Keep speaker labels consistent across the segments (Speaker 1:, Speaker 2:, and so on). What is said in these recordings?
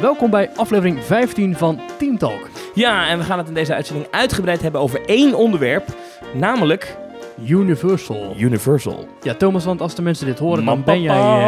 Speaker 1: Welkom bij aflevering 15 van Team Talk.
Speaker 2: Ja, en we gaan het in deze uitzending uitgebreid hebben over één onderwerp, namelijk
Speaker 1: Universal.
Speaker 2: Universal.
Speaker 1: Ja, Thomas, want als de mensen dit horen, dan
Speaker 2: Mam,
Speaker 1: ben jij... eh,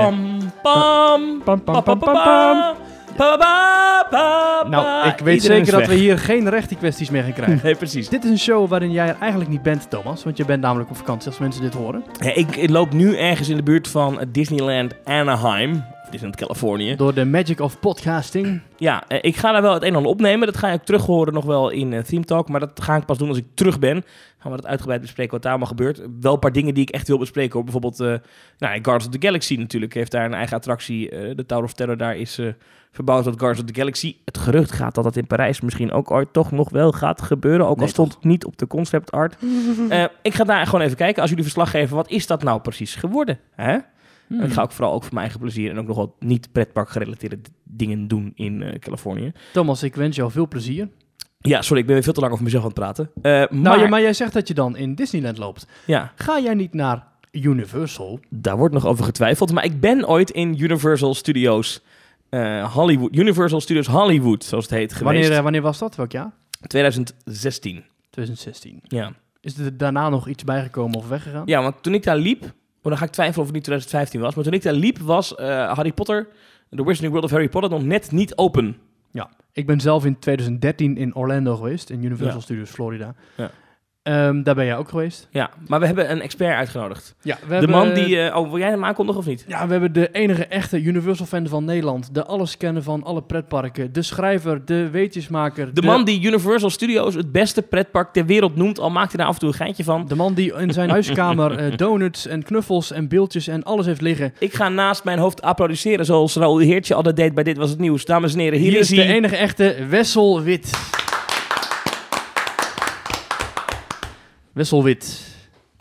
Speaker 2: pam, pam,
Speaker 1: pam, pam,
Speaker 2: pam,
Speaker 1: pam,
Speaker 2: pam,
Speaker 1: pam, pam.
Speaker 2: pam, pa, pa, pa,
Speaker 1: Nou,
Speaker 2: pa.
Speaker 1: ik weet
Speaker 2: Iedereen
Speaker 1: zeker dat
Speaker 2: is
Speaker 1: we
Speaker 2: weg.
Speaker 1: hier geen rechte kwesties meer gaan krijgen.
Speaker 2: Nee, precies.
Speaker 1: Dit is een show waarin jij er eigenlijk niet bent, Thomas. Want je bent namelijk op vakantie als mensen dit horen.
Speaker 2: Ja, ik loop nu ergens in de buurt van Disneyland Anaheim. of Disneyland Californië.
Speaker 1: Door de magic of podcasting.
Speaker 2: Ja, eh, ik ga daar wel het een en ander opnemen. Dat ga je ook terug horen nog wel in eh, Theme Talk. Maar dat ga ik pas doen als ik terug ben. Gaan we dat uitgebreid bespreken wat daar allemaal gebeurt. Wel een paar dingen die ik echt wil bespreken. Hoor. Bijvoorbeeld eh nou, Guardians of the Galaxy natuurlijk heeft daar een eigen attractie. Eh, de Tower of Terror daar is eh, verbouwd tot Guardians of the Galaxy. Het gerucht gaat dat dat in Parijs misschien ook ooit toch nog wel gaat gebeuren. Ook al
Speaker 1: Nee,
Speaker 2: stond het niet op de concept art. Eh, ik ga daar gewoon even kijken. Als jullie verslag geven, wat is dat nou precies geworden? Hè?
Speaker 1: Ehm, Hmm.
Speaker 2: En ik ga ook vooral ook voor mijn eigen plezier en ook nog wat niet pretpark gerelateerde d- dingen doen in eh, Californië.
Speaker 1: Thomas, ik wens jou veel plezier.
Speaker 2: Ja, sorry, ik ben weer veel te lang over mezelf aan het praten. Eh, maar,
Speaker 1: Nou, ja, maar jij zegt dat je dan in Disneyland loopt.
Speaker 2: ja,
Speaker 1: Ga jij niet naar Universal?
Speaker 2: daar wordt nog over getwijfeld. Maar ik ben ooit in Universal Studios eh, Hollywood, Universal Studios Hollywood, zoals het heet, geweest.
Speaker 1: Wanneer, eh, wanneer was dat? Welk jaar?
Speaker 2: 2016.
Speaker 1: 2016.
Speaker 2: Ja.
Speaker 1: Is er daarna nog iets bijgekomen of weggegaan?
Speaker 2: ja, want toen ik daar liep, oh, dan ga ik twijfelen of het niet 2015 was, maar toen ik daar liep was eh, Harry Potter, The Wizarding World of Harry Potter nog net niet open.
Speaker 1: Ja, ik ben zelf in 2013 in Orlando geweest, in Universal
Speaker 2: Ja.
Speaker 1: Studios Florida.
Speaker 2: Ja.
Speaker 1: Ehm, daar ben jij ook geweest.
Speaker 2: Ja, maar we hebben een expert uitgenodigd.
Speaker 1: Ja, we
Speaker 2: de man die, eh, oh, wil jij hem aankondigen of niet?
Speaker 1: Ja, we hebben de enige echte Universal-fan van Nederland. De alleskenner van alle pretparken. De schrijver, de weetjesmaker.
Speaker 2: De man die Universal Studios het beste pretpark ter wereld noemt, al maakt hij daar af en toe een geintje van.
Speaker 1: De man die in zijn huiskamer eh, donuts en knuffels en beeldjes en alles heeft liggen.
Speaker 2: Ik ga naast mijn hoofd applaudisseren, zoals Raoul Heertje altijd deed bij Dit Was Het Nieuws. Dames en heren, hier,
Speaker 1: Hier is de
Speaker 2: hij.
Speaker 1: enige echte Wessel Wit. Wessel Wit.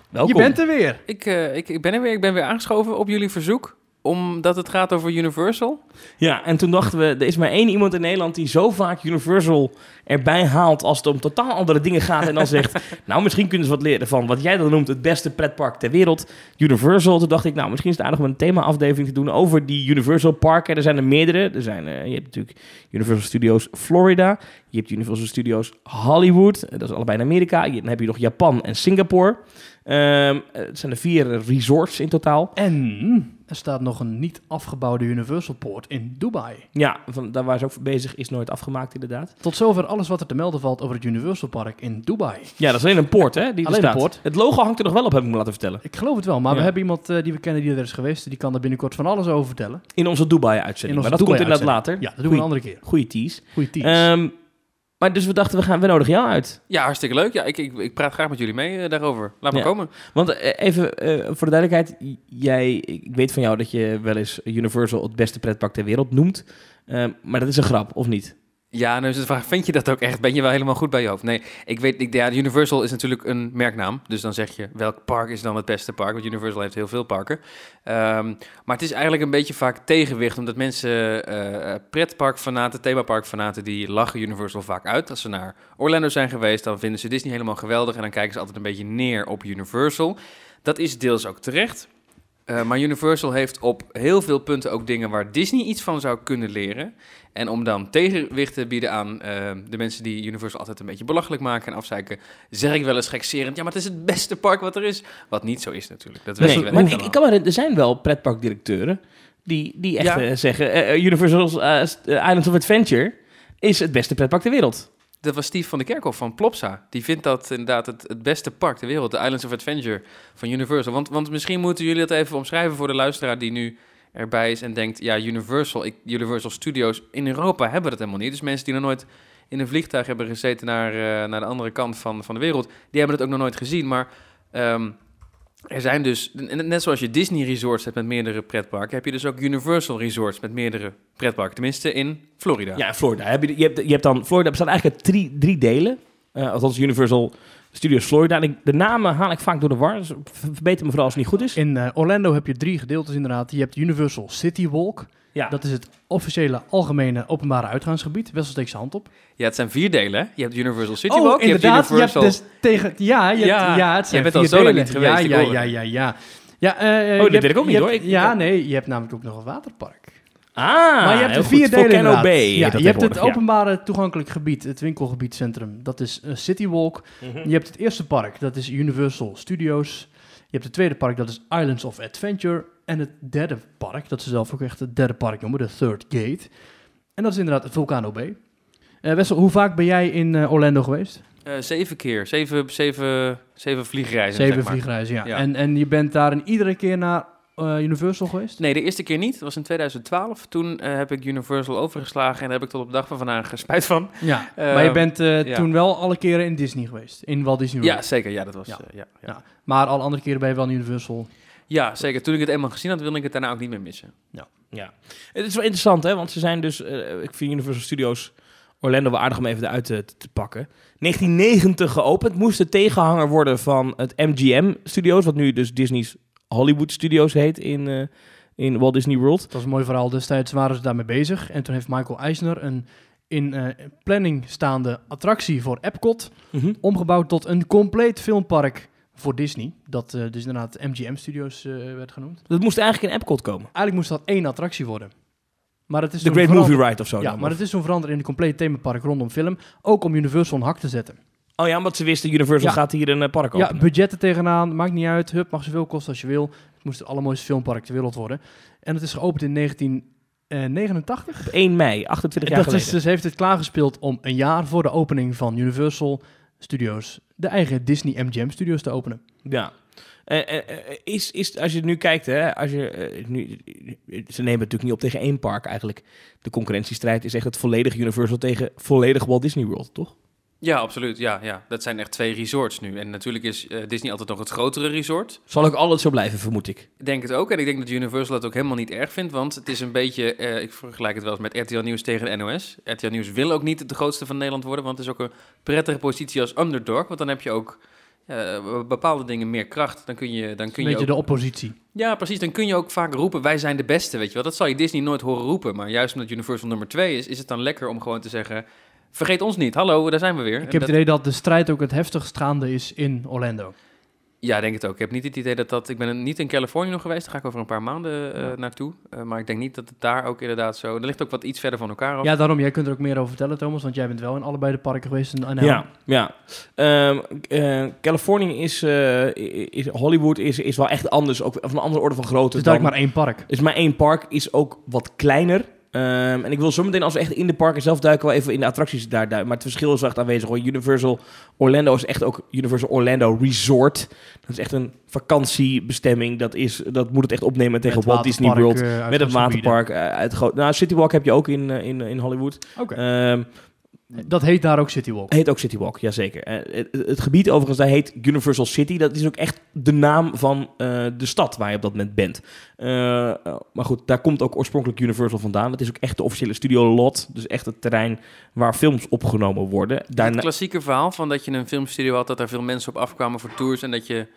Speaker 2: Welkom.
Speaker 1: Je bent er weer.
Speaker 3: Ik, eh, ik, ik ben er weer. Ik ben weer aangeschoven op jullie verzoek. Omdat het gaat over Universal.
Speaker 2: Ja, en toen dachten we, er is maar één iemand in Nederland die zo vaak Universal erbij haalt als het om totaal andere dingen gaat. En dan zegt, nou misschien kunnen ze wat leren van wat jij dan noemt het beste pretpark ter wereld, Universal. Toen dacht ik, nou misschien is het aardig om een thema-afdeling te doen over die Universal parken. Er zijn er meerdere. Er zijn, eh, je hebt natuurlijk Universal Studios Florida. Je hebt Universal Studios Hollywood. eh, Dat is allebei in Amerika. Je- Dan heb je nog Japan en Singapore. Ehm, eh, het zijn er vier resorts in totaal.
Speaker 1: En er staat nog een niet afgebouwde Universal Poort in Dubai.
Speaker 2: Ja, van, daar waar ze ook voor bezig is nooit afgemaakt inderdaad.
Speaker 1: Tot zover alles wat er te melden valt over het Universal Park in Dubai.
Speaker 2: Ja, dat is alleen een poort, hè? Die er
Speaker 1: Alleen een
Speaker 2: staat.
Speaker 1: poort.
Speaker 2: Het logo hangt er nog wel op, heb ik me laten vertellen.
Speaker 1: Ik geloof het wel, maar we
Speaker 2: Ja.
Speaker 1: hebben iemand eh, die we kennen die er is geweest. Die kan daar binnenkort van alles over vertellen.
Speaker 2: In onze Dubai-uitzending.
Speaker 1: In
Speaker 2: Maar
Speaker 1: onze
Speaker 2: dat komt inderdaad later.
Speaker 1: Ja, dat doen we
Speaker 2: Goeie-
Speaker 1: een andere keer. Eh,
Speaker 2: Goeie tease.
Speaker 1: Goeie tease.
Speaker 2: Ehm, maar dus we dachten, we, gaan, we nodigen jou uit.
Speaker 3: Ja, hartstikke leuk. Ja, ik, ik, ik praat graag met jullie mee eh, daarover. Laat me
Speaker 2: Ja.
Speaker 3: komen.
Speaker 2: Want eh, even eh, voor de duidelijkheid. j- Jij, ik weet van jou dat je wel eens Universal het beste pretpark ter wereld noemt. Ehm, maar dat is een grap, of niet?
Speaker 3: Ja, nou is de vraag, vind je dat ook echt? Ben je wel helemaal goed bij je hoofd? Nee, ik weet, ik, ja, Universal is natuurlijk een merknaam. Dus dan zeg je, welk park is dan het beste park? Want Universal heeft heel veel parken. Ehm, maar het is eigenlijk een beetje vaak tegenwicht. Omdat mensen, eh pretparkfanaten, themaparkfanaten, die lachen Universal vaak uit. Als ze naar Orlando zijn geweest, dan vinden ze Disney helemaal geweldig. En dan kijken ze altijd een beetje neer op Universal. Dat is deels ook terecht. Eh, maar Universal heeft op heel veel punten ook dingen waar Disney iets van zou kunnen leren. En om dan tegenwicht te bieden aan eh, de mensen die Universal altijd een beetje belachelijk maken en afzeiken, zeg ik wel eens gekserend: ja, maar het is het beste park wat er is. Wat niet zo is natuurlijk. Dat weet
Speaker 2: Nee,
Speaker 3: ik wel.
Speaker 2: maar ik, ik kan maar, er zijn wel pretparkdirecteuren die, die echt
Speaker 3: Ja.
Speaker 2: eh, zeggen... eh, Universal's eh, st- eh, Islands of Adventure is het beste pretpark ter wereld.
Speaker 3: Dat was Steve van de Kerkhoff van Plopsa. Die vindt dat inderdaad het, het beste park ter wereld. De Islands of Adventure van Universal. Want, want misschien moeten jullie dat even omschrijven voor de luisteraar die nu erbij is en denkt... Ja, Universal, ik, Universal Studios in Europa hebben dat helemaal niet. Dus mensen die nog nooit in een vliegtuig hebben gezeten naar, eh, naar de andere kant van, van de wereld... die hebben het ook nog nooit gezien. Maar ehm, er zijn dus, n- net zoals je Disney resorts hebt met meerdere pretparken... heb je dus ook Universal resorts met meerdere pretparken. Tenminste in Florida.
Speaker 2: Ja, Florida. Heb je, je, hebt, je hebt dan Florida bestaat eigenlijk uit drie, drie delen. Eh althans, Universal Studios Florida. En ik- de namen haal ik vaak door de war. Dus ver- verbeter me vooral als het niet goed is.
Speaker 1: In eh, Orlando heb je drie gedeeltes inderdaad. Je hebt Universal City Walk.
Speaker 2: Ja.
Speaker 1: Dat is het officiële algemene openbare uitgaansgebied. Wessel steekt zijn hand op.
Speaker 3: Ja, het zijn vier delen. hè? Je hebt Universal City
Speaker 1: oh,
Speaker 3: Walk, je
Speaker 1: inderdaad.
Speaker 3: hebt Universal...
Speaker 1: Je hebt dus tegen... Ja, je hebt, ja,
Speaker 3: Ja,
Speaker 1: het zijn
Speaker 3: jij bent al
Speaker 1: vier
Speaker 3: zo lang
Speaker 1: delen.
Speaker 3: niet geweest, ik
Speaker 1: Ja, ja,
Speaker 3: hoor Oh,
Speaker 1: ja,
Speaker 3: het.
Speaker 1: ja, ja. ja eh, eh,
Speaker 2: dat
Speaker 1: je
Speaker 2: weet ik ook
Speaker 1: je
Speaker 2: niet, hoor.
Speaker 1: hebt-
Speaker 2: Ik-
Speaker 1: ja,
Speaker 2: ik-
Speaker 1: nee. Je hebt namelijk ook nog een waterpark.
Speaker 2: Ah,
Speaker 1: maar je hebt
Speaker 2: heel
Speaker 1: de
Speaker 2: goed.
Speaker 1: vier delen
Speaker 2: Volcano
Speaker 1: inderdaad.
Speaker 2: Bay. heet
Speaker 1: ja,
Speaker 2: dat
Speaker 1: je hebt het
Speaker 2: tegenwoordig,
Speaker 1: openbare toegankelijk gebied, het winkelgebiedcentrum. Dat is eh, City Walk.
Speaker 2: Mhm.
Speaker 1: Je hebt het eerste park, dat is Universal Studios. Je hebt het tweede park, dat is Islands of Adventure. En het derde park, dat ze zelf ook echt het derde park noemen, de Third Gate. En dat is inderdaad Volcano Bay. Eh, Wessel, hoe vaak ben jij in eh, Orlando geweest?
Speaker 3: Eh, zeven keer. Zeven, zeven, zeven vliegreizen.
Speaker 1: Zeven
Speaker 3: zeg maar.
Speaker 1: vliegreizen, ja.
Speaker 3: Ja.
Speaker 1: En, en je bent daar in iedere keer naar eh, Universal geweest?
Speaker 3: Nee, de eerste keer niet. Dat was in 2012. Toen eh, heb ik Universal overgeslagen en daar heb ik tot op de dag van vandaag eh, spijt van.
Speaker 1: Ja,
Speaker 3: Eh,
Speaker 1: maar je bent eh,
Speaker 3: ja.
Speaker 1: toen wel alle keren in Disney geweest, in Walt Disney World.
Speaker 3: Ja, zeker. Ja, dat was.
Speaker 1: Ja.
Speaker 3: eh, ja, ja.
Speaker 1: Ja. Maar alle andere keren ben je wel in Universal.
Speaker 3: Ja, zeker. Toen ik het eenmaal gezien had, wilde ik het daarna ook niet meer missen.
Speaker 2: ja. Ja. Het is wel interessant, hè? Want ze zijn dus... eh, ik vind Universal Studios Orlando wel aardig om even eruit te, te pakken. 1990 geopend. Moest de tegenhanger worden van het MGM Studios... wat nu dus Disney's Hollywood Studios heet in, eh, in Walt Disney World.
Speaker 1: Dat was een mooi verhaal. Destijds waren ze daarmee bezig. En toen heeft Michael Eisner een in eh, planning staande attractie voor Epcot
Speaker 2: Mhm.
Speaker 1: omgebouwd tot een compleet filmpark voor Disney. Dat eh, dus inderdaad MGM Studios eh, werd genoemd.
Speaker 2: Dat moest eigenlijk in Epcot komen.
Speaker 1: Eigenlijk moest dat één attractie worden. Maar het is
Speaker 2: The
Speaker 1: toen
Speaker 2: Great
Speaker 1: veranderd-
Speaker 2: Movie Ride of zo.
Speaker 1: Ja,
Speaker 2: dan,
Speaker 1: maar
Speaker 2: of-
Speaker 1: het is zo'n verandering in een compleet themapark rondom film. Ook om Universal een hak te zetten.
Speaker 2: Oh ja, omdat ze wisten... Universal
Speaker 1: Ja.
Speaker 2: gaat hier een eh, park
Speaker 1: Ja,
Speaker 2: openen.
Speaker 1: budgetten tegenaan, maakt niet uit. Hup, mag zoveel kosten als je wil. Het moest het allermooiste filmpark ter wereld worden. En het is geopend in 1989.
Speaker 2: Op 1 mei, 28 jaar
Speaker 1: dat
Speaker 2: geleden.
Speaker 1: is, dus heeft het klaargespeeld om een jaar voor de opening van Universal Studios de eigen Disney MGM Studios te openen.
Speaker 2: Ja. Eh, eh, eh, is, is, als je het nu kijkt, hè, als je, eh, nu, ze nemen het natuurlijk niet op tegen één park eigenlijk. De concurrentiestrijd is echt het volledige Universal tegen volledig Walt Disney World, toch?
Speaker 3: Ja, absoluut. Ja, ja. Dat zijn echt twee resorts nu. En natuurlijk is eh, Disney altijd nog het grotere resort.
Speaker 2: Zal ook altijd zo blijven, vermoed ik.
Speaker 3: Ik denk het ook. En ik denk dat Universal dat ook helemaal niet erg vindt. Want het is een beetje... eh, ik vergelijk het wel eens met RTL Nieuws tegen de NOS. RTL Nieuws wil ook niet de grootste van Nederland worden. Want het is ook een prettige positie als underdog. Want dan heb je ook... eh, bepaalde dingen meer kracht, dan kun je, dan kun
Speaker 1: Een
Speaker 3: je
Speaker 1: beetje
Speaker 3: ook
Speaker 1: de oppositie.
Speaker 3: Ja, precies. Dan kun je ook vaak roepen, wij zijn de beste, weet je wel. Dat zal je Disney nooit horen roepen. Maar juist omdat Universal nummer twee is, is het dan lekker om gewoon te zeggen... Vergeet ons niet, hallo, daar zijn we
Speaker 1: Ik
Speaker 3: weer. En
Speaker 1: heb het
Speaker 3: dat-
Speaker 1: idee dat de strijd ook het heftigst gaande is in Orlando.
Speaker 3: Ja, ik denk het ook. Ik heb niet het idee dat dat... Ik ben niet in Californië nog geweest, daar ga ik over een paar maanden eh, naartoe. Eh, maar ik denk niet dat het daar ook inderdaad zo... Er ligt ook wat iets verder van elkaar af.
Speaker 1: Ja, daarom, jij kunt er ook meer over vertellen, Thomas, want jij bent wel in allebei de parken geweest. En, en-
Speaker 2: Ja, ja. Ehm, eh, Californië is, eh, is Hollywood is, is wel echt anders, ook van een andere orde van grootte.
Speaker 1: dus daar
Speaker 2: dan-
Speaker 1: heb ik maar één park.
Speaker 2: Dus maar één park is ook wat kleiner. Ehm, en ik wil zometeen, als we echt in de parken zelf duiken, wel even in de attracties daar duiken. Maar het verschil is wel echt aanwezig. Hoor. Universal Orlando is echt ook Universal Orlando Resort. Dat is echt een vakantiebestemming. Dat, is, dat moet het echt opnemen tegen
Speaker 1: Met
Speaker 2: Walt Disney
Speaker 1: waterpark,
Speaker 2: World.
Speaker 1: eh,
Speaker 2: Met het
Speaker 1: uitgangsgebieden.
Speaker 2: waterpark. eh, Uit groot- nou, City Walk heb je ook in, eh, in, in Hollywood.
Speaker 1: Oké.
Speaker 2: Ehm,
Speaker 1: Dat heet daar ook City Walk.
Speaker 2: Heet ook City Walk, jazeker. Eh, het, het gebied overigens, daar heet Universal City. Dat is ook echt de naam van eh, de stad waar je op dat moment bent. Eh, eh, maar goed, daar komt ook oorspronkelijk Universal vandaan. Dat is ook echt de officiële studio lot. Dus echt het terrein waar films opgenomen worden.
Speaker 3: Het
Speaker 2: Daarna,
Speaker 3: klassieke verhaal van dat je een filmstudio had... dat er veel mensen op afkwamen voor tours... en dat, je,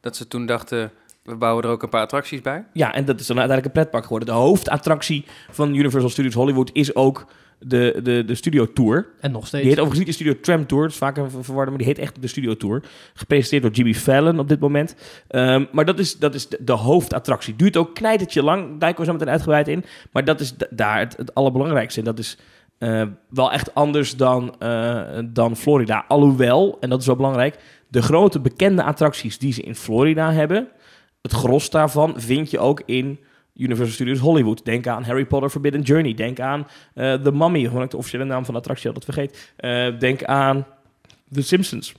Speaker 3: dat ze toen dachten, we bouwen er ook een paar attracties bij.
Speaker 2: ja, en dat is dan uiteindelijk een pretpark geworden. De hoofdattractie van Universal Studios Hollywood is ook de, de, de studio tour.
Speaker 1: En nog steeds.
Speaker 2: Die heet overigens niet de Studio Tram Tour. Dat is vaak een ver- verwarde, maar die heet echt de Studio Tour. Gepresenteerd door Jimmy Fallon op dit moment. Ehm, maar dat is, dat is de, de hoofdattractie. Duurt ook knijtertje lang. Daar komen we zo meteen uitgebreid in. Maar dat is da- daar het, het allerbelangrijkste. En dat is eh, wel echt anders dan, eh, dan Florida. Alhoewel, en dat is wel belangrijk... de grote bekende attracties die ze in Florida hebben... het gros daarvan vind je ook in... Universal Studios Hollywood. Denk aan Harry Potter Forbidden Journey. Denk aan eh, The Mummy, hoewel ik de officiële naam van de attractie altijd vergeet. Eh, denk aan The Simpsons.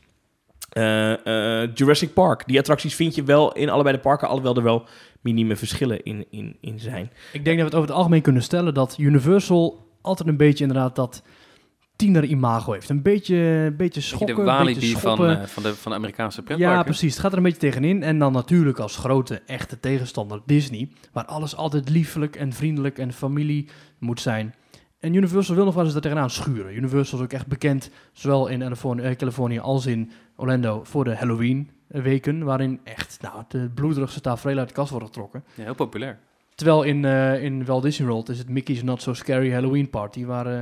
Speaker 2: Eh, eh, Jurassic Park. Die attracties vind je wel in allebei de parken, alhoewel er wel minieme verschillen in, in, in zijn.
Speaker 1: Ik denk dat we het over het algemeen kunnen stellen dat Universal altijd een beetje inderdaad dat tiener-imago heeft. Een beetje, een beetje
Speaker 3: Een beetje
Speaker 1: schokken,
Speaker 3: de
Speaker 1: een beetje
Speaker 3: Walibi van,
Speaker 1: schoppen.
Speaker 3: eh, van, de, van de Amerikaanse pretparken.
Speaker 1: ja, precies. Het gaat er een beetje tegenin. En dan natuurlijk als grote, echte tegenstander Disney, waar alles altijd liefelijk en vriendelijk en familie moet zijn. En Universal wil nog wel eens daar tegenaan schuren. Universal is ook echt bekend, zowel in Californië- eh, Californië als in Orlando, voor de Halloween eh, weken, waarin echt nou, de bloederigste tafereel uit de kast wordt getrokken.
Speaker 3: Ja, heel populair.
Speaker 1: Terwijl in, eh, in Walt Disney World is het Mickey's Not So Scary Halloween Party, waar eh,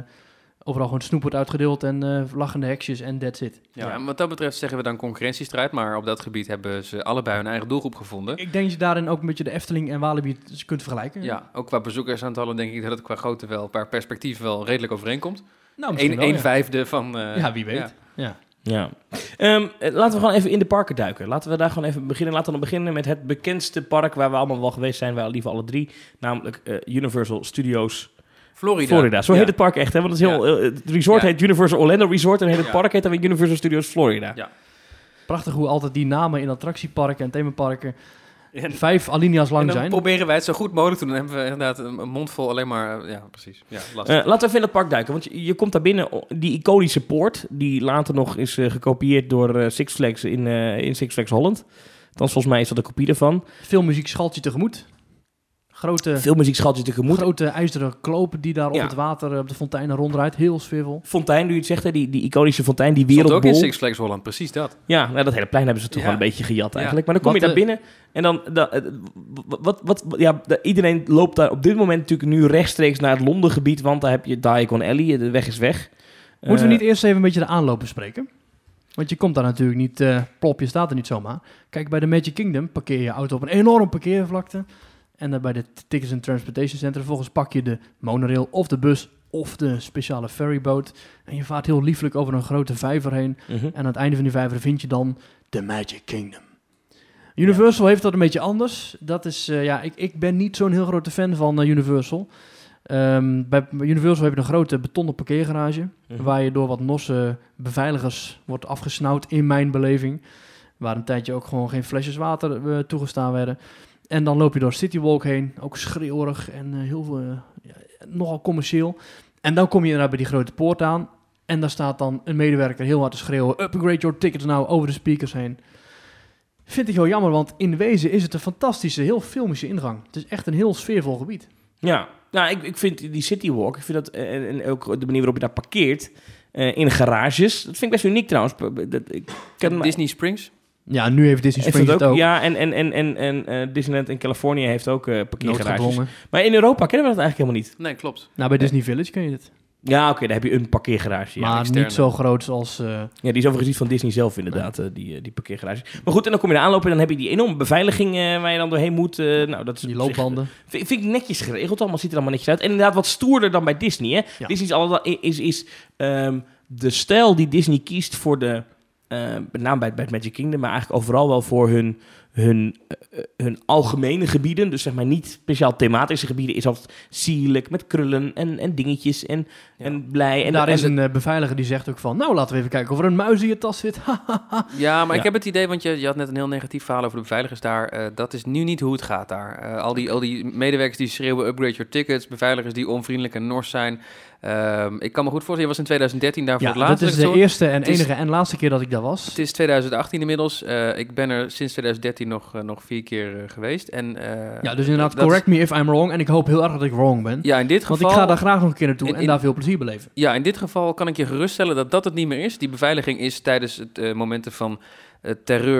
Speaker 1: overal gewoon snoep wordt uitgedeeld en eh, lachende heksjes en that's it.
Speaker 3: Ja, en wat dat betreft zeggen we dan concurrentiestrijd, maar op dat gebied hebben ze allebei hun eigen doelgroep gevonden.
Speaker 1: Ik denk dat je daarin ook een beetje de Efteling en Walibi kunt vergelijken.
Speaker 3: Ja, ook qua bezoekersaantallen denk ik dat het qua grootte wel, qua perspectief wel redelijk overeenkomt.
Speaker 1: nou, misschien
Speaker 3: Eén
Speaker 1: wel,
Speaker 3: één
Speaker 1: ja.
Speaker 3: vijfde van... eh,
Speaker 1: Ja, wie weet.
Speaker 3: ja.
Speaker 1: Ja.
Speaker 2: Ja. Ehm, eh, laten we gewoon even in de parken duiken. Laten we daar gewoon even beginnen. Laten we dan beginnen met het bekendste park waar we allemaal wel geweest zijn. Wij liever alle drie. Namelijk eh, Universal Studios
Speaker 3: Florida.
Speaker 2: Florida. Zo
Speaker 3: Ja.
Speaker 2: heet het park echt, hè? Want het, is heel, eh, het resort
Speaker 3: Ja.
Speaker 2: heet Universal Orlando Resort. En heet het
Speaker 3: Ja.
Speaker 2: park heet dan weer Universal Studios Florida.
Speaker 3: Ja.
Speaker 1: Prachtig hoe altijd die namen in attractieparken en themaparken
Speaker 2: En-
Speaker 1: vijf alinea's lang
Speaker 3: en dan
Speaker 1: zijn.
Speaker 3: proberen wij het zo goed mogelijk te doen. Dan hebben we inderdaad een, een mond vol alleen maar... eh, Ja, precies. Ja, lastig.
Speaker 2: Eh, laten we even in het park duiken. Want je, je komt daar binnen, o- die iconische poort. Die later nog is eh, gekopieerd door eh, Six Flags in, eh, in Six Flags Holland. Althans, volgens mij is dat een kopie daarvan.
Speaker 1: Veel muziek schalt je tegemoet. Grote,
Speaker 2: Veel muziek schat je tegemoet.
Speaker 1: grote ijzeren klopen die daar op
Speaker 2: Ja.
Speaker 1: het water, eh, op de fonteinen rondrijdt. Heel sfeervol.
Speaker 2: Fontein, nu je het zegt, hè? Die, die iconische fontein, die
Speaker 3: Stond ook in
Speaker 2: wereldbol.
Speaker 3: Six Flags Holland, precies dat.
Speaker 2: Ja, nou, dat hele plein hebben ze toch
Speaker 3: Ja.
Speaker 2: wel een beetje gejat
Speaker 3: Ja.
Speaker 2: eigenlijk. Maar dan kom
Speaker 1: Wat,
Speaker 2: je daar binnen en dan... da- eh, wat, wat, wat, ja, da- iedereen loopt daar op dit moment natuurlijk nu rechtstreeks naar het Londengebied. Want daar heb je Diagon Alley, de weg is weg.
Speaker 1: Moeten
Speaker 2: Eh,
Speaker 1: we niet eerst even een beetje de aanloop bespreken? Want je komt daar natuurlijk niet, eh plop, je staat er niet zomaar. Kijk, bij de Magic Kingdom parkeer je auto op een enorme parkeervlakte. En dan bij de Tickets and Transportation Center, vervolgens pak je de monorail of de bus of de speciale ferryboot. En je vaart heel lieflijk over een grote vijver heen.
Speaker 2: mhm.
Speaker 1: En aan het einde van die vijver vind je dan The Magic Kingdom. Universal heeft dat een beetje anders. Dat is, eh, ja, ik, ik ben niet zo'n heel grote fan van eh, Universal. Ehm, bij Universal heb je een grote betonnen parkeergarage.
Speaker 2: Mhm.
Speaker 1: Waar je door wat nosse beveiligers wordt afgesnauwd, in mijn beleving. Waar een tijdje ook gewoon geen flesjes water eh, toegestaan werden. En dan loop je door Citywalk heen. Ook schreeuwerig en eh, heel veel, eh, ja, nogal commercieel. En dan kom je inderdaad bij die grote poort aan. En daar staat dan een medewerker heel hard te schreeuwen: Upgrade your tickets nou over de speakers heen. Vind ik heel jammer, want in wezen is het een fantastische, heel filmische ingang. Het is echt een heel sfeervol gebied.
Speaker 2: Ja, nou, ik, ik vind die Citywalk, ik vind dat, eh, en, en ook de manier waarop je daar parkeert, eh, in garages, dat vind ik best uniek trouwens. P- Dat, ik ken
Speaker 3: Disney Springs.
Speaker 1: Ja, nu heeft Disney
Speaker 2: heeft
Speaker 1: Springs
Speaker 2: dat
Speaker 1: het ook.
Speaker 2: Ja, en, en, en, en, en eh, Disneyland in Californië heeft ook eh parkeergarages.
Speaker 1: noodgedwongen.
Speaker 2: Maar in Europa kennen we dat eigenlijk helemaal niet.
Speaker 3: Nee, klopt.
Speaker 1: Nou, bij Disney Village ken je het.
Speaker 2: Ja, oké, daar heb je een parkeergarage. Ja.
Speaker 1: maar
Speaker 3: externe.
Speaker 1: niet zo groot als... eh,
Speaker 2: ja, die is overigens niet van Disney zelf inderdaad, eh, die, eh, die parkeergarage. Maar goed, en dan kom je er aanlopen en dan heb je die enorme beveiliging eh, waar je dan doorheen moet. eh, nou, dat is
Speaker 1: die
Speaker 2: op zich-
Speaker 1: loopbanden.
Speaker 2: Vind, vind ik netjes geregeld allemaal, ziet er allemaal netjes uit. En inderdaad wat stoerder dan bij Disney. Hè?
Speaker 1: Ja.
Speaker 2: Disney is, allemaal, is, is ehm, de stijl die Disney kiest voor de... eh, met name bij, bij het Magic Kingdom, maar eigenlijk overal wel voor hun, hun, eh, eh, hun algemene gebieden. Dus zeg maar niet speciaal thematische gebieden. Is altijd sierlijk met krullen en, en dingetjes en,
Speaker 3: Ja.
Speaker 2: en blij. En
Speaker 1: En daar
Speaker 2: en-
Speaker 1: is een eh, beveiliger die zegt ook van... Nou, laten we even kijken of er een muis in je tas zit. Ha, Ah.
Speaker 3: Ja, maar
Speaker 2: Ja.
Speaker 3: ik heb het idee, want je, je had net een heel negatief verhaal over de beveiligers daar. Eh, dat is nu niet hoe het gaat daar. Eh, al, die, al die medewerkers die schreeuwen upgrade your tickets, beveiligers die onvriendelijk en nors zijn. Ehm, ik kan me goed voorstellen, je was in 2013 daar voor
Speaker 1: Ja,
Speaker 3: het laatst.
Speaker 1: dat is
Speaker 3: als ik
Speaker 1: de
Speaker 3: het zo-
Speaker 1: eerste en
Speaker 3: Het is-
Speaker 1: enige en laatste keer dat ik daar was.
Speaker 3: Het is 2018 inmiddels. Eh, ik ben er sinds 2013 nog, eh, nog vier keer eh, geweest. En, eh,
Speaker 1: Ja, dus inderdaad,
Speaker 3: dat is-
Speaker 1: correct me if I'm wrong. En ik hoop heel erg dat ik wrong ben.
Speaker 3: ja, in dit
Speaker 1: Want
Speaker 3: geval...
Speaker 1: ik ga daar graag nog een keer naartoe
Speaker 3: In-
Speaker 1: en
Speaker 3: in-
Speaker 1: daar veel plezier beleven.
Speaker 3: Ja, in dit geval kan ik je geruststellen dat dat het niet meer is. Die beveiliging is tijdens het eh, momenten van eh,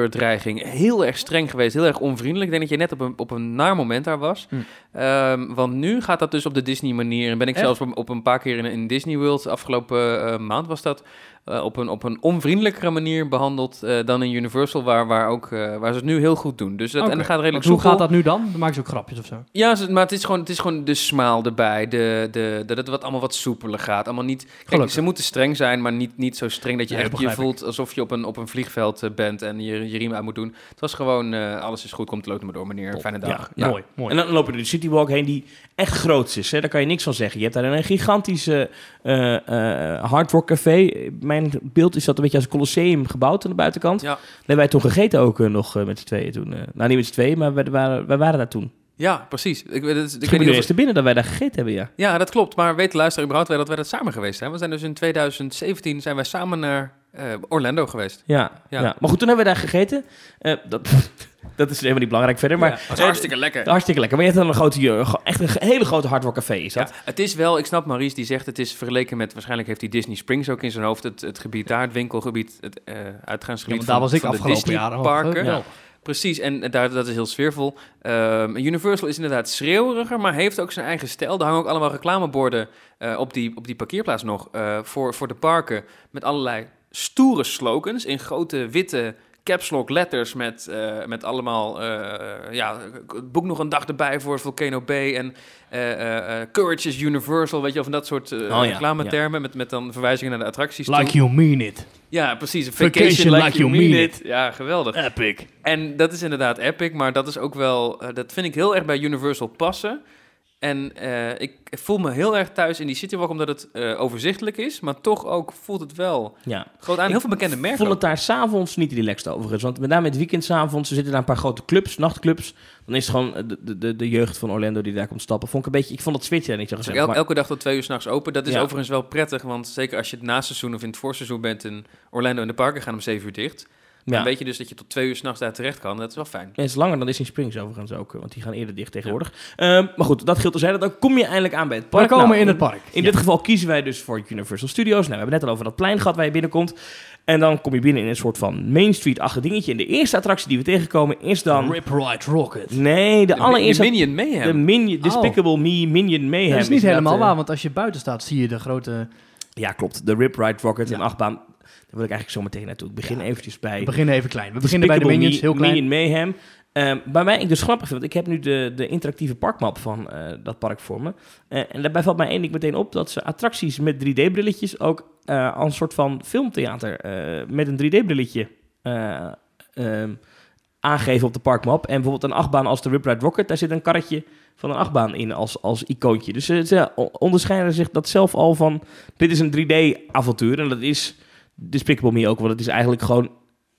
Speaker 3: terreurdreiging heel erg streng geweest, heel erg onvriendelijk. Ik denk dat je net op een, op een naar moment daar was.
Speaker 1: Hm.
Speaker 3: Ehm, want nu gaat dat dus op de Disney-manier. En ben ik
Speaker 1: Echt?
Speaker 3: zelfs op, op een paar keer in, in Disney World, afgelopen eh, maand was dat, eh, op, een, op een onvriendelijkere manier behandeld eh, dan in Universal, waar, waar, ook, eh, waar ze het nu heel goed doen. Dus dat, en dat gaat
Speaker 1: Want
Speaker 3: redelijk
Speaker 1: hoe
Speaker 3: soepel.
Speaker 1: gaat dat nu dan? Dan maken ze ook grapjes of zo.
Speaker 3: Ja, ze- maar het is gewoon, het is gewoon de smaal erbij. De, de, dat het wat, allemaal wat soepeler gaat. Allemaal niet, kijk,
Speaker 1: Gelukkig.
Speaker 3: ze moeten streng zijn, maar niet, niet zo streng dat je
Speaker 1: Nee, dat
Speaker 3: echt je
Speaker 1: begrijp
Speaker 3: voelt alsof je op een, op een vliegveld eh, bent en je, je riem uit moet doen. Het was gewoon, eh, alles is goed, komt het maar door meneer.
Speaker 2: Top.
Speaker 3: Fijne dag.
Speaker 2: Ja.
Speaker 1: Mooi, mooi.
Speaker 2: En dan loop je door de Citywalk heen die echt groot is. Hè? Daar kan je niks van zeggen. Je hebt daar een gigantische eh eh Hard Rock Café. Mijn beeld is dat een beetje als een colosseum gebouwd aan de buitenkant.
Speaker 3: Ja.
Speaker 2: Daar hebben wij toen gegeten ook eh, nog eh, met z'n tweeën toen. eh. nou, niet met z'n tweeën, maar wij waren, wij waren daar toen.
Speaker 3: Ja, precies. Ik, weet het- ik
Speaker 2: Ik ben
Speaker 3: weet
Speaker 2: nu
Speaker 3: niet of
Speaker 2: eens te binnen dat wij daar gegeten hebben, ja.
Speaker 3: Ja, dat klopt. Maar weet de luisteraar überhaupt wel dat wij dat samen geweest zijn? We zijn dus in 2017 zijn wij samen naar eh, Orlando geweest.
Speaker 2: Ja,
Speaker 3: Ja.
Speaker 2: ja. Maar goed, toen hebben we daar gegeten. Eh, dat, dat is helemaal niet belangrijk verder, maar...
Speaker 3: Ja, dat was
Speaker 2: eh,
Speaker 3: hartstikke lekker.
Speaker 2: Hartstikke lekker. Maar je hebt dan een grote, eh, ge- echt een ge- hele grote Hard Rock Café, is dat?
Speaker 3: Ja, het is wel, ik snap Maurice die zegt, het is vergeleken met, waarschijnlijk heeft hij Disney Springs ook in zijn hoofd, het, het gebied daar, het winkelgebied, het eh,
Speaker 1: Ja,
Speaker 3: uitgaansgebied
Speaker 1: want
Speaker 3: van-
Speaker 1: daar was ik
Speaker 3: van de
Speaker 1: afgelopen jaar.
Speaker 3: Disney-parken.
Speaker 1: Ja.
Speaker 3: Precies, en eh, daar, dat is heel sfeervol. Ehm, Universal is inderdaad schreeuweriger, maar heeft ook zijn eigen stijl. Er hangen ook allemaal reclameborden eh, op, die, op die parkeerplaats nog eh, voor, voor de parken. Met allerlei stoere slogans in grote witte caps lock letters met, eh, met allemaal... eh, ja, boek nog een dag erbij voor Volcano Bay en eh, eh, eh, Courage is Universal, weet je wel, van dat soort eh,
Speaker 2: ja,
Speaker 3: reclametermen. Met, met dan verwijzingen naar de attracties toe.
Speaker 1: Like you mean it.
Speaker 3: Ja, precies. Vacation,
Speaker 1: Vacation
Speaker 3: like,
Speaker 1: like
Speaker 3: you
Speaker 1: you
Speaker 3: mean
Speaker 1: mean
Speaker 3: it. Ja, geweldig.
Speaker 1: Epic.
Speaker 3: En dat is inderdaad epic, maar dat is ook wel, eh, dat vind ik heel erg bij Universal passen. En eh, ik voel me heel erg thuis in die Citywalk, omdat het eh, overzichtelijk is, maar toch ook voelt het wel
Speaker 2: Ja.
Speaker 3: groot aan.
Speaker 2: Ik
Speaker 3: Heel veel bekende merken.
Speaker 2: voel
Speaker 3: ook.
Speaker 2: het daar s'avonds niet relaxed overigens. Want met name het weekendsavonds, er zitten daar een paar grote clubs, nachtclubs. Dan is het gewoon eh, de, de, de jeugd van Orlando die daar komt stappen. Vond ik een beetje, ik vond dat switchen daar niet zo
Speaker 3: Het is ook
Speaker 2: gezegd.
Speaker 3: el-
Speaker 2: maar-
Speaker 3: elke dag tot twee uur s'nachts open. Dat is
Speaker 2: Ja.
Speaker 3: overigens wel prettig, want zeker als je het naseizoen of in het voorseizoen bent in Orlando en de parken gaan om zeven uur dicht. Dan
Speaker 2: ja.
Speaker 3: weet je dus dat je tot twee uur s'nachts daar terecht kan. Dat is wel fijn.
Speaker 2: Het is langer dan Disney Springs overigens ook, eh, want die gaan eerder dicht tegenwoordig. Ehm, maar goed, dat geldt terzijde. Dan kom je eindelijk aan bij het
Speaker 1: We
Speaker 2: park.
Speaker 1: komen
Speaker 2: Nou,
Speaker 1: in het park.
Speaker 2: In dit geval kiezen wij dus voor Universal Studios. Nou, we hebben het net al over dat plein gehad waar je binnenkomt. En dan kom je binnen in een soort van Main Street-achtig dingetje. En de eerste attractie die we tegenkomen is dan...
Speaker 1: Rip Ride Rocket.
Speaker 2: Nee, de
Speaker 3: De, allereerst
Speaker 2: allereerste...
Speaker 3: Minion Mayhem.
Speaker 2: de Minion, Despicable Me Minion Mayhem.
Speaker 1: Oh. dat is niet
Speaker 2: inderdaad,
Speaker 1: helemaal
Speaker 2: eh,
Speaker 1: waar, want als je buiten staat, zie je de grote...
Speaker 2: Ja, klopt. De Rip Ride Rocket,
Speaker 1: Ja.
Speaker 2: een achtbaan. Daar wil ik eigenlijk zo meteen naartoe. Ik begin eventjes bij...
Speaker 1: We beginnen even klein. We beginnen bij de
Speaker 2: Despicable
Speaker 1: Minions,
Speaker 2: Me-
Speaker 1: heel klein.
Speaker 2: Minion Mayhem. Ehm, bij mij ik dus grappig vind, want ik heb nu de, de interactieve parkmap van eh, dat park voor me. Eh, en daarbij valt mij één ding meteen op, dat ze attracties met 3D-brilletjes ook eh als een soort van filmtheater eh, met een 3D-brilletje eh, ehm, aangeven op de parkmap. En bijvoorbeeld een achtbaan als de Rip Ride Rocket, daar zit een karretje van een achtbaan in als, als icoontje. Dus ze, ze o- onderscheiden zich dat zelf al van, dit is een 3D-avontuur en dat is Despicable Me ook, want het is eigenlijk gewoon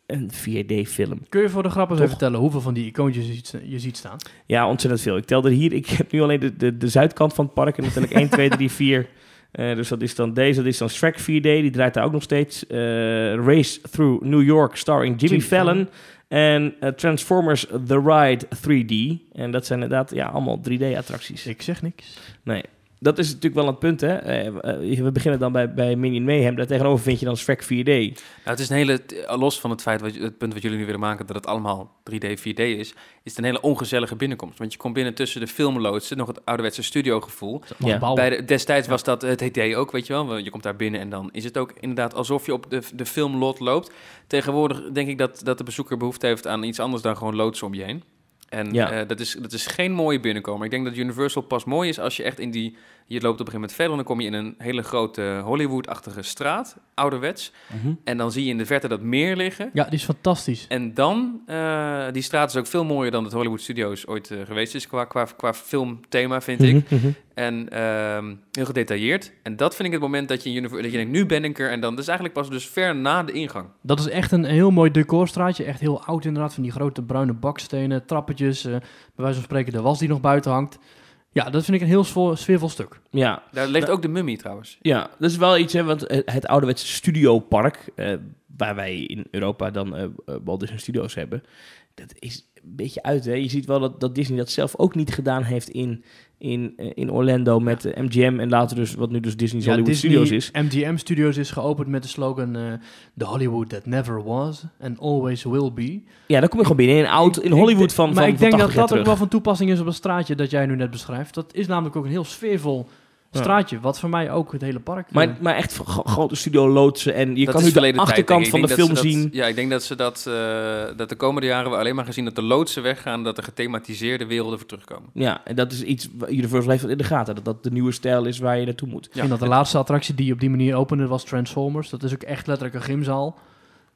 Speaker 2: een 4D-film.
Speaker 1: Kun je voor de grap eens
Speaker 2: Toch?
Speaker 1: even vertellen hoeveel van die icoontjes je ziet, je ziet staan?
Speaker 2: Ja, ontzettend veel. Ik telde hier, ik heb nu alleen de, de, de zuidkant van het park en dan tel ik 1, 2, 3, 4. Eh, dus dat is dan deze, dat is dan Shrek 4D, die draait daar ook nog steeds. Eh, Race Through New York, starring Jimmy,
Speaker 1: Jimmy
Speaker 2: Fallon.
Speaker 1: Fallon.
Speaker 2: En eh, Transformers The Ride 3D. En dat zijn inderdaad ja, allemaal 3D-attracties.
Speaker 1: Ik zeg niks.
Speaker 2: Dat is natuurlijk wel een punt, hè. Eh, eh, we beginnen dan bij, bij Minion Mayhem. Daartegenover vind je dan Shrek 4D.
Speaker 1: Mhm.
Speaker 3: Nou, het is een hele, t- los van het feit, wat, het punt wat jullie nu willen maken, dat het allemaal 3D, 4D is, is het een hele ongezellige binnenkomst. Want je komt binnen tussen de filmloodsen, nog het ouderwetse studiogevoel.
Speaker 2: Ja.
Speaker 1: Ja.
Speaker 3: Bij de, destijds was dat het idee ook, weet je wel. Je komt daar binnen en dan is het ook inderdaad alsof je op de, de filmlot loopt. Tegenwoordig denk ik dat, dat de bezoeker behoefte heeft aan iets anders dan gewoon loodsen om je heen. En
Speaker 2: Ja.
Speaker 3: eh, dat, is, dat is geen mooie binnenkomen. Ik denk dat Universal pas mooi is als je echt in die... Je loopt op een gegeven moment verder en dan kom je in een hele grote Hollywood-achtige straat, ouderwets. En dan zie je in de verte dat meer liggen.
Speaker 1: Ja, die is fantastisch.
Speaker 3: En dan, eh, die straat is ook veel mooier dan het Hollywood Studios ooit eh, geweest is qua, qua, qua filmthema, vind ik.
Speaker 2: Mhm, mhm.
Speaker 3: En ehm, heel gedetailleerd. En dat vind ik het moment dat je, in Univer- dat je denkt, nu ben ik er. En dan, dat is eigenlijk pas dus ver na de ingang.
Speaker 1: Dat is echt een heel mooi decorstraatje. Echt heel oud inderdaad. Van die grote bruine bakstenen, trappetjes. eh bij wijze van spreken de was die nog buiten hangt. Ja, dat vind ik een heel sfeervol, sfeervol stuk.
Speaker 2: Ja,
Speaker 3: Daar ligt ook de mummie trouwens.
Speaker 2: Ja, dat is wel iets, hè, want het, het ouderwetse studiopark, eh, waar wij in Europa dan eh eh, Walt Disney Studios hebben, dat is een beetje uit. Hè? Je ziet wel dat, dat Disney dat zelf ook niet gedaan heeft in, in, eh, in Orlando met eh, MGM en later dus, wat nu dus Disney's
Speaker 1: Ja,
Speaker 2: Hollywood
Speaker 1: Disney
Speaker 2: Studios is.
Speaker 1: MGM Studios is geopend met de slogan... eh, The Hollywood that never was and always will be.
Speaker 2: Ja, dan kom je gewoon binnen in een oud, in
Speaker 1: Ik-
Speaker 2: Hollywood
Speaker 1: ik-
Speaker 2: van,
Speaker 1: Maar
Speaker 2: van,
Speaker 1: ik denk
Speaker 2: van
Speaker 1: dat dat
Speaker 2: 80 jaar
Speaker 1: ook wel
Speaker 2: terug.
Speaker 1: van toepassing is op het straatje dat jij nu net beschrijft. Dat is namelijk ook een heel sfeervol
Speaker 2: Ja.
Speaker 1: straatje. Wat voor mij ook het hele park... eh,
Speaker 2: Maar, maar echt gro- grote studio loodsen en je kan
Speaker 3: dat is
Speaker 2: nu de
Speaker 3: verleden tijd,
Speaker 2: achterkant
Speaker 3: denk
Speaker 2: van
Speaker 3: ik.
Speaker 2: de
Speaker 3: Ik denk
Speaker 2: film
Speaker 3: dat ze dat-
Speaker 2: zien.
Speaker 3: Ja, ik denk dat ze dat, eh, dat de komende jaren we alleen maar gaan zien dat de loodsen weggaan. Dat de gethematiseerde werelden voor terugkomen.
Speaker 2: Ja, en dat is iets, waar Universal heeft dat in de gaten, dat dat de nieuwe stijl is waar je naartoe moet.
Speaker 1: Ik vind dat de laatste attractie die op die manier opende was Transformers. Dat is ook echt letterlijk een gymzaal.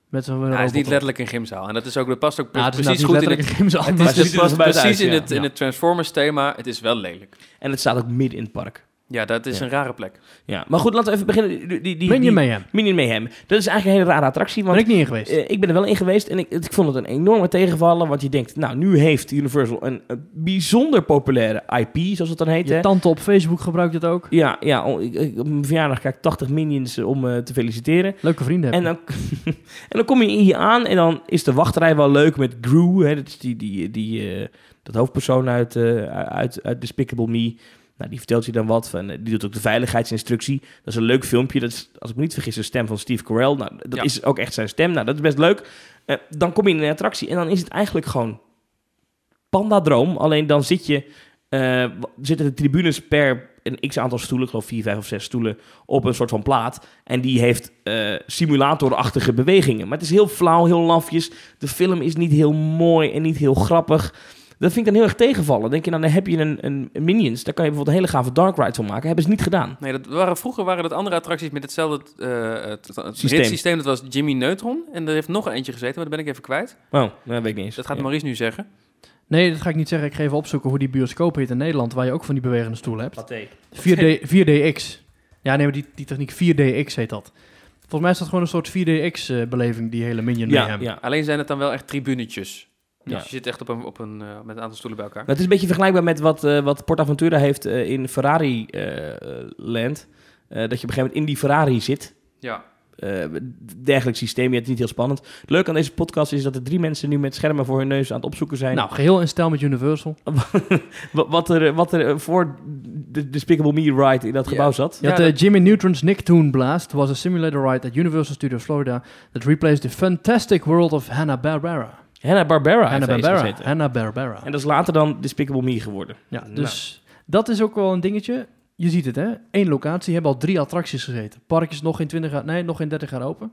Speaker 1: Met zo'n
Speaker 3: Nou,
Speaker 1: robot
Speaker 3: het is niet
Speaker 1: op.
Speaker 3: letterlijk een gymzaal. En dat, is ook, dat past ook pre-
Speaker 1: Nou, het is
Speaker 3: precies
Speaker 1: inderdaad
Speaker 3: goed
Speaker 1: niet
Speaker 3: in het
Speaker 1: letterlijk een gymzaal.
Speaker 3: Het
Speaker 1: maar
Speaker 3: is,
Speaker 2: ziet er
Speaker 3: het past
Speaker 2: wel buiten
Speaker 3: precies
Speaker 2: uit,
Speaker 3: in,
Speaker 2: ja.
Speaker 3: het,
Speaker 2: Ja.
Speaker 3: in het Transformers thema. Het is wel lelijk.
Speaker 2: En het staat ook midden in het park.
Speaker 3: Ja, dat is
Speaker 2: Ja.
Speaker 3: een rare plek.
Speaker 2: Ja, maar goed, laten we even beginnen. Die, die, die,
Speaker 1: Ben je
Speaker 2: die-
Speaker 1: mee hem?
Speaker 2: Minion Mayhem. Dat is eigenlijk een hele rare attractie,
Speaker 1: Ben
Speaker 2: want
Speaker 1: ik niet in geweest.
Speaker 2: eh, ik ben er wel in geweest en ik, ik vond het een enorme tegenvallen, want je denkt, nou, nu heeft Universal een, een bijzonder populaire IP, zoals het dan heet,
Speaker 1: Je
Speaker 2: hè?
Speaker 1: tante op Facebook gebruikt het ook.
Speaker 2: Ja, ja oh, ik- ik- op mijn verjaardag krijg ik 80 minions eh, om eh, te feliciteren.
Speaker 1: Leuke vrienden
Speaker 2: En
Speaker 1: hebben.
Speaker 2: dan, en dan kom je hier aan en dan is de wachtrij wel leuk met Gru. Hè, dat is die, die, die, eh, dat hoofdpersoon uit, eh, uit, uit Despicable Me. Nou, die vertelt je dan wat. Van, eh, die doet ook de veiligheidsinstructie. Dat is een leuk filmpje. Dat is, als ik me niet vergis, de stem van Steve Carell. Nou, dat
Speaker 3: Ja.
Speaker 2: is ook echt zijn stem. Nou, dat is best leuk. Eh, dan kom je in een attractie en dan is het eigenlijk gewoon pandadroom. Alleen dan zit je, eh, w- zitten de tribunes per een x aantal stoelen, ik geloof 4, 5 of 6 stoelen, op een soort van plaat. En die heeft eh, simulatorachtige bewegingen. Maar het is heel flauw, heel lafjes. De film is niet heel mooi en niet heel grappig. Dat vind ik dan heel erg tegenvallen. Denk je, nou, dan heb je een, een een Minions. Daar kan je bijvoorbeeld een hele gave Dark Ride van maken. Hebben ze niet gedaan.
Speaker 3: Nee, dat waren, vroeger waren dat andere attracties met hetzelfde eh het, het
Speaker 2: Systeem.
Speaker 3: ritssysteem. Dat was Jimmy Neutron. En er heeft nog eentje gezeten, maar dat ben ik even kwijt.
Speaker 2: Oh, dat weet ik niet eens.
Speaker 3: Dus dat gaat
Speaker 2: Ja.
Speaker 3: Maurice nu zeggen.
Speaker 1: Nee, dat ga ik niet zeggen. Ik ga even opzoeken hoe die bioscoop heet in Nederland, waar je ook van die bewegende stoelen hebt.
Speaker 2: Pathé.
Speaker 1: 4D, 4DX. Ja, nee, maar die, die techniek 4DX heet dat. Volgens mij is dat gewoon een soort 4DX-beleving, eh, die hele Minion
Speaker 2: Ja,
Speaker 1: Mayhem.
Speaker 2: ja.
Speaker 3: Alleen zijn het dan wel echt tribunetjes. Dus
Speaker 2: Ja.
Speaker 3: je zit echt op een, op een, eh, met een aantal stoelen bij elkaar.
Speaker 2: Maar het is een beetje vergelijkbaar met wat, eh wat PortAventura heeft eh, in Ferrari eh, eh, Land. Eh, dat je op een gegeven moment in die Ferrari zit.
Speaker 3: Ja.
Speaker 2: Eh, dergelijk systeem, ja, het is niet heel spannend. Het leuke aan deze podcast is dat er drie mensen nu met schermen voor hun neus aan het opzoeken zijn.
Speaker 1: Nou, geheel in stijl met Universal.
Speaker 2: Wa- Wat er, eh, wat er eh, voor de Despicable Me ride in dat
Speaker 3: Ja.
Speaker 2: gebouw zat.
Speaker 1: Je had
Speaker 3: Ja,
Speaker 1: eh,
Speaker 3: dat-
Speaker 1: Jimmy Neutron's Nicktoon Blast was a simulator ride at Universal Studios Florida that replaced the fantastic world of Hanna-Barbera.
Speaker 2: Hanna-Barbera heeft er eens
Speaker 1: Hanna-Barbera.
Speaker 2: gezeten.
Speaker 1: Hanna-Barbera.
Speaker 2: En nou. dat is later dan Despicable Me geworden.
Speaker 1: Ja, dus dat is ook wel een dingetje. Je ziet het, hè? Eén locatie hebben al drie attracties gezeten. Park is nog geen 20 jaar, nee, nog geen 30 jaar open.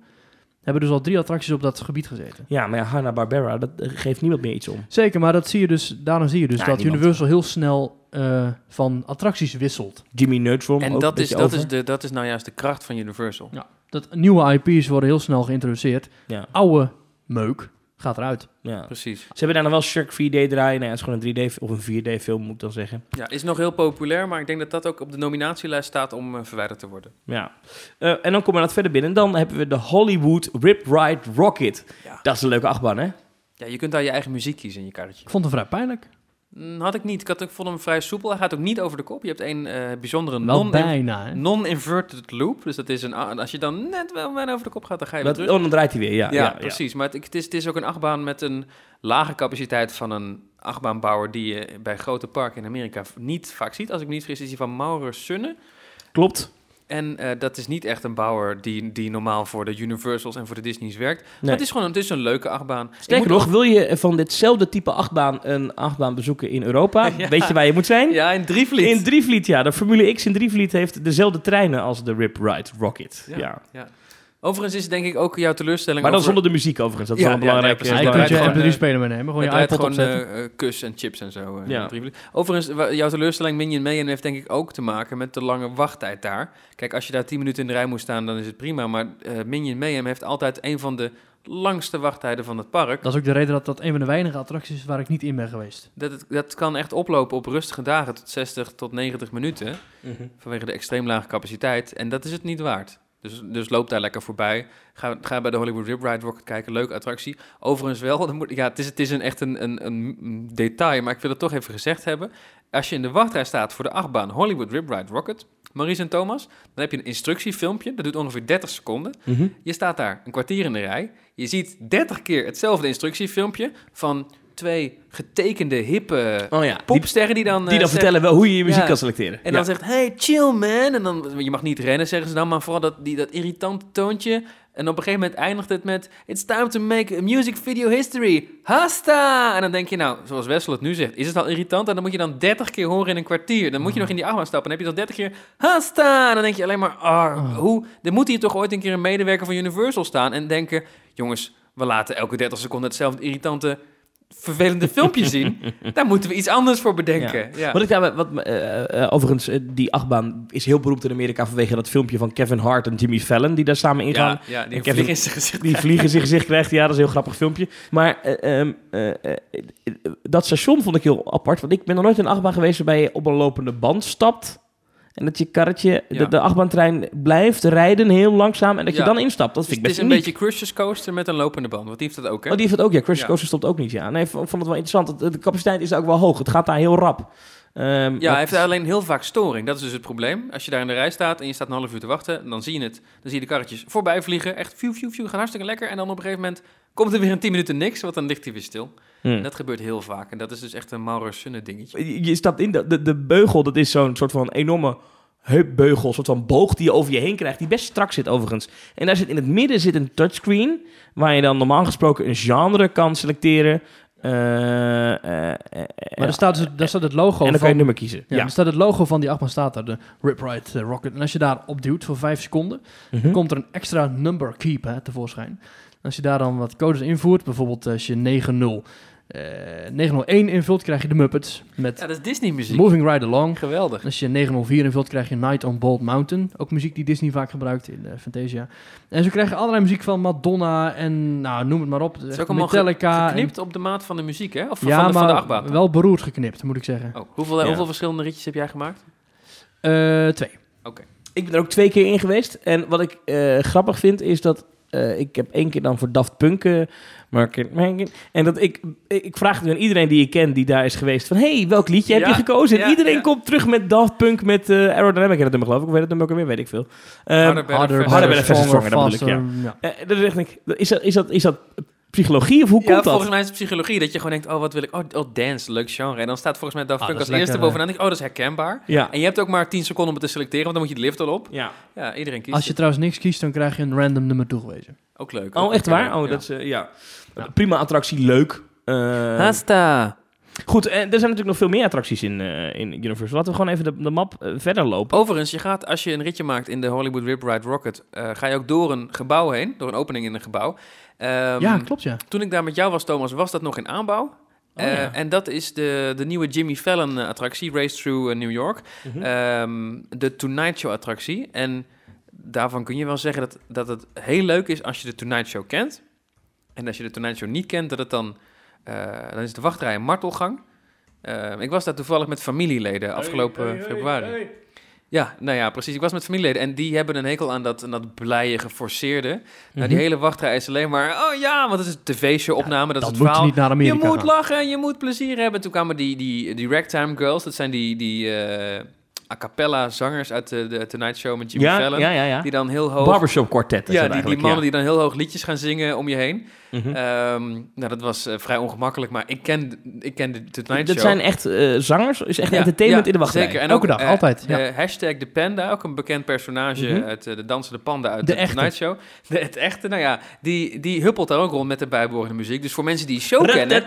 Speaker 1: Hebben dus al drie attracties op dat gebied gezeten.
Speaker 2: Ja, maar ja, Hanna-Barbera, dat eh, geeft niemand meer iets om.
Speaker 1: Zeker, maar dat zie je dus, daarom zie je dus
Speaker 2: Ja,
Speaker 1: dat
Speaker 2: niemand.
Speaker 1: Universal heel snel eh, van attracties wisselt.
Speaker 2: Jimmy Neutron ook
Speaker 3: En
Speaker 2: een
Speaker 3: dat is,
Speaker 2: beetje
Speaker 3: dat,
Speaker 2: over.
Speaker 3: is de, dat is nou juist de kracht van Universal.
Speaker 1: Dat nieuwe IP's worden heel snel geïntroduceerd.
Speaker 2: Ja,
Speaker 1: Oude meuk gaat eruit.
Speaker 2: ja.
Speaker 3: Precies.
Speaker 2: Ze hebben daar nog wel Shark 3D draaien. Nou ja, het is gewoon een 3D of een 4D film, moet ik dan zeggen.
Speaker 3: Ja, is nog heel populair, maar ik denk dat dat ook op de nominatielijst staat om eh, verwijderd te worden.
Speaker 2: Ja. Eh, en dan komen we dat verder binnen. Dan hebben we de Hollywood Rip Ride Rocket.
Speaker 3: Ja.
Speaker 2: Dat is een leuke achtbaan, hè?
Speaker 3: Ja, je kunt daar je eigen muziek kiezen in je karretje.
Speaker 1: Ik vond het vrij pijnlijk.
Speaker 3: Mm, Had ik niet. Ik, had, ik vond hem vrij soepel. Hij gaat ook niet over de kop. Je hebt een eh, bijzondere
Speaker 1: Wel
Speaker 3: non-
Speaker 1: bijna, hè?
Speaker 3: non-inverted loop. Dus dat is een... a- Als je dan net wel bijna over de kop gaat, dan ga je weer
Speaker 2: Dat,
Speaker 3: terug.
Speaker 2: oh, dan draait hij weer, ja.
Speaker 3: ja, precies. Maar het, ik- het, is, het is ook een achtbaan met een lage capaciteit van een achtbaanbouwer die je bij grote parken in Amerika v- niet vaak ziet. Als ik me niet vergis, is die van Maurer Sunne.
Speaker 2: Klopt.
Speaker 3: En eh, dat is niet echt een bouwer die, die normaal voor de Universals en voor de Disney's werkt. Maar
Speaker 2: Nee.
Speaker 3: het is gewoon een, het is een leuke achtbaan.
Speaker 2: Sterker
Speaker 3: Ik moet
Speaker 2: nog, wil je van ditzelfde type achtbaan een achtbaan bezoeken in Europa?
Speaker 3: Ja.
Speaker 2: Weet je waar je moet zijn?
Speaker 3: ook- Ja, in Drievliet.
Speaker 2: In Drievliet, ja. De Formule X in Drievliet heeft dezelfde treinen als de Rip Ride Rocket. Ja.
Speaker 3: Ja. Overigens is het denk ik ook jouw teleurstelling
Speaker 2: Maar dan
Speaker 3: over-
Speaker 2: zonder de muziek overigens. Dat is
Speaker 3: Ja,
Speaker 2: wel een
Speaker 3: ja, nee,
Speaker 2: belangrijk...
Speaker 3: precies.
Speaker 2: eh,
Speaker 1: Ja, je
Speaker 3: draait
Speaker 1: kunt je
Speaker 2: belangrijk-
Speaker 1: MP3
Speaker 3: gewoon, eh,
Speaker 1: speler meenemen. Gewoon
Speaker 3: Het
Speaker 1: je
Speaker 3: draait
Speaker 1: iPod
Speaker 3: gewoon
Speaker 1: opzetten.
Speaker 3: eh, eh, kus en chips en zo. eh,
Speaker 2: Ja.
Speaker 3: in Drievliet. Overigens, wa- jouw teleurstelling Minion Mayhem heeft denk ik ook te maken met de lange wachttijd daar. Kijk, als je daar 10 minuten in de rij moet staan, dan is het prima. Maar eh, Minion Mayhem heeft altijd een van de langste wachttijden van het park.
Speaker 1: Dat is ook de reden dat dat een van de weinige attracties is waar ik niet in ben geweest.
Speaker 3: Dat, het- dat kan echt oplopen op rustige dagen tot 60 tot 90 minuten.
Speaker 2: Mhm.
Speaker 3: Vanwege de extreem lage capaciteit. En dat is het niet waard. Dus, dus loop daar lekker voorbij. Ga, ga bij de Hollywood Rip Ride Rocket kijken. Leuke attractie. Overigens wel, dan moet, ja, het is, het is een, echt een, een, een detail, maar ik wil het toch even gezegd hebben. Als je in de wachtrij staat voor de achtbaan Hollywood Rip Ride Rocket, Maurice en Thomas, dan heb je een instructiefilmpje. Dat doet ongeveer 30 seconden.
Speaker 2: Mhm.
Speaker 3: Je staat daar een kwartier in de rij. Je ziet 30 keer hetzelfde instructiefilmpje van twee getekende, hippe
Speaker 2: Oh ja, die-
Speaker 3: popsterren die dan...
Speaker 2: die,
Speaker 3: eh,
Speaker 2: dan
Speaker 3: zeggen-
Speaker 2: vertellen wel hoe je je muziek
Speaker 3: Ja.
Speaker 2: kan selecteren.
Speaker 3: en
Speaker 2: Ja.
Speaker 3: dan zegt, hey, chill man. En dan, je mag niet rennen, zeggen ze dan, maar vooral dat, die, dat irritante toontje. En op een gegeven moment eindigt het met, it's time to make a music video history. Hasta! En dan denk je, nou, zoals Wessel het nu zegt, is het al irritant? En dan moet je dan 30 keer horen in een kwartier. Dan moet je nog in die achtbaan stappen. Dan heb je dan 30 keer, hasta! En dan denk je alleen maar, ah, hoe? Er moet hier toch ooit een keer een medewerker van Universal staan en denken, jongens, we laten elke 30 seconden hetzelfde irritante... Vervelende filmpje zien, daar moeten we iets anders voor bedenken. Ja.
Speaker 2: Wat ik daar, wat, me- eh, eh, overigens, eh, die achtbaan is heel beroemd in Amerika vanwege dat filmpje van Kevin Hart en Jimmy Fallon die daar samen ingaan.
Speaker 3: Ja, ja die
Speaker 2: Ik heb
Speaker 3: vlieg in zijn gezicht.
Speaker 2: Die vliegen in zijn gezicht krijgt. Ja, dat is een heel grappig filmpje. Maar eh, ehm, eh, eh, eh, dat station vond ik heel apart. Want ik ben nog nooit in een achtbaan geweest waarbij je op een lopende band stapt. En dat je karretje,
Speaker 3: Ja.
Speaker 2: de, de achtbaantrein blijft rijden heel langzaam. En dat je
Speaker 3: Ja.
Speaker 2: dan instapt. Dat
Speaker 3: Dus
Speaker 2: vind ik
Speaker 3: het is
Speaker 2: best
Speaker 3: een
Speaker 2: uniek.
Speaker 3: beetje Crushers Coaster met een lopende band. Want die heeft dat ook, hè?
Speaker 2: Oh, die heeft het ook, ja. Crash
Speaker 3: Ja.
Speaker 2: Coaster stopt ook niet, ja. Nee, ik vond ik vond het wel interessant. Het- De capaciteit is daar ook wel hoog. Het gaat daar heel rap. Ehm,
Speaker 3: ja,
Speaker 2: maar-
Speaker 3: hij heeft alleen heel vaak storing. Dat is dus het probleem. Als je daar in de rij staat en je staat een half uur te wachten, dan zie je het. Dan zie je de karretjes voorbij vliegen. Echt, view, view, view, gaan hartstikke lekker. En dan op een gegeven moment komt er weer in 10 minuten niks, want dan ligt hij weer stil.
Speaker 2: Hm.
Speaker 3: En dat gebeurt heel vaak. En dat is dus echt een Maurus Sunne dingetje.
Speaker 2: Je je stapt in, de, de, de beugel, dat is zo'n soort van enorme heupbeugel, een soort van boog die je over je heen krijgt, die best strak zit overigens. En daar zit in het midden zit een touchscreen, waar je dan normaal gesproken een genre kan selecteren. Eh, eh, eh,
Speaker 1: Maar daar staat, dus, daar staat het logo
Speaker 2: en dan kan je
Speaker 1: van...
Speaker 2: het nummer kiezen.
Speaker 1: ja, dus
Speaker 2: Ja.
Speaker 1: daar staat het logo van die achtbaan staat daar, de Rip Ride eh, Rocket. En als je daar op duwt voor 5 seconden,
Speaker 3: Hm?
Speaker 2: Mhm.
Speaker 1: komt er een extra number keep hè, tevoorschijn. En als je daar dan wat codes invoert, bijvoorbeeld als je 90, eh 901 invult, krijg je de Muppets met
Speaker 3: Ja, dat is Disney muziek.
Speaker 1: Moving Right Along.
Speaker 3: Geweldig.
Speaker 1: Als je 904 invult, krijg je Night on Bald Mountain. Ook muziek die Disney vaak gebruikt in eh, Fantasia. En zo krijg je allerlei muziek van Madonna en nou, noem het maar op.
Speaker 3: Het is
Speaker 1: Echt
Speaker 3: ook allemaal ge-
Speaker 1: Metallica. en-
Speaker 3: geknipt op de maat van de muziek, hè? Of van,
Speaker 1: ja,
Speaker 3: de, van de
Speaker 1: maar
Speaker 3: achtbaan.
Speaker 1: wel beroerd geknipt, moet ik zeggen.
Speaker 3: Oh, hoeveel,
Speaker 2: Ja.
Speaker 3: hoeveel verschillende ritjes heb jij gemaakt?
Speaker 1: Eh, twee.
Speaker 2: Ik ben er ook twee keer in geweest. En wat ik eh, grappig vind is dat. eh, ik heb één keer dan voor Daft Punk. eh, maar ik- maar ik- en dat ik, ik vraag nu aan iedereen die ik ken die daar is geweest: van hey, welk liedje heb
Speaker 3: Ja,
Speaker 2: je gekozen? En
Speaker 3: ja,
Speaker 2: iedereen
Speaker 3: ja.
Speaker 2: komt terug met Daft Punk met eh Aerodynamic. En dat nummer geloof ik, ik weet het nummer ook weer, weet ik veel. Ehm,
Speaker 3: Harder, verder,
Speaker 2: harder,
Speaker 3: verder.
Speaker 2: verder. stronger, dat bedoel ik,
Speaker 1: faster. ja.
Speaker 2: eh, dan dacht ik, is dat, is, dat, is dat psychologie of hoe
Speaker 3: Ja,
Speaker 2: komt dat?
Speaker 3: volgens mij is het psychologie dat je gewoon denkt, oh wat wil ik, oh, oh dance, leuk genre. En dan staat volgens mij Daft
Speaker 1: Ah,
Speaker 3: Punk
Speaker 1: dat
Speaker 3: als
Speaker 1: is
Speaker 3: eerste
Speaker 2: eh.
Speaker 1: lekker,
Speaker 3: bovenaan. Denk ik, oh dat is herkenbaar.
Speaker 2: Ja.
Speaker 3: En je hebt ook maar 10 seconden om het te selecteren, want dan moet je de lift al op.
Speaker 2: ja.
Speaker 3: Ja, iedereen kiest.
Speaker 1: Als je
Speaker 3: het.
Speaker 1: trouwens niks kiest, dan krijg je een random nummer toegewezen.
Speaker 3: Ook leuk. ook
Speaker 2: Oh, echt
Speaker 3: leuk,
Speaker 2: waar?
Speaker 3: ja.
Speaker 2: Oh, dat is, eh, ja.
Speaker 1: Ja.
Speaker 2: Prima attractie, leuk. Eh,
Speaker 3: Hasta.
Speaker 2: goed, eh, er zijn natuurlijk nog veel meer attracties in, eh, in Universal. Laten we gewoon even de, de map eh, verder lopen.
Speaker 3: Overigens, je gaat, als je een ritje maakt in de Hollywood Rip Ride Rocket, eh, ga je ook door een gebouw heen, door een opening in een gebouw. Ehm,
Speaker 1: ja, klopt ja.
Speaker 3: Toen ik daar met jou was, Thomas, was dat nog in aanbouw.
Speaker 2: Oh,
Speaker 3: Eh,
Speaker 2: ja.
Speaker 3: En dat is de, de nieuwe Jimmy Fallon eh, attractie, Race Through eh, New York.
Speaker 2: Mhm.
Speaker 3: Ehm, de Tonight Show attractie. En daarvan kun je wel zeggen dat, dat het heel leuk is als je de Tonight Show kent. En als je de Tonight Show niet kent, dat het dan... eh, dan is de wachtrij een martelgang. Ehm, ik was daar toevallig met familieleden afgelopen februari. Ja, nou ja, precies. Ik was met familieleden en die hebben een hekel aan dat, aan dat blije, geforceerde. Nou, die
Speaker 2: Mhm.
Speaker 3: hele wachtrij is alleen maar... Oh ja, want het is een tv-show-opname, dat,
Speaker 1: Dan
Speaker 3: is het
Speaker 1: moet je
Speaker 3: verhaal.
Speaker 1: niet naar Amerika
Speaker 3: Je moet
Speaker 1: gaan.
Speaker 3: lachen, je moet plezier hebben. Toen kwamen die, die, die ragtime girls, dat zijn die, die eh, a cappella zangers uit de, de Tonight Show met Jimmy
Speaker 2: ja,
Speaker 3: Fallon.
Speaker 2: ja, ja, ja.
Speaker 3: Die dan heel hoog...
Speaker 2: Barbershop kwartet. is dat
Speaker 3: ja, die, die
Speaker 2: eigenlijk,
Speaker 3: mannen die dan heel hoog liedjes gaan zingen om je heen.
Speaker 2: ja. Mhm.
Speaker 3: Ehm, nou, dat was eh, vrij ongemakkelijk, maar ik ken, ik ken de Tonight Show.
Speaker 2: dat zijn echt eh, zangers. is echt
Speaker 3: Ja,
Speaker 2: entertainment
Speaker 3: ja,
Speaker 2: in de wachtrij.
Speaker 3: Zeker. En
Speaker 1: Elke
Speaker 3: ook,
Speaker 1: dag,
Speaker 3: eh,
Speaker 1: altijd,
Speaker 3: De hashtag de panda, ook een bekend personage
Speaker 2: Mhm.
Speaker 3: uit eh, de Dansende Panda uit
Speaker 1: De
Speaker 3: de,
Speaker 1: echte.
Speaker 3: Tonight Show. De, het echte, nou ja, die, die huppelt daar ook rond met de bijbehorende muziek. Dus voor mensen die die show kennen...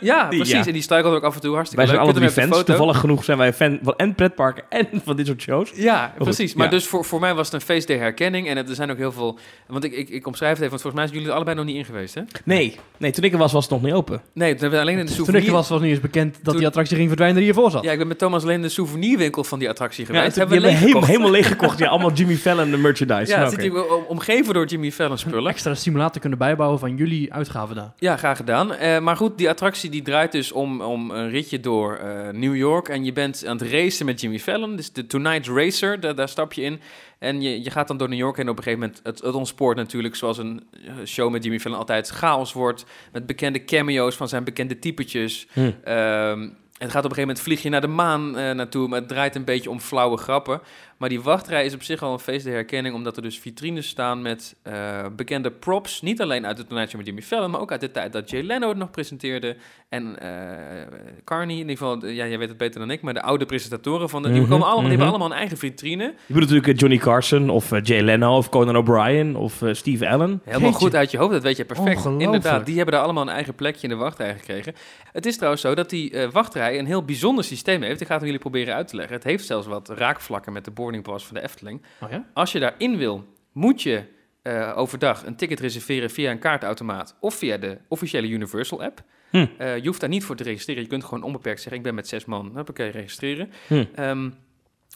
Speaker 3: Ja,
Speaker 2: Die,
Speaker 3: precies.
Speaker 2: ja.
Speaker 3: En die struikelt ook af en toe hartstikke
Speaker 2: Wij zijn
Speaker 3: leuk.
Speaker 2: alle drie
Speaker 3: Kunt hem even
Speaker 2: fans.
Speaker 3: op de foto.
Speaker 2: Toevallig genoeg zijn wij fan van en pretparken en van dit soort shows.
Speaker 3: Ja,
Speaker 2: goed,
Speaker 3: precies. Maar
Speaker 2: ja.
Speaker 3: dus voor, voor mij was het een feest der herkenning. En het, er zijn ook heel veel... Want ik, ik, ik omschrijf het even, want volgens mij zijn jullie er allebei nog niet in geweest, hè?
Speaker 2: Nee, nee, toen ik er was, was het nog niet open.
Speaker 3: Nee, toen hebben we alleen in de
Speaker 1: Toen ik er
Speaker 3: souvenir...
Speaker 1: was, was niet eens bekend dat
Speaker 3: Toen-
Speaker 1: die attractie ging verdwijnen die hiervoor zat.
Speaker 3: Ja, ik ben met Thomas alleen in de souvenirwinkel van die attractie
Speaker 2: Ja,
Speaker 3: geweest.
Speaker 2: toen- die
Speaker 3: hebben we
Speaker 2: hebben
Speaker 3: leeggekocht.
Speaker 2: helemaal, helemaal leeg gekocht. Ja, allemaal Jimmy Fallon de merchandise.
Speaker 3: Ja,
Speaker 2: Maar
Speaker 3: het zit
Speaker 2: oké.
Speaker 3: hier om- omgeven door Jimmy Fallon spullen.
Speaker 1: Extra simulator kunnen bijbouwen van jullie uitgaven daar.
Speaker 3: Ja, graag gedaan. Eh, maar goed, die attractie die draait dus om, om een ritje door eh, New York. En je bent aan het racen met Jimmy Fallon. Dus de Tonight Racer, daar, daar stap je in. En je, je gaat dan door New York heen. Op een gegeven moment, het, het ontspoort natuurlijk, zoals een eh, show met Jimmy Fallon altijd chaos wordt. Met bekende cameo's van zijn bekende typetjes.
Speaker 2: Hm.
Speaker 3: Ehm, het gaat op een gegeven moment vlieg je naar de maan eh, naartoe, maar het draait een beetje om flauwe grappen. Maar die wachtrij is op zich al een feest der herkenning, omdat er dus vitrines staan met eh, bekende props. Niet alleen uit het tonijntje met Jimmy Fallon, maar ook uit de tijd dat Jay Leno het nog presenteerde. En eh, Carney, in ieder geval, eh, ja, jij weet het beter dan ik, maar de oude presentatoren van de, die,
Speaker 2: Mhm,
Speaker 3: komen allemaal, die
Speaker 2: mhm.
Speaker 3: hebben allemaal een eigen vitrine.
Speaker 2: Je bedoelt natuurlijk eh, Johnny Carson of eh, Jay Leno of Conan O'Brien of eh, Steve Allen.
Speaker 3: Helemaal
Speaker 1: Jeetje.
Speaker 3: goed uit je hoofd, dat weet je perfect.
Speaker 1: Ongelooflijk.
Speaker 3: Inderdaad, die hebben daar allemaal een eigen plekje in de wachtrij gekregen. Het is trouwens zo dat die eh, wachtrij een heel bijzonder systeem heeft. Ik ga het aan jullie proberen uit te leggen. Het heeft zelfs wat raakvlakken met de boarding pass van de Efteling.
Speaker 1: Oh ja?
Speaker 3: Als je daarin wil, moet je eh, overdag een ticket reserveren via een kaartautomaat of via de officiële Universal app.
Speaker 2: Hm.
Speaker 3: Eh, je hoeft daar niet voor te registreren. Je kunt gewoon onbeperkt zeggen: Ik ben met zes man. Dan kan je registreren.
Speaker 2: Hm.
Speaker 3: Ehm,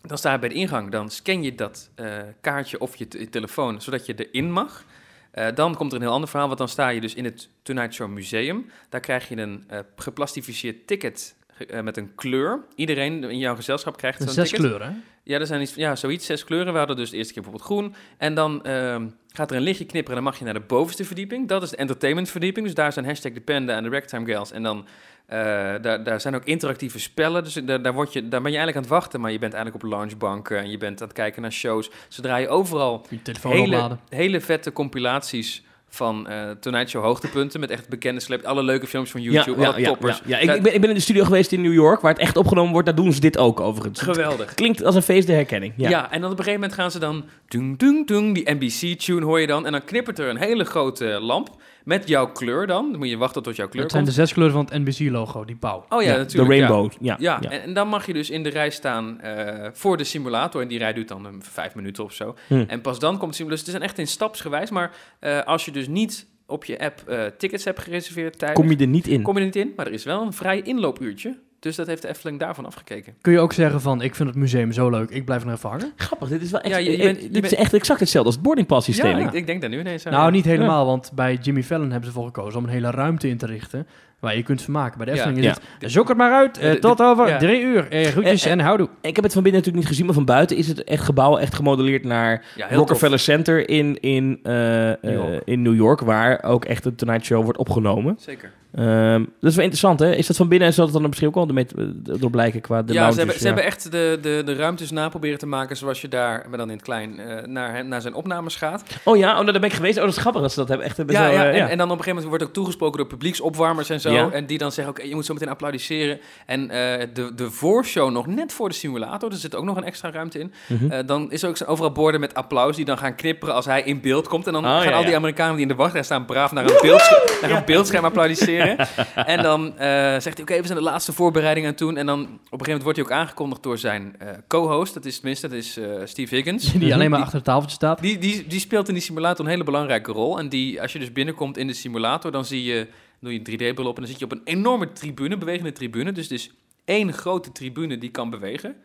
Speaker 3: dan sta je bij de ingang. Dan scan je dat eh, kaartje of je, te- je telefoon zodat je erin mag. Eh, dan komt er een heel ander verhaal, want dan sta je dus in het Tonight Show Museum. Daar krijg je een eh, geplastificeerd ticket ge- eh, met een kleur. Iedereen in jouw gezelschap krijgt zo'n
Speaker 1: Zes
Speaker 3: ticket.
Speaker 1: kleuren, hè?
Speaker 3: Ja, er zijn iets, ja, zoiets, zes kleuren. We hadden dus de eerste keer bijvoorbeeld groen. En dan ehm, gaat er een lichtje knipperen en dan mag je naar de bovenste verdieping. Dat is de entertainment verdieping. Dus daar zijn hashtag de panda en de ragtime girls. En dan, eh, daar, daar zijn ook interactieve spellen. Dus daar, daar, word je, daar ben je eigenlijk aan het wachten. Maar je bent eigenlijk op loungebanken en je bent aan het kijken naar shows. Zodra je overal
Speaker 1: Je telefoon
Speaker 3: hele,
Speaker 1: opladen.
Speaker 3: hele vette compilaties van eh Tonight Show hoogtepunten met echt bekende celeb, alle leuke films van YouTube, alle
Speaker 2: ja,
Speaker 3: toppers.
Speaker 2: ja. Ik, ik, ben, ik ben in de studio geweest in New York, waar het echt opgenomen wordt. Daar doen ze dit ook overigens. Het
Speaker 3: Geweldig.
Speaker 2: klinkt als een feest der herkenning.
Speaker 3: Ja.
Speaker 2: Ja.
Speaker 3: en dan op een gegeven moment gaan ze dan... Dung, dung, dung, die NBC-tune hoor je dan. En dan knippert er een hele grote lamp met jouw kleur dan. Dan moet je wachten tot jouw kleur
Speaker 1: Dat zijn de
Speaker 3: komt.
Speaker 1: zes kleuren van het NBC-logo, die pauw.
Speaker 3: Oh ja,
Speaker 2: Ja,
Speaker 3: natuurlijk.
Speaker 2: De
Speaker 3: ja.
Speaker 2: Rainbow. Ja.
Speaker 3: Ja,
Speaker 2: ja.
Speaker 3: En, en dan mag je dus in de rij staan eh, voor de simulator. En die rij duurt dan een vijf minuten of zo.
Speaker 2: Hm.
Speaker 3: En pas dan komt de simulator. Dus het is echt in stapsgewijs. Maar eh, als je dus niet op je app eh, tickets hebt gereserveerd tijdens...
Speaker 2: Kom je er niet in.
Speaker 3: kom je er niet in, maar er is wel een vrij inloopuurtje. Dus dat heeft de Efteling daarvan afgekeken.
Speaker 1: Kun je ook zeggen van, ik vind het museum zo leuk, ik blijf er nog even hangen?
Speaker 2: Grappig, dit is wel echt,
Speaker 3: Ja, je- je
Speaker 2: eh,
Speaker 3: bent- je
Speaker 2: dit
Speaker 3: bent-
Speaker 2: is echt exact hetzelfde als het boarding pass systeem. Eh,
Speaker 3: Ja, ik, ik denk daar nu ineens aan.
Speaker 1: Nou, niet helemaal, want bij Jimmy Fallon hebben ze ervoor gekozen om een hele ruimte in te richten waar je kunt vermaken. Bij de
Speaker 3: Ja.
Speaker 1: Efteling is
Speaker 2: Ja.
Speaker 1: het, zoek het maar uit, eh,
Speaker 3: De- de-
Speaker 1: tot over
Speaker 3: ja.
Speaker 1: drie uur. Eh, groetjes
Speaker 2: Eh, eh,
Speaker 1: en houdoe.
Speaker 2: Ik heb het van binnen natuurlijk niet gezien, maar van buiten is het echt gebouw echt gemodelleerd naar
Speaker 3: Ja, Ah, heel tof.
Speaker 2: Rockefeller Center in, in, eh, eh,
Speaker 1: New York.
Speaker 2: in New York, waar ook echt de Tonight Show wordt opgenomen.
Speaker 3: Zeker.
Speaker 2: Ehm, dat is wel interessant, hè? Is dat van binnen en zal dat dan misschien ook wel ermee eh, door blijken qua de
Speaker 3: ja,
Speaker 2: lounges?
Speaker 3: ze hebben,
Speaker 2: ja.
Speaker 3: ze hebben echt de, de, de ruimtes na proberen te maken zoals je daar, maar dan in het klein, eh, naar, hem- naar zijn opnames gaat.
Speaker 2: Oh ja, oh, nou, daar ben ik geweest. Oh, dat is grappig dat ze dat hebben. Echt, hebben
Speaker 3: ja,
Speaker 2: zo,
Speaker 3: ja,
Speaker 2: eh,
Speaker 3: en,
Speaker 2: ja.
Speaker 3: en dan op een gegeven moment wordt ook toegesproken door publieksopwarmers en zo.
Speaker 2: Ja.
Speaker 3: En die dan zeggen, oké, je moet zo meteen applaudisseren. En eh, de, de voorshow nog net voor de simulator, er zit ook nog een extra ruimte in.
Speaker 2: Mhm.
Speaker 3: Eh, dan is er ook zo- overal borden met applaus die dan gaan knipperen als hij in beeld komt. En dan
Speaker 2: Oh,
Speaker 3: gaan
Speaker 2: ja,
Speaker 3: al die
Speaker 2: ja.
Speaker 3: Amerikanen die in de wachtrij staan braaf naar een, beeldscherm, naar een beeldscherm applaudisseren. en dan eh, zegt hij, oké, we zijn de laatste voorbereidingen aan het doen. En dan op een gegeven moment wordt hij ook aangekondigd door zijn eh, co-host. Dat is tenminste, dat is eh, Steve Higgins.
Speaker 1: Die alleen maar achter het tafeltje staat.
Speaker 3: Die, die, die speelt in die simulator een hele belangrijke rol. En die, als je dus binnenkomt in de simulator, dan zie je, doe je een 3D-bril op en dan zit je op een enorme tribune, bewegende tribune. Dus dus één grote tribune die kan bewegen.
Speaker 2: Oh,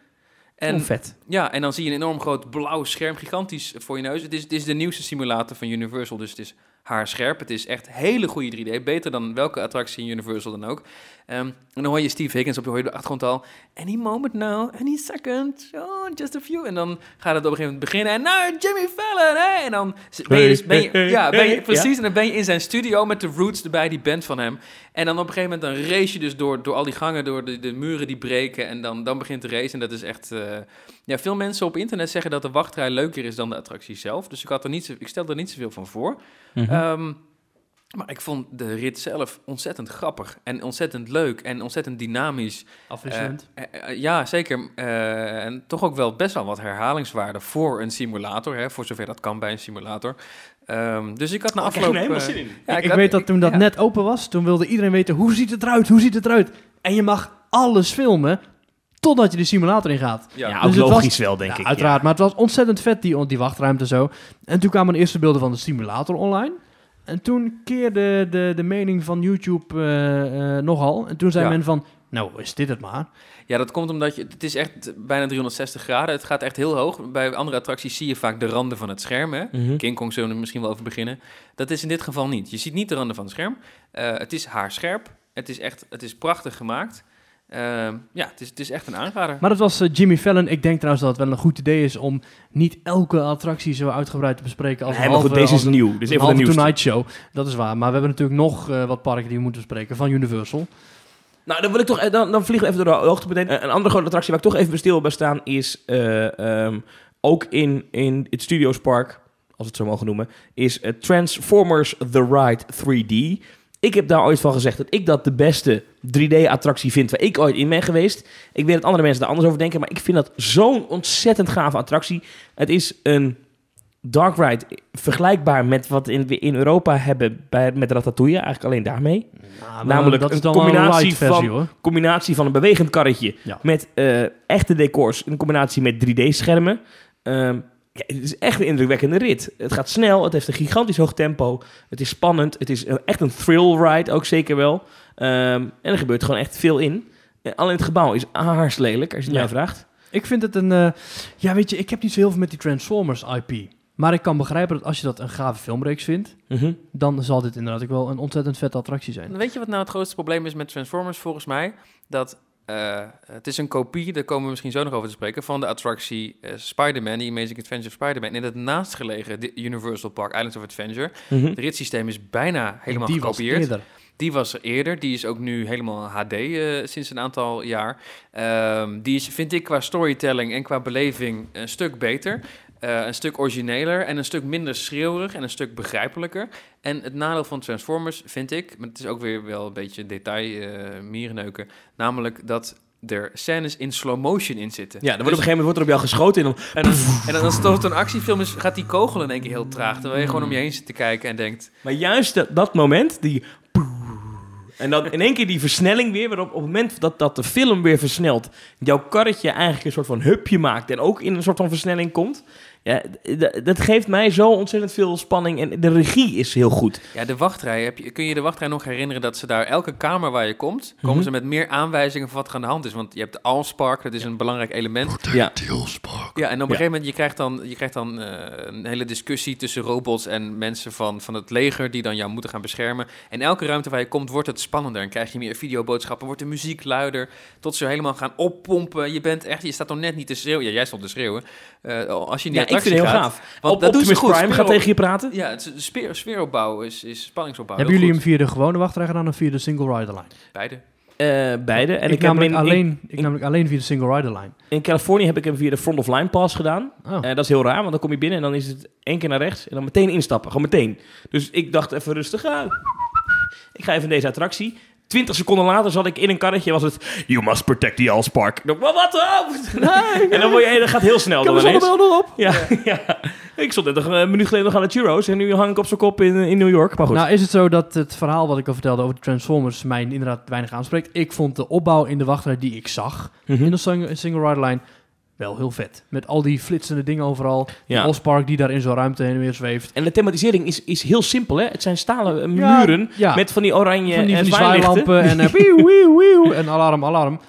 Speaker 3: En,
Speaker 2: vet.
Speaker 3: ja, en dan zie je een enorm groot blauw scherm, gigantisch voor je neus. Het is, het is de nieuwste simulator van Universal, dus het is haarscherp. Het is echt hele goede 3D, beter dan welke attractie in Universal dan ook. Ehm, en dan hoor je Steve Higgins op de, hoor je op de achtergrond al... Any moment now, any second, oh, just a few. En dan gaat het op een gegeven moment beginnen. En nou, Jimmy Fallon, hè? En dan z- ben je,
Speaker 2: Hey,
Speaker 3: ben je,
Speaker 2: hey, hey,
Speaker 3: ja, ben je
Speaker 2: hey.
Speaker 3: precies. En dan ben je in zijn studio met de Roots erbij, die band van hem. En dan op een gegeven moment dan race je dus door, door al die gangen, door de, de muren die breken. En dan, dan begint de race. En dat is echt... eh, ja, veel mensen op internet zeggen dat de wachtrij leuker is dan de attractie zelf. Dus ik, had er niet, zo- ik stel er niet zoveel van voor.
Speaker 2: Mhm.
Speaker 3: Ehm, maar ik vond de rit zelf ontzettend grappig en ontzettend leuk en ontzettend dynamisch.
Speaker 1: Afwisselend.
Speaker 3: Eh, eh, eh, ja, zeker. Eh, en toch ook wel best wel wat herhalingswaarde voor een simulator, hè, voor zover dat kan bij een simulator. Ehm, dus ik had
Speaker 1: Oh,
Speaker 3: na afloop... eh,
Speaker 2: in.
Speaker 3: ja,
Speaker 1: ik
Speaker 3: had-
Speaker 1: weet dat toen dat
Speaker 3: ja.
Speaker 1: net open was, toen wilde iedereen weten, hoe ziet het eruit, hoe ziet het eruit? En je mag alles filmen, totdat je de simulator ingaat.
Speaker 3: Ja,
Speaker 2: Ja,
Speaker 1: Dus
Speaker 2: ook
Speaker 1: het was-
Speaker 2: logisch wel, denk
Speaker 1: Ja,
Speaker 2: ik.
Speaker 1: uiteraard, maar het was ontzettend vet, die, die wachtruimte zo. En toen kwamen de eerste beelden van de simulator online. En toen keerde de, de mening van YouTube eh, eh, nogal. En toen zei
Speaker 3: Ja.
Speaker 1: men van, nou is dit het maar.
Speaker 3: Ja, dat komt omdat je, het is echt bijna 360 graden. Het gaat echt heel hoog. Bij andere attracties zie je vaak de randen van het scherm. Hè?
Speaker 2: Mhm.
Speaker 3: King Kong zullen we er misschien wel over beginnen. Dat is in dit geval niet. Je ziet niet de randen van het scherm. Eh, het is haarscherp. Het is echt het is prachtig gemaakt. Ehm, ja, het is, het is echt een aanrader.
Speaker 1: Maar dat was eh, Jimmy Fallon. Ik denk trouwens dat het wel een goed idee is om niet elke attractie zo uitgebreid te bespreken als
Speaker 2: Nee,
Speaker 1: een
Speaker 2: maar
Speaker 1: halve,
Speaker 2: goed, deze
Speaker 1: als
Speaker 2: is
Speaker 1: een-
Speaker 2: nieuw. Dit is
Speaker 1: een
Speaker 2: een van de
Speaker 1: halve
Speaker 2: nieuwste.
Speaker 1: Tonight Show. Dat is waar. Maar we hebben natuurlijk nog eh, wat parken die we moeten bespreken van Universal.
Speaker 2: Nou, dan wil ik toch, eh, dan, dan vliegen we even door de hoogte meteen. Eh, Een andere grote attractie waar ik toch even stil bij staan is, eh, ehm, ook in, in het Studios Park, als we het zo mogen noemen, is eh, Transformers The Ride 3D. Ik heb daar ooit van gezegd dat ik dat de beste 3D-attractie vind waar ik ooit in ben geweest. Ik weet dat andere mensen daar anders over denken, maar ik vind dat zo'n ontzettend gave attractie. Het is een dark ride vergelijkbaar met wat in, we in Europa hebben bij, met Ratatouille, eigenlijk alleen daarmee
Speaker 1: Nou,
Speaker 2: Namelijk
Speaker 1: dat is
Speaker 2: een
Speaker 1: dan wel
Speaker 2: combinatie
Speaker 1: light versie,
Speaker 2: van-
Speaker 1: hoor.
Speaker 2: combinatie van een bewegend karretje
Speaker 1: Ja.
Speaker 2: met eh, echte decors in combinatie met 3D-schermen. Ehm, ja, het is echt een indrukwekkende rit. Het gaat snel, het heeft een gigantisch hoog tempo, het is spannend, het is een- echt een thrill ride ook zeker wel. Ehm, en er gebeurt gewoon echt veel in. Eh, alleen het gebouw is aarslelijk, als je het
Speaker 1: Ja.
Speaker 2: mij vraagt.
Speaker 1: Ik vind het een... eh, ja, weet je, ik heb niet zo heel veel met die Transformers IP. Maar ik kan begrijpen dat als je dat een gave filmreeks vindt,
Speaker 2: Mhm.
Speaker 1: dan zal dit inderdaad ook wel een ontzettend vette attractie zijn.
Speaker 3: En Weet je wat nou het grootste probleem is met Transformers volgens mij? Dat eh, het is een kopie, daar komen we misschien zo nog over te spreken, van de attractie eh, Spider-Man, The Amazing Adventure of Spider-Man. In het naastgelegen di- Universal Park, Islands of Adventure.
Speaker 2: Mhm.
Speaker 3: Het ritssysteem is bijna helemaal
Speaker 1: die was
Speaker 3: gekopieerd.
Speaker 1: eerder.
Speaker 3: Die was er eerder. Die is ook nu helemaal HD eh, sinds een aantal jaar. Ehm, die is, vind ik, qua storytelling en qua beleving een stuk beter. eh, een stuk origineler en een stuk minder schreeuwerig en een stuk begrijpelijker. En het nadeel van Transformers vind ik, maar het is ook weer wel een beetje detail eh mierenneuken, namelijk dat er scènes in slow motion in zitten.
Speaker 2: Ja, dan wordt op
Speaker 3: Dus-
Speaker 2: een gegeven moment wordt er op jou geschoten. En dan,
Speaker 3: en, dan, en dan als het tot een actiefilm is, gaat die kogel in één keer heel traag. Terwijl je gewoon om je heen zit te kijken en denkt...
Speaker 2: maar juist dat, dat moment, die... En dan in één keer die versnelling weer, waarop op het moment dat, dat de film weer versnelt, jouw karretje eigenlijk een soort van hupje maakt en ook in een soort van versnelling komt. Ja, d- d- dat geeft mij zo ontzettend veel spanning en de regie is heel goed.
Speaker 3: Ja, de wachtrij. Heb je, kun je de wachtrij nog herinneren dat ze daar elke kamer waar je komt... komen
Speaker 2: Mhm.
Speaker 3: ze met meer aanwijzingen van wat er aan de hand is. Want je hebt de Allspark, dat is een belangrijk element.
Speaker 2: Ja.
Speaker 3: Ja, en op een
Speaker 2: Ja.
Speaker 3: gegeven moment, je krijgt dan, je krijgt dan eh, een hele discussie tussen robots en mensen van, van het leger die dan jou moeten gaan beschermen. En elke ruimte waar je komt, wordt het spannender. En krijg je meer videoboodschappen, wordt de muziek luider, tot ze helemaal gaan oppompen. Je bent echt, je staat nog net niet te schreeuwen. Ja, jij stond te schreeuwen. Eh, als je in die
Speaker 2: Ja, ik
Speaker 3: attractie
Speaker 2: vind het heel
Speaker 3: gaat,
Speaker 2: gaaf.
Speaker 3: Want
Speaker 2: Op,
Speaker 3: dat doen ze
Speaker 2: Optimus
Speaker 3: goed.
Speaker 2: Prime gaat
Speaker 3: Speel-
Speaker 2: tegen je praten.
Speaker 3: Ja, het is- de sfeer, sfeeropbouw is, is spanningsopbouw.
Speaker 1: Hebben
Speaker 3: Heel
Speaker 1: jullie hem
Speaker 3: goed.
Speaker 1: via de gewone wachtrij gedaan of via de single rider line?
Speaker 3: Beide.
Speaker 2: Eh, beide. En ik,
Speaker 1: ik,
Speaker 2: heb
Speaker 1: namelijk
Speaker 2: hem in, in,
Speaker 1: alleen, ik, namelijk alleen via de single rider line.
Speaker 2: in Californië heb ik hem via de front of line pass gedaan.
Speaker 1: Oh.
Speaker 2: Eh, dat is heel raar, want dan kom je binnen en dan is het één keer naar rechts en dan meteen instappen. Gewoon meteen. Dus ik dacht even rustig aan. Ik ga even in deze attractie. Twintig seconden later zat ik in een karretje was het... You must protect the Allspark. Ik dacht, "Wa- wat? Oh! En dan word je, dat gaat heel snel dan ineens.
Speaker 1: nog op.
Speaker 2: Ja, ja. Ik stond net nog een minuut geleden nog aan de Churros en nu hang ik op zijn kop in, in New York. Maar goed.
Speaker 1: Nou, is het zo dat het verhaal wat ik al vertelde over de Transformers mij inderdaad weinig aanspreekt? Ik vond de opbouw in de wachtrij die ik zag
Speaker 2: Mhm.
Speaker 1: in de sing- single rider line wel heel vet. Met al die flitsende dingen overal.
Speaker 2: Ja.
Speaker 1: Ja. Ospark die daar in zo'n ruimte heen en weer zweeft.
Speaker 2: En de thematisering is, is heel simpel, hè? Het zijn stalen eh,
Speaker 1: Ja,
Speaker 2: muren
Speaker 1: ja.
Speaker 2: met van die oranje
Speaker 1: van die,
Speaker 2: en
Speaker 1: van die
Speaker 2: zwaailichten.
Speaker 1: zwaailampen en eh, wieuw, wieuw, wieuw, en alarm, alarm.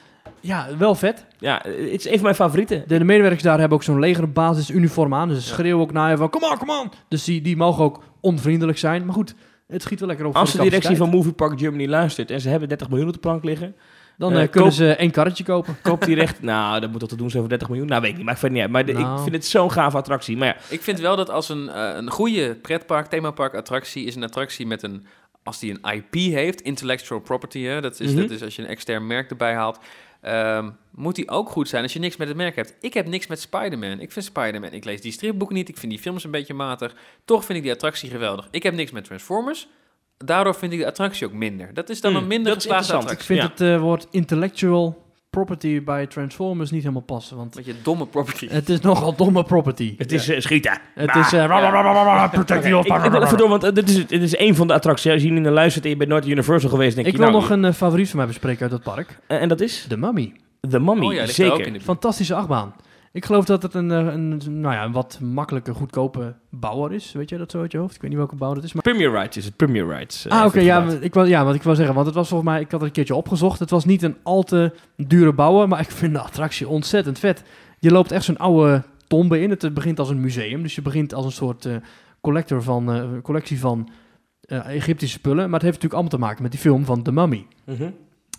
Speaker 1: Ja, wel vet.
Speaker 2: Ja, eh, het is een van mijn favorieten.
Speaker 1: De, de medewerkers daar hebben ook zo'n legerbasisuniform aan. Dus ze schreeuwen ook naar je van, kom on, kom on. Dus die, die mogen ook onvriendelijk zijn. Maar goed, het schiet wel lekker op
Speaker 2: Als de
Speaker 1: voor de
Speaker 2: directie
Speaker 1: capaciteit.
Speaker 2: van Movie Park Germany luistert en ze hebben 30 miljoen op de plank liggen,
Speaker 1: Dan
Speaker 2: eh,
Speaker 1: eh,
Speaker 2: koop-
Speaker 1: kunnen ze één karretje kopen.
Speaker 2: koopt hij recht. nou, dat moet toch te doen zijn voor 30 miljoen? Nou, weet ik niet, maakt verder niet uit. Maar de- ik
Speaker 1: Nou.
Speaker 2: vind het zo'n gaaf attractie. Maar ja,
Speaker 3: Ik vind wel dat als een, eh, een goede pretpark, themapark attractie is een attractie met een, als die een IP heeft, intellectual property, hè, dat, is,
Speaker 2: Mhm.
Speaker 3: dat is als je een extern merk erbij haalt, ehm, moet die ook goed zijn als je niks met het merk hebt. Ik heb niks met Spider-Man. Ik vind Spider-Man, ik lees die stripboeken niet, ik vind die films een beetje matig. Toch vind ik die attractie geweldig. Ik heb niks met Transformers. Daardoor vind ik de attractie ook minder. Dat is dan
Speaker 2: Hmm,
Speaker 3: een minder
Speaker 2: dat is
Speaker 3: geslaagde
Speaker 2: interessant.
Speaker 1: Ik
Speaker 3: attractie.
Speaker 1: vind
Speaker 2: Ja.
Speaker 1: het eh, woord intellectual property bij Transformers niet helemaal passen. Want
Speaker 3: Met je domme property.
Speaker 2: Eh,
Speaker 1: het is nogal domme property.
Speaker 2: het is eh, schieten.
Speaker 1: Het
Speaker 2: Bah.
Speaker 1: is... eh, ra- ra- ra- ra- ra- protect the
Speaker 2: Ik, ik wil even door, want eh, dit is, dit is één van de attracties. Als je nu naar luistert en je bent nooit in Universal geweest, denk
Speaker 1: Ik
Speaker 2: je
Speaker 1: wil
Speaker 2: nou,
Speaker 1: nog een eh, favoriet van mij bespreken uit dat park.
Speaker 2: eh, En dat is?
Speaker 1: De Mummy.
Speaker 2: The Mummy,
Speaker 3: oh ja, ligt daar ook in
Speaker 2: zeker.
Speaker 3: de buurt.
Speaker 1: Fantastische achtbaan. Ik geloof dat het een, eh, een, nou ja, een wat makkelijke, goedkope bouwer is. Weet jij dat zo uit je hoofd? Ik weet niet welke bouw dat is. Maar...
Speaker 2: Premier Rides is het, Premier Rides. eh,
Speaker 1: Ah, oké. ja,
Speaker 2: formaat.
Speaker 1: maar ik wou, ja, want ik wou zeggen, want het was volgens mij... Ik had het een keertje opgezocht. Het was niet een al te dure bouwer, maar ik vind de attractie ontzettend vet. Je loopt echt zo'n oude tombe in. Het eh, begint als een museum. Dus je begint als een soort eh, collector van, eh, collectie van eh, Egyptische spullen. Maar het heeft natuurlijk allemaal te maken met die film van The Mummy.
Speaker 2: Mhm.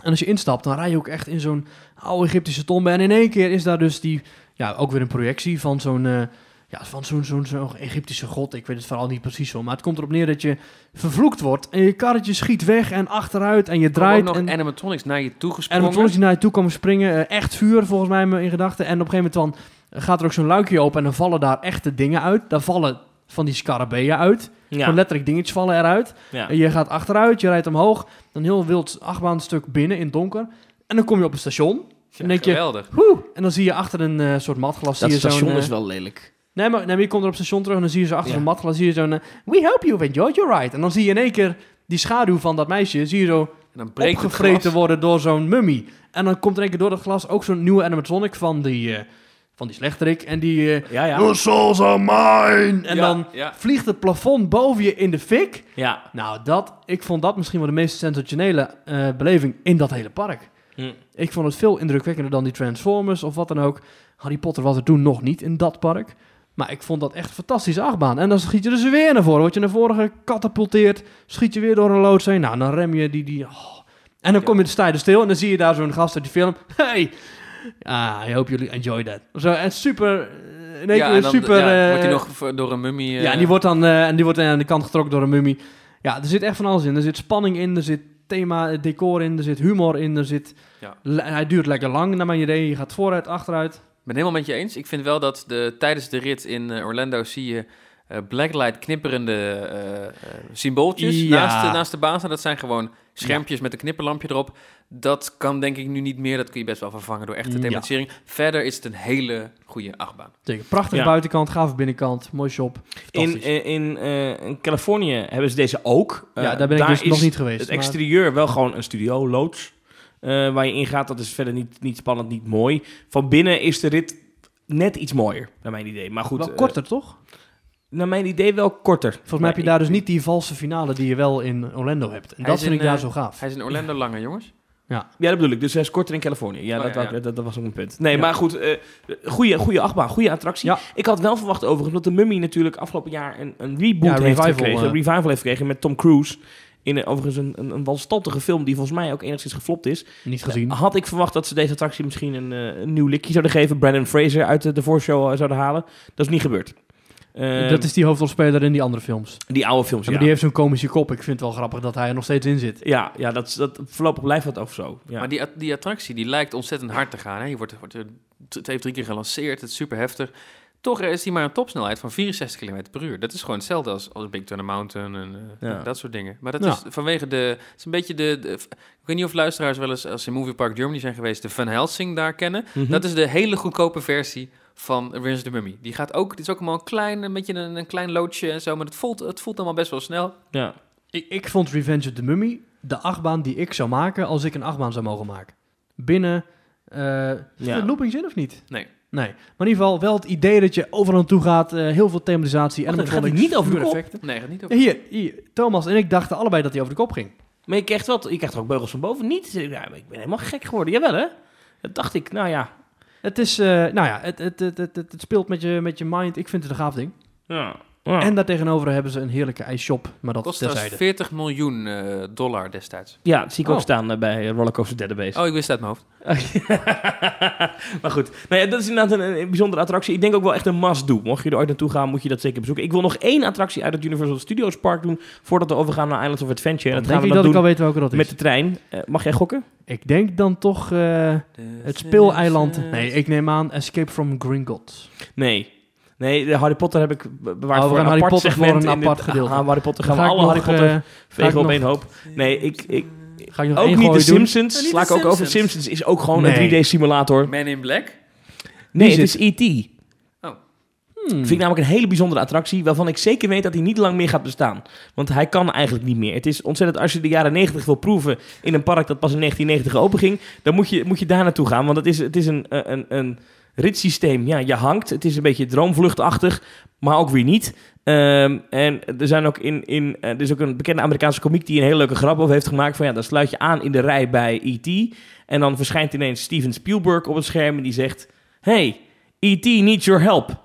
Speaker 1: En als je instapt, dan rij je ook echt in zo'n oude Egyptische tombe. En in één keer is daar dus die, ja, ook weer een projectie van zo'n, eh, ja, van zo'n, zo'n, zo'n Egyptische god. Ik weet het vooral niet precies zo. Maar het komt erop neer dat je vervloekt wordt. En je karretje schiet weg en achteruit en je
Speaker 3: Er komen ook
Speaker 1: draait.
Speaker 3: nog
Speaker 1: En, en
Speaker 3: animatronics naar je toe gesprongen.
Speaker 1: animatronics die naar je toe komen springen. eh, echt vuur, volgens mij me in gedachten. En op een gegeven moment dan gaat er ook zo'n luikje open en dan vallen daar echte dingen uit. Daar vallen van die scarabeeën uit.
Speaker 2: Ja,
Speaker 1: Gewoon letterlijk dingetjes vallen eruit.
Speaker 2: ja.
Speaker 1: En je gaat achteruit, je rijdt omhoog, een heel wild achtbaanstuk binnen in het donker. En dan kom je op een station.
Speaker 3: Ja,
Speaker 1: denk je-
Speaker 3: geweldig.
Speaker 1: Woe! En dan zie je achter een eh, soort matglas... zie
Speaker 2: Dat
Speaker 1: je zo'n,
Speaker 2: station
Speaker 1: eh,
Speaker 2: is wel lelijk.
Speaker 1: nee, maar, nee, maar je komt er op het station terug en dan zie je zo achter
Speaker 2: Ja.
Speaker 1: een matglas... zie je zo'n... eh, We help you, enjoy your ride. En dan zie je in één keer die schaduw van dat meisje... zie je zo
Speaker 3: En dan breekt het
Speaker 1: opgevreten
Speaker 3: glas.
Speaker 1: worden door zo'n mummie. En dan komt er in één keer door dat glas ook zo'n nieuwe animatronic van die... eh, van die slechterik. En die... eh,
Speaker 2: Ja, ja.
Speaker 1: Your souls are mine! En
Speaker 3: Ja,
Speaker 1: dan
Speaker 3: ja.
Speaker 1: vliegt het plafond boven je in de fik...
Speaker 2: ja.
Speaker 1: Nou, dat, ik vond dat misschien wel de meest sensationele eh, beleving in dat hele park.
Speaker 2: Hm.
Speaker 1: Ik vond het veel indrukwekkender dan die Transformers of wat dan ook. Harry Potter was er toen nog niet in dat park. Maar ik vond dat echt een fantastische achtbaan. En dan schiet je dus weer naar voren. Word je naar voren gecatapulteerd. Schiet je weer door een loods heen. Nou, dan rem je die... die oh. En dan kom je sta je er stil en dan zie je daar zo'n gast uit die film. Hey, ah, I hope jullie enjoy that. Zo, en super... eh, In één
Speaker 3: ja,
Speaker 1: keer
Speaker 3: en dan,
Speaker 1: super...
Speaker 3: ja, wordt
Speaker 1: eh,
Speaker 3: hij nog v- door een mummie... eh,
Speaker 1: ja, en die wordt dan eh, en die wordt aan de kant getrokken door een mummie. Ja, er zit echt van alles in. Er zit spanning in, er zit thema, eh, decor in, er zit humor in, er zit...
Speaker 3: Ja.
Speaker 1: Le- Hij duurt lekker lang, naar mijn idee. Je gaat vooruit, achteruit.
Speaker 3: ben helemaal met je eens. Ik vind wel dat de, tijdens de rit in eh, Orlando zie je eh, blacklight knipperende eh, eh, symbooltjes
Speaker 1: Ja.
Speaker 3: naast, de- naast de baas. En dat zijn gewoon schermpjes met een knipperlampje erop. Dat kan denk ik nu niet meer. Dat kun je best wel vervangen door echte
Speaker 1: Mm, Ja.
Speaker 3: thematisering. Verder is het een hele goede achtbaan.
Speaker 1: Zeker. Prachtige
Speaker 2: Ja.
Speaker 1: buitenkant, gave binnenkant, mooi shop.
Speaker 2: In,
Speaker 1: Fantastisch.
Speaker 2: in, in, eh, in Californië hebben ze deze ook. Eh,
Speaker 1: ja, daar ben ik dus
Speaker 2: is
Speaker 1: nog niet geweest.
Speaker 2: Het
Speaker 1: maar-
Speaker 2: exterieur wel gewoon een studio, loods. eh, waar je ingaat, dat is verder niet, niet spannend, niet mooi. Van binnen is de rit net iets mooier, naar mijn idee. Maar goed,
Speaker 1: wel
Speaker 2: eh,
Speaker 1: korter, toch?
Speaker 2: naar mijn idee wel korter.
Speaker 1: Volgens mij heb je daar dus niet die valse finale die je wel in Orlando hebt. En
Speaker 3: Hij
Speaker 1: dat
Speaker 3: is
Speaker 1: vind
Speaker 3: in,
Speaker 1: ik daar
Speaker 3: eh,
Speaker 1: zo gaaf.
Speaker 3: Hij is in Orlando langer, jongens.
Speaker 2: Ja, dat bedoel ik. Dus hij is korter in Californië. Ja,
Speaker 3: Oh,
Speaker 2: dat,
Speaker 3: ja, ja.
Speaker 2: Dat, dat, dat was ook een punt. Nee,
Speaker 1: Ja.
Speaker 2: maar goed. eh goede, goede achtbaan, goede attractie.
Speaker 1: Ja.
Speaker 2: Ik had wel verwacht overigens dat de Mummy natuurlijk afgelopen jaar een, een reboot
Speaker 1: Ja,
Speaker 2: heeft
Speaker 1: revival,
Speaker 2: gekregen.
Speaker 1: eh.
Speaker 2: Een revival heeft gekregen met Tom Cruise. In een, overigens een, een, een wanstaltige film die volgens mij ook enigszins geflopt is.
Speaker 1: Niet gezien.
Speaker 2: Had ik verwacht dat ze deze attractie misschien een, eh, een nieuw likje zouden geven. Brandon Fraser uit de, de voorshow eh, zouden halen. Dat is niet gebeurd. Eh,
Speaker 1: dat is die hoofdrolspeler in die andere films.
Speaker 2: Die oude films,
Speaker 1: Maar
Speaker 2: ja.
Speaker 1: die heeft zo'n komische kop. Ik vind het wel grappig dat hij er nog steeds in zit.
Speaker 2: Ja, ja dat, is- dat, voorlopig blijft dat over zo. Ja.
Speaker 3: Maar die, at- die attractie die lijkt ontzettend hard te gaan. Hè? Je wordt, wordt, eh, t- het heeft drie keer gelanceerd. Het is super heftig. Toch is die maar een topsnelheid van 64 km per uur. Dat is gewoon hetzelfde als, als Big Thunder Mountain en eh,
Speaker 2: Ja.
Speaker 3: dat soort dingen. Maar dat
Speaker 1: Ja.
Speaker 3: is vanwege de... Het is een beetje de, de- Ik weet niet of luisteraars wel eens, als ze in Movie Park Germany zijn geweest, de Van Helsing daar kennen.
Speaker 2: Mhm.
Speaker 3: Dat is de hele goedkope versie van Revenge of the Mummy. Die gaat ook... Het is ook allemaal een klein, een beetje een, een klein loodje en zo. Maar het voelt, het voelt allemaal best wel snel.
Speaker 2: ja.
Speaker 1: Ik, ik vond Revenge of the Mummy de achtbaan die ik zou maken als ik een achtbaan zou mogen maken. Binnen... eh
Speaker 2: Ja.
Speaker 1: ja. loopings in of niet?
Speaker 3: Nee.
Speaker 1: Nee. Maar in ieder geval wel het idee dat je overal naartoe gaat. eh, heel veel thematisatie.
Speaker 2: Wacht,
Speaker 1: En
Speaker 2: het gaat hier niet over de kop.
Speaker 3: Nee, gaat niet op.
Speaker 1: Hier, hier, Thomas en ik dachten allebei dat hij over de kop ging.
Speaker 2: Maar je krijgt, wel, je krijgt er ook beugels van boven. Niet, eh, ja, maar ik ben helemaal gek geworden. Jawel, hè? Dat dacht ik, nou ja.
Speaker 1: Het is, eh, nou ja, het, het, het, het, het speelt met je, met je mind. Ik vind het een gaaf ding.
Speaker 2: ja.
Speaker 1: En daartegenover hebben ze een heerlijke ijsshop, maar dat
Speaker 3: Kost
Speaker 1: terzijde.
Speaker 3: trouwens 40 miljoen eh, dollar destijds.
Speaker 2: ja, dat zie ik ook
Speaker 1: Oh.
Speaker 2: staan eh, bij Rollercoaster Database.
Speaker 3: Oh, ik wist dat uit mijn hoofd.
Speaker 2: maar goed, nou ja, dat is inderdaad een, een bijzondere attractie. Ik denk ook wel echt een must-do. Mocht je er ooit naartoe gaan, moet je dat zeker bezoeken. Ik wil nog één attractie uit het Universal Studios Park doen... voordat we overgaan naar Islands of Adventure. En
Speaker 1: Dan
Speaker 2: dat gaan
Speaker 1: denk
Speaker 2: we
Speaker 1: ik
Speaker 2: dan
Speaker 1: dat ik al weet
Speaker 2: doen
Speaker 1: welke dat is.
Speaker 2: met de trein. Eh, mag jij gokken?
Speaker 1: Ik denk dan toch eh, het speeleiland. Nee, ik neem aan Escape from Gringotts.
Speaker 2: Nee. Nee, de Harry Potter heb ik be- bewaard
Speaker 1: Oh, we gaan
Speaker 2: voor een
Speaker 1: Harry
Speaker 2: apart
Speaker 1: Potter voor
Speaker 2: segment
Speaker 1: een
Speaker 2: in dit-
Speaker 1: apart gedeelte.
Speaker 2: Ah, Harry Potter gaan we
Speaker 1: Ga ik
Speaker 2: alle
Speaker 1: nog,
Speaker 2: Harry Potter
Speaker 1: eh,
Speaker 2: vegen op
Speaker 1: nog-
Speaker 2: één hoop. Nee, ik, ik,
Speaker 1: Ga ik nog
Speaker 2: Ook
Speaker 1: één
Speaker 2: niet de
Speaker 1: gooi doen?
Speaker 2: Simpsons.
Speaker 3: Maar niet
Speaker 2: Sla
Speaker 3: de
Speaker 2: ik ook over.
Speaker 3: Simpsons.
Speaker 2: Simpsons is ook gewoon
Speaker 1: Nee.
Speaker 2: een 3D-simulator.
Speaker 3: Man in Black?
Speaker 2: Nee,
Speaker 1: Die
Speaker 2: het is E E.T.
Speaker 1: Hmm.
Speaker 2: Vind ik namelijk een hele bijzondere attractie, waarvan ik zeker weet dat hij niet lang meer gaat bestaan. Want hij kan eigenlijk niet meer. Het is ontzettend, als je de jaren 90 wil proeven in een park dat pas in 1990 openging, dan moet je, moet je daar naartoe gaan. Want het is, het is een, een, een ritssysteem. Ja, je hangt. Het is een beetje droomvluchtachtig, maar ook weer niet. Ehm, en er, zijn ook in, in, eh, er is ook een bekende Amerikaanse komiek die een hele leuke grap over heeft gemaakt. Van ja, dan sluit je aan in de rij bij E.T. En dan verschijnt ineens Steven Spielberg op het scherm en die zegt... Hey, E.T. needs your help.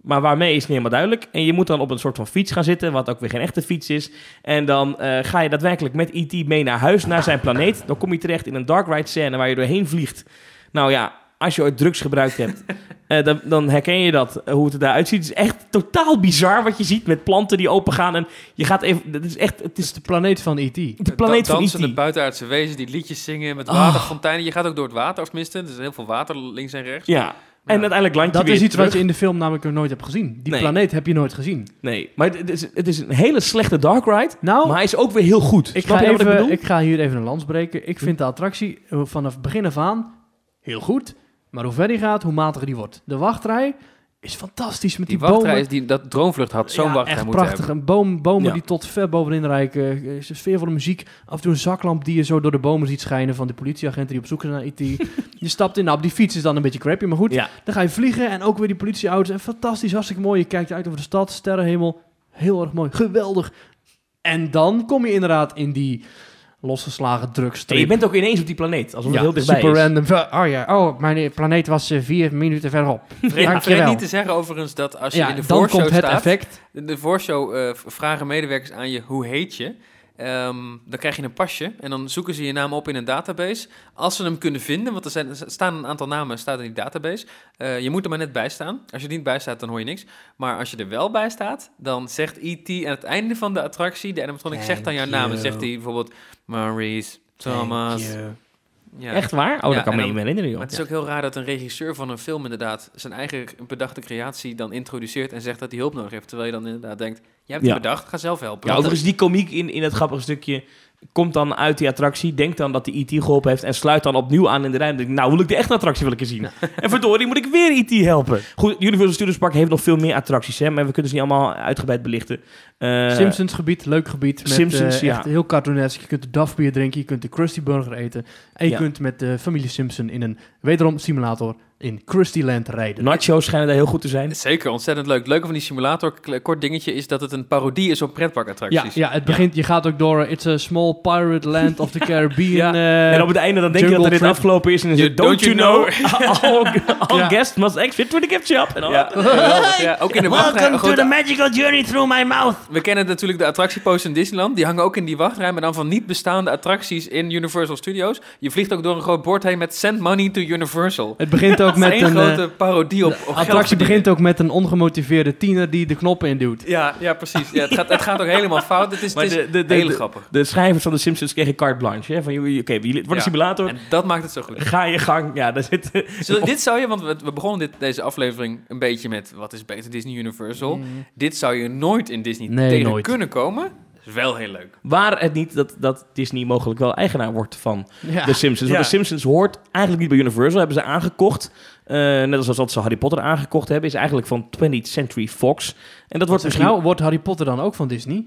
Speaker 2: Maar waarmee is niet helemaal duidelijk. En je moet dan op een soort van fiets gaan zitten, wat ook weer geen echte fiets is. En dan eh, ga je daadwerkelijk met E.T. mee naar huis, naar zijn planeet. Dan kom je terecht in een dark ride scène waar je doorheen vliegt. Nou ja, als je ooit drugs gebruikt hebt, eh, dan, dan herken je dat, eh, hoe het eruit ziet. Het is echt totaal bizar wat je ziet met planten die opengaan. En je gaat even, het is echt, het
Speaker 1: Het is
Speaker 2: is
Speaker 1: de planeet van E Oh. E.T.
Speaker 2: de planeet
Speaker 3: Dan-
Speaker 2: van E
Speaker 3: dansende
Speaker 2: E.T.
Speaker 3: buitenaardse wezen die liedjes zingen met
Speaker 2: Ah.
Speaker 3: waterfonteinen. Je gaat ook door het water, of tenminste. Er is heel veel water links en rechts.
Speaker 2: Ja, en uiteindelijk land je
Speaker 1: Dat
Speaker 2: weer
Speaker 1: is iets
Speaker 2: terug.
Speaker 1: wat je in de film namelijk nog nooit hebt gezien. Die
Speaker 2: Nee.
Speaker 1: planeet heb je nooit gezien.
Speaker 2: Nee, maar het is, het is een hele slechte dark ride,
Speaker 1: Nou,
Speaker 2: maar hij is ook weer heel goed.
Speaker 1: ik,
Speaker 2: Snap
Speaker 1: ga
Speaker 2: je nou wat
Speaker 1: even,
Speaker 2: Oh. ik
Speaker 1: ik,
Speaker 2: bedoel?
Speaker 1: ga hier even een lans breken. Ik vind de attractie eh, vanaf begin af aan heel goed. Maar hoe verder die gaat, hoe matiger die wordt. De wachtrij is fantastisch met die,
Speaker 3: Die wachtrij
Speaker 1: bomen.
Speaker 3: is die dat droomvlucht had. Zo'n
Speaker 1: Ja,
Speaker 3: wachtrij
Speaker 1: echt
Speaker 3: moeten
Speaker 1: prachtig. Een boom, bomen
Speaker 2: Ja.
Speaker 1: die tot ver bovenin reiken. Eh, Sfeervolle muziek. Af en toe een zaklamp die je zo door de bomen ziet schijnen van de politieagenten die op zoek zijn naar IT. je stapt in. Nou, op die fiets is dan een beetje crappy, maar goed.
Speaker 2: Ja.
Speaker 1: Dan ga je vliegen en ook weer die politieauto's. En fantastisch, hartstikke mooi. Je kijkt uit over de stad, sterrenhemel. Heel erg mooi, geweldig. En dan kom je inderdaad in die losgeslagen
Speaker 2: En je
Speaker 1: drugstrip.
Speaker 2: bent ook ineens op die planeet, alsof het heel dichtbij
Speaker 1: super
Speaker 2: is.
Speaker 1: random. Oh ja, oh, mijn planeet was eh, vier minuten verderop.
Speaker 3: hebben. Vergeet-
Speaker 1: Dankjewel.
Speaker 3: vergeet niet te zeggen overigens dat als je
Speaker 1: Ja,
Speaker 3: in de
Speaker 1: dan
Speaker 3: voorshow
Speaker 1: komt het
Speaker 3: staat...
Speaker 1: effect.
Speaker 3: In de voorshow eh, v- vragen medewerkers aan je hoe heet je. Ehm, dan krijg je een pasje en dan zoeken ze je naam op in een database. Als ze hem kunnen vinden, want er, zijn, er staan een aantal namen staat in die database. Eh, je moet er maar net bij staan. Als je er niet bij staat, dan hoor je niks. Maar als je er wel bij staat, dan zegt E.T. aan het einde van de attractie, de animatronic zegt dan jouw
Speaker 1: Thank
Speaker 3: naam. Dan
Speaker 1: you.
Speaker 3: zegt hij bijvoorbeeld Maurice, Thomas, Ja.
Speaker 2: Echt waar? Oh,
Speaker 3: Ja,
Speaker 2: dat kan me niet
Speaker 3: en dan-
Speaker 2: meer herinneren, joh.
Speaker 3: Maar het is ook heel raar dat een regisseur van een film inderdaad zijn eigen bedachte creatie dan introduceert en zegt dat hij hulp nodig heeft. Terwijl je dan inderdaad denkt, jij hebt het
Speaker 2: Ja.
Speaker 3: bedacht, ga zelf helpen.
Speaker 2: Ja,
Speaker 3: Want
Speaker 2: overigens, die komiek in, in het grappige stukje komt dan uit die attractie, denkt dan dat hij E.T. geholpen heeft en sluit dan opnieuw aan in de rij. En denkt, nou wil ik de echte attractie wil ik eens zien. En verdorie moet ik weer E.T. helpen. Goed, Universal Studios Park heeft nog veel meer attracties, hè, maar we kunnen ze niet allemaal uitgebreid belichten. Eh,
Speaker 1: Simpsons gebied, leuk gebied. Met,
Speaker 2: Simpsons,
Speaker 1: Simpsons,
Speaker 2: ja.
Speaker 1: echt heel cartoonesk. Je kunt de Duff bier drinken, je kunt de Krusty Burger eten. En je
Speaker 2: Ja.
Speaker 1: kunt met de familie Simpson in een, wederom simulator, in Krusty Land rijden.
Speaker 2: Nachos schijnen daar heel goed te zijn.
Speaker 3: Zeker, ontzettend leuk. Het leuke van die simulator, kle- kort dingetje, is dat het een parodie is op
Speaker 1: ja,
Speaker 3: pretparkattracties.
Speaker 1: ja, het begint, je gaat ook door eh, It's a small pirate land of the Caribbean. eh,
Speaker 2: en op het einde dan denk je
Speaker 1: Jungle
Speaker 2: dat er dit
Speaker 1: Trip.
Speaker 2: afgelopen is en dan
Speaker 3: You-
Speaker 2: zit Don't you know? all all
Speaker 1: Ja.
Speaker 2: guests must exit for the ketchup. En al
Speaker 3: Ja,
Speaker 2: dat.
Speaker 3: geweldig, ja. ook in de wachtrij.
Speaker 2: Welcome to
Speaker 3: Goed, eh,
Speaker 2: the magical journey through my mouth.
Speaker 3: We kennen natuurlijk de attractieposters in Disneyland. Die hangen ook in die wachtrij, maar dan van niet bestaande attracties in Universal Studios. Je vliegt ook door een groot bord heen met Send Money to Universal.
Speaker 1: het begint ook met
Speaker 3: Met
Speaker 1: een...
Speaker 3: een grote
Speaker 1: eh,
Speaker 3: parodie op, op
Speaker 1: de
Speaker 3: geld
Speaker 1: attractie
Speaker 3: verdienen.
Speaker 1: begint ook met een ongemotiveerde tiener die de knoppen induwt.
Speaker 3: Ja, ja precies. Ja, het, gaat, het gaat ook helemaal fout. Het is,
Speaker 2: Maar
Speaker 3: het is
Speaker 2: de- de- de-
Speaker 3: heel
Speaker 2: de-
Speaker 3: grappig.
Speaker 2: De schrijvers van de Simpsons kregen carte blanche. Hè? Van, jullie- oké, jullie- het wordt
Speaker 3: Ja.
Speaker 2: een simulator.
Speaker 3: En dat maakt het zo goed.
Speaker 2: Ga je gang. Ja, daar zit...
Speaker 3: Zullen- dit zou je, want we, we begonnen dit, deze aflevering een beetje met wat is beter Disney Universal. Dit zou je nooit in Disney
Speaker 1: Nee,
Speaker 3: tegen
Speaker 1: nooit.
Speaker 3: kunnen komen. Dat is wel heel leuk.
Speaker 2: Waar het niet dat, dat Disney mogelijk wel eigenaar wordt van
Speaker 1: Ja.
Speaker 2: de Simpsons. Want
Speaker 3: Ja.
Speaker 2: de Simpsons hoort eigenlijk niet bij Universal. Hebben ze aangekocht. Eh, net als dat ze Harry Potter aangekocht hebben. Is eigenlijk van 20th Century Fox. En dat wordt
Speaker 1: Dus
Speaker 2: misschien...
Speaker 1: nou, wordt Harry Potter dan ook van Disney?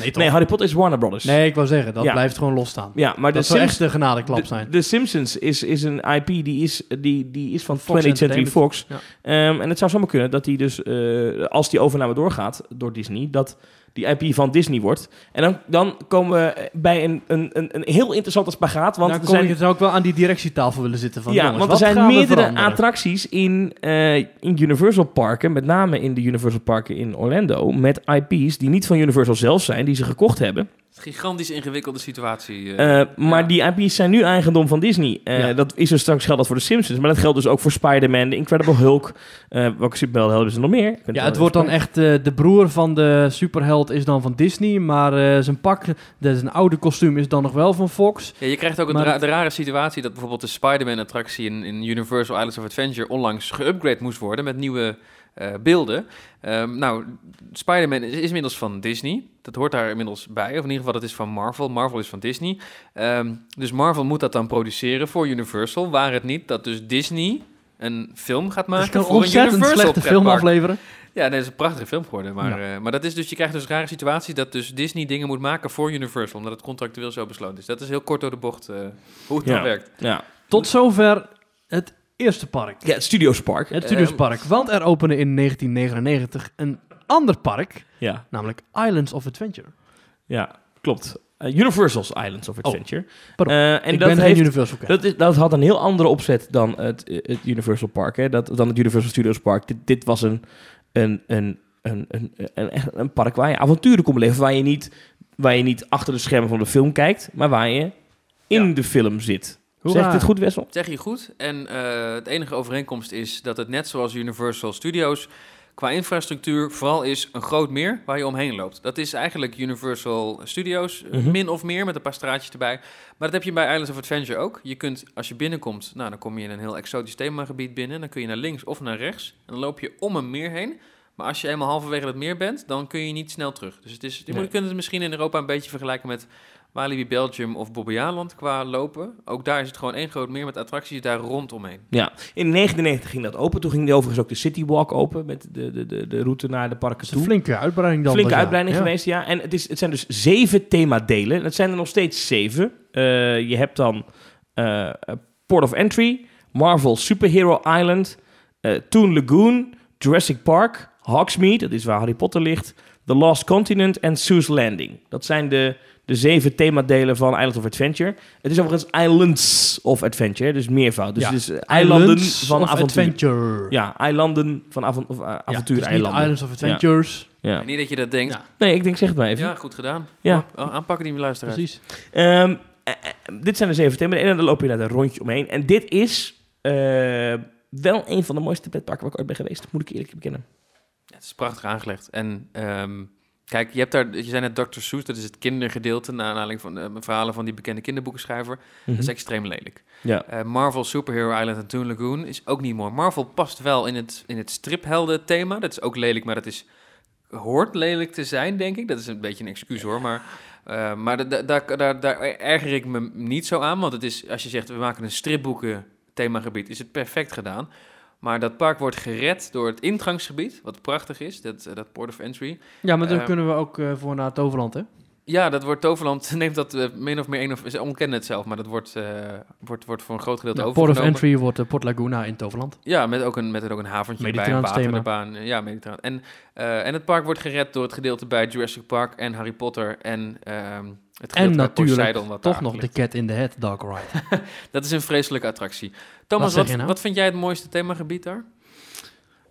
Speaker 1: Nee,
Speaker 2: nee, Harry Potter is Warner Brothers.
Speaker 1: nou? Nee, ik wou zeggen, dat
Speaker 2: Ja.
Speaker 1: blijft gewoon losstaan.
Speaker 2: Ja, maar de
Speaker 1: Dat zou
Speaker 2: Simpsons...
Speaker 1: echt de genadeklap
Speaker 2: De-
Speaker 1: zijn.
Speaker 2: De, Simpsons is, is een IP die is, die, die is van
Speaker 1: Fox
Speaker 2: 20th Century
Speaker 1: Entertainment.
Speaker 2: Fox.
Speaker 1: Ja.
Speaker 2: Ehm, en het zou zomaar kunnen dat die dus, eh, als die overname doorgaat door Disney, dat die IP van Disney wordt. En dan, dan komen we bij een, een, een, een heel interessante spagaat.
Speaker 1: nou,
Speaker 2: Want er
Speaker 1: kon
Speaker 2: zijn,
Speaker 1: ik het ook wel aan die directietafel willen zitten van
Speaker 2: ja,
Speaker 1: jongens,
Speaker 2: want er
Speaker 1: wat
Speaker 2: zijn
Speaker 1: gaan we
Speaker 2: meerdere
Speaker 1: veranderen?
Speaker 2: attracties in, eh, in Universal parken, met name in de Universal parken in Orlando, met IP's die niet van Universal zelf zijn, die ze gekocht hebben.
Speaker 3: Gigantisch ingewikkelde situatie. eh.
Speaker 2: Eh, maar die IP's zijn nu eigendom van Disney. Eh,
Speaker 1: Ja.
Speaker 2: Dat is dus straks geldt dat voor de Simpsons. Maar dat geldt dus ook voor Spider-Man, de Incredible Hulk. eh welke superhelden hebben ze nog meer? Ik vind
Speaker 1: Ja,
Speaker 2: wel
Speaker 1: het wordt dan
Speaker 2: even-
Speaker 1: echt, eh, de broer van de superheld is dan van Disney, maar eh, zijn pak, de, zijn oude kostuum is dan nog wel van Fox.
Speaker 3: Ja, je krijgt ook een
Speaker 1: Maar-
Speaker 3: dra- de rare situatie dat bijvoorbeeld de Spider-Man-attractie in, in Universal Islands of Adventure onlangs geüpgrade moest worden met nieuwe eh, beelden. Ehm, nou, Spider-Man is, is inmiddels van Disney. Dat hoort daar inmiddels bij. Of in ieder geval, dat is van Marvel. Marvel is van Disney. Ehm, dus Marvel moet dat dan produceren voor Universal. Waar het niet dat dus Disney een film gaat
Speaker 1: Dus
Speaker 3: maken
Speaker 1: ik kan
Speaker 3: voor een
Speaker 1: ontzettend
Speaker 3: Universal
Speaker 1: slechte film
Speaker 3: pretpark.
Speaker 1: afleveren.
Speaker 3: Ja, nee, dat is een prachtige film geworden. Maar, eh, maar dat is dus, je krijgt dus een rare situatie dat dus Disney dingen moet maken voor Universal, omdat het contractueel zo besloten is. Dat is heel kort door de bocht eh, hoe het
Speaker 2: Ja.
Speaker 3: dan werkt.
Speaker 2: Ja.
Speaker 1: Tot zover het eerste park,
Speaker 2: ja, ehm, het Studios Park.
Speaker 1: het Studiospark. Want er opende in 1999 een ander park,
Speaker 2: Ja,
Speaker 1: namelijk Islands of Adventure.
Speaker 2: ja klopt. Eh, Universal's Islands of Adventure.
Speaker 1: Oh. pardon.
Speaker 2: Eh, en
Speaker 1: En ik
Speaker 2: dat
Speaker 1: ben geen
Speaker 2: heeft
Speaker 1: Universal kijker.
Speaker 2: Dat, is, dat had een heel andere opzet dan het, het Universal Park. Hè? Dat, dan het Universal Studios Park. Dit, dit was een, een, een, een, een, een, echt een park waar je avonturen kon beleven. Waar je, niet, waar je niet achter de schermen van de film kijkt, maar waar je in
Speaker 3: Ja.
Speaker 2: de film zit.
Speaker 1: Hoera.
Speaker 2: Zeg ik dit goed, Wessel?
Speaker 3: Zeg je goed. En eh het enige overeenkomst is dat het net zoals Universal Studios qua infrastructuur vooral is een groot meer waar je omheen loopt. Dat is eigenlijk Universal Studios, eh,
Speaker 2: Mhm.
Speaker 3: min of meer, met een paar straatjes erbij. Maar dat heb je bij Islands of Adventure ook. Je kunt, als je binnenkomt, nou, dan kom je in een heel exotisch themagebied binnen. Dan kun je naar links of naar rechts. En dan loop je om een meer heen. Maar als je eenmaal halverwege dat meer bent, dan kun je niet snel terug. Dus het is, je
Speaker 2: Nee.
Speaker 3: kunt het misschien in Europa een beetje vergelijken met Walibi Belgium of Bobbejaanland qua lopen. Ook daar is het gewoon één groot meer met attracties daar rondomheen.
Speaker 2: Ja. In 1999 ging dat open. Toen ging die overigens ook de City Walk open met de, de, de, de route naar de parken
Speaker 1: is een
Speaker 2: toe.
Speaker 1: flinke uitbreiding dan.
Speaker 2: Flinke
Speaker 1: was, ja.
Speaker 2: uitbreiding
Speaker 1: Ja.
Speaker 2: geweest, ja. En het, is, het zijn dus zeven themadelen. En Het zijn er nog steeds zeven. Eh, je hebt dan eh, Port of Entry, Marvel Superhero Island, eh, Toon Lagoon, Jurassic Park, Hogsmeade, dat is waar Harry Potter ligt, The Lost Continent en Seuss Landing. Dat zijn de, de zeven themadelen van Island of Adventure. Het is overigens Islands of Adventure, dus meervoud. Dus
Speaker 1: Ja.
Speaker 2: het is eh, eilanden
Speaker 1: Islands
Speaker 2: van
Speaker 1: of
Speaker 2: avontuur.
Speaker 1: Adventure.
Speaker 2: Ja, eilanden van avon- of, eh,
Speaker 1: Ja, het is niet
Speaker 2: avontuureilanden.
Speaker 1: Islands of Adventures.
Speaker 2: Ja.
Speaker 3: Niet dat je dat denkt.
Speaker 1: Ja.
Speaker 2: Nee, ik denk, zeg het maar even.
Speaker 3: Ja, goed gedaan.
Speaker 2: Ja.
Speaker 3: Oh, aanpakken die luisteraars.
Speaker 1: Precies.
Speaker 2: Ehm, eh, eh, dit zijn de zeven thema's. En dan loop je daar een rondje omheen. En dit is eh, wel een van de mooiste pretparken waar ik ooit ben geweest. Moet ik eerlijk bekennen.
Speaker 3: Ja, het is prachtig aangelegd. En ehm, Kijk, je hebt daar, je zei net Dr. Seuss, dat is het kindergedeelte, naar aanleiding van de verhalen van die bekende kinderboekenschrijver. Dat is
Speaker 1: Mhm.
Speaker 3: extreem lelijk.
Speaker 2: Ja.
Speaker 3: Eh, Marvel Superhero Island en Toon Lagoon is ook niet mooi. Marvel past wel in het, in het striphelden thema. Dat is ook lelijk, maar dat is, hoort lelijk te zijn, denk ik. Dat is een beetje een excuus hoor, maar, eh, maar da- da- daar, daar, daar erger ik me niet zo aan. Want het is, als je zegt, we maken een stripboeken themagebied, is het perfect gedaan. Maar dat park wordt gered door het ingangsgebied, wat prachtig is, dat, eh, dat Port of Entry.
Speaker 1: Ja, maar daar
Speaker 3: Eh,
Speaker 1: kunnen we ook eh, voor naar Toverland, hè?
Speaker 3: Ja, dat wordt Toverland, neemt dat eh, min of meer één of... Ze ontkennen het zelf, maar dat wordt, eh, wordt, wordt voor een groot gedeelte
Speaker 1: Ja, Port of
Speaker 3: overgenomen.
Speaker 1: Entry wordt eh, Port Laguna in Toverland.
Speaker 3: Ja, met ook een, met er ook een haventje erbij, een
Speaker 1: Mediterraans
Speaker 3: water
Speaker 1: thema.
Speaker 3: erbaan. Ja, mediterraan. En, eh, en het park wordt gered door het gedeelte bij Jurassic Park en Harry Potter en ehm, het gedeelte
Speaker 1: En
Speaker 3: bij
Speaker 1: natuurlijk
Speaker 3: Poseidon, wat
Speaker 1: toch
Speaker 3: daar
Speaker 1: nog
Speaker 3: ligt.
Speaker 1: de Cat in the Hat Dark Ride.
Speaker 3: Dat is een vreselijke attractie. Thomas,
Speaker 1: Wat zeg
Speaker 3: wat,
Speaker 1: je nou?
Speaker 3: wat vind jij het mooiste themagebied daar?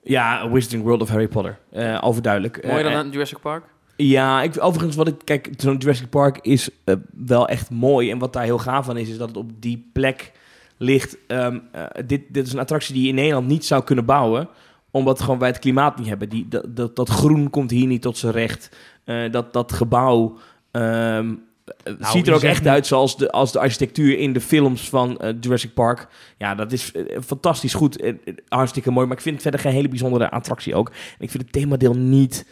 Speaker 2: Ja, Wizarding World of Harry Potter. Eh, overduidelijk. Eh,
Speaker 3: Mooier dan
Speaker 2: eh,
Speaker 3: aan Jurassic Park?
Speaker 2: Ja, ik, overigens, wat ik kijk, zo'n Jurassic Park is eh, wel echt mooi. En wat daar heel gaaf van is, is dat het op die plek ligt. Ehm, eh, dit, dit is een attractie die je in Nederland niet zou kunnen bouwen, omdat gewoon wij het klimaat niet hebben. Die, dat, dat, dat groen komt hier niet tot zijn recht. Eh, dat, dat gebouw ehm, eh,
Speaker 1: Nou,
Speaker 2: ziet er
Speaker 1: je
Speaker 2: ook
Speaker 1: zegt
Speaker 2: echt
Speaker 1: nu-
Speaker 2: uit zoals de, als de architectuur in de films van eh, Jurassic Park. Ja, dat is eh, fantastisch goed. en eh, hartstikke mooi. Maar ik vind het verder geen hele bijzondere attractie ook. En ik vind het themadeel niet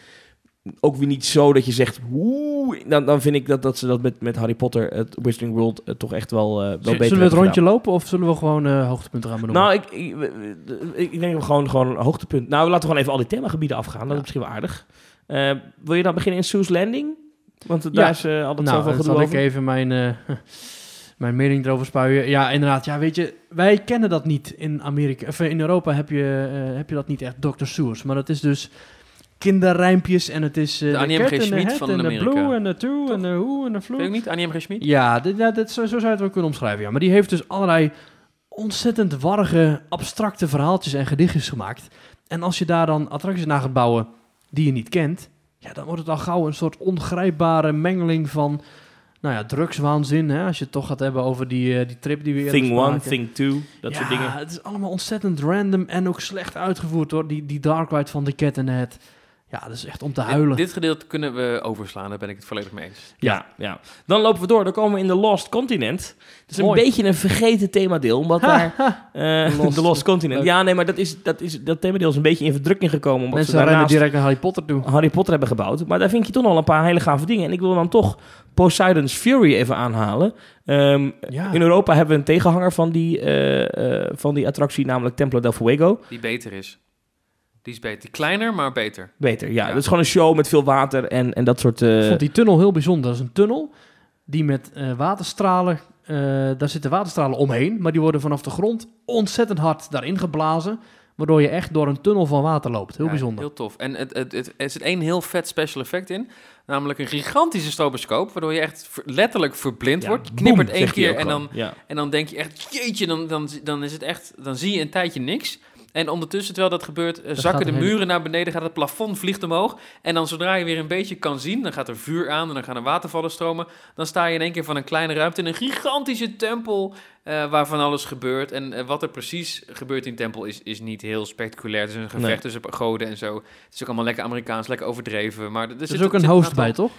Speaker 2: ook weer niet zo dat je zegt, oeh, dan, dan vind ik dat, dat ze dat met, met Harry Potter, het Wizarding World, eh, toch echt wel, eh, wel
Speaker 1: Zullen
Speaker 2: beter
Speaker 1: we het
Speaker 2: hebben
Speaker 1: rondje lopen of zullen we gewoon eh, hoogtepunten gaan
Speaker 2: gedaan.
Speaker 1: benoemen?
Speaker 2: Nou, ik, ik, ik denk dat we gewoon, gewoon een hoogtepunt. Nou, laten we gewoon even al die themagebieden afgaan. Dat is misschien wel aardig. Eh, wil je dan beginnen in Soos Landing? Want daar
Speaker 1: Ja.
Speaker 2: is eh, altijd
Speaker 1: Nou,
Speaker 2: zoveel
Speaker 1: dan
Speaker 2: gedoe
Speaker 1: zal ik
Speaker 2: over.
Speaker 1: even mijn, eh, mijn mening erover spuien. Ja, inderdaad. Ja, weet je, wij kennen dat niet in Amerika. Of eh, in Europa heb je, eh, heb je dat niet echt Dr. Seuss. Maar dat is dus kinderrijmpjes en het is... eh,
Speaker 3: De Annie M.
Speaker 1: cat
Speaker 3: G.
Speaker 1: en
Speaker 3: Schmid
Speaker 1: hat
Speaker 3: van
Speaker 1: en de
Speaker 3: Amerika.
Speaker 1: blue en de two en de who en de flu.
Speaker 3: Weet ik niet, Annie M. G. Schmid?
Speaker 1: Ja, dit, ja dit, zo, zo zou je het wel kunnen omschrijven. Ja. Maar die heeft dus allerlei ontzettend warrige, abstracte verhaaltjes en gedichtjes gemaakt. En als je daar dan attracties naar gaat bouwen die je niet kent, ja, dan wordt het al gauw een soort ongrijpbare mengeling van nou ja, drugswaanzin. Hè, als je het toch gaat hebben over die, eh, die trip die we eerder
Speaker 2: Thing one,
Speaker 1: spraken.
Speaker 2: thing two, dat
Speaker 1: ja,
Speaker 2: soort dingen.
Speaker 1: het is allemaal ontzettend random en ook slecht uitgevoerd hoor. Die, die Dark Ride van de Cat and the Hat. Ja, dat is echt om te huilen.
Speaker 3: Dit, dit gedeelte kunnen we overslaan, daar ben ik het volledig mee eens.
Speaker 2: Ja, ja. Dan lopen we door. Dan komen we in The Lost Continent. Het is een
Speaker 1: Mooi.
Speaker 2: beetje een vergeten themadeel, omdat daar... eh,
Speaker 1: Lost.
Speaker 2: The Lost Continent.
Speaker 1: Leuk.
Speaker 2: Ja, nee, maar dat, is, dat, is, dat themadeel is een beetje in verdrukking gekomen. Omdat
Speaker 1: Mensen
Speaker 2: ze
Speaker 1: rennen
Speaker 2: daarnaast
Speaker 1: direct naar Harry Potter toe.
Speaker 2: Harry Potter hebben gebouwd. Maar daar vind je toch al een paar hele gave dingen. En ik wil dan toch Poseidon's Fury even aanhalen. Ehm,
Speaker 1: Ja.
Speaker 2: In Europa hebben we een tegenhanger van die, eh, eh, van die attractie, namelijk Templo del Fuego.
Speaker 3: Die beter is. Die is beter. Die kleiner, maar beter.
Speaker 2: Beter, ja.
Speaker 3: Ja.
Speaker 2: Dat is gewoon een show met veel water en, en dat soort... eh,
Speaker 1: Ik vond die tunnel heel bijzonder. Dat is een tunnel die met eh, waterstralen... eh, daar zitten waterstralen omheen, maar die worden vanaf de grond ontzettend hard daarin geblazen. Waardoor je echt door een tunnel van water loopt. Heel
Speaker 3: Ja,
Speaker 1: bijzonder.
Speaker 3: Heel tof. En het, het, het, er zit één heel vet special effect in. Namelijk een gigantische stroboscoop, waardoor je echt ver- letterlijk verblind
Speaker 2: ja,
Speaker 3: wordt.
Speaker 2: boem,
Speaker 3: Knippert één
Speaker 2: zegt hij
Speaker 3: keer
Speaker 2: ook
Speaker 3: en
Speaker 2: gewoon.
Speaker 3: dan,
Speaker 2: Ja.
Speaker 3: en dan denk je echt, jeetje, dan, dan, dan, is het echt, dan zie je een tijdje niks. En ondertussen, terwijl dat gebeurt, eh,
Speaker 1: gaat
Speaker 3: zakken de
Speaker 1: een hele-
Speaker 3: muren naar beneden, gaat het plafond vliegt omhoog. En dan zodra je weer een beetje kan zien, dan gaat er vuur aan en dan gaan er watervallen stromen. Dan sta je in één keer van een kleine ruimte in een gigantische tempel eh, waar van alles gebeurt. En eh, wat er precies gebeurt in tempel is, is niet heel spectaculair. Het is een gevecht
Speaker 2: Nee.
Speaker 3: tussen goden en zo. Het is ook allemaal lekker Amerikaans, lekker overdreven. Maar er,
Speaker 1: Er is
Speaker 3: zit-
Speaker 1: ook een
Speaker 3: zit
Speaker 1: host
Speaker 3: aantal-
Speaker 1: bij, toch?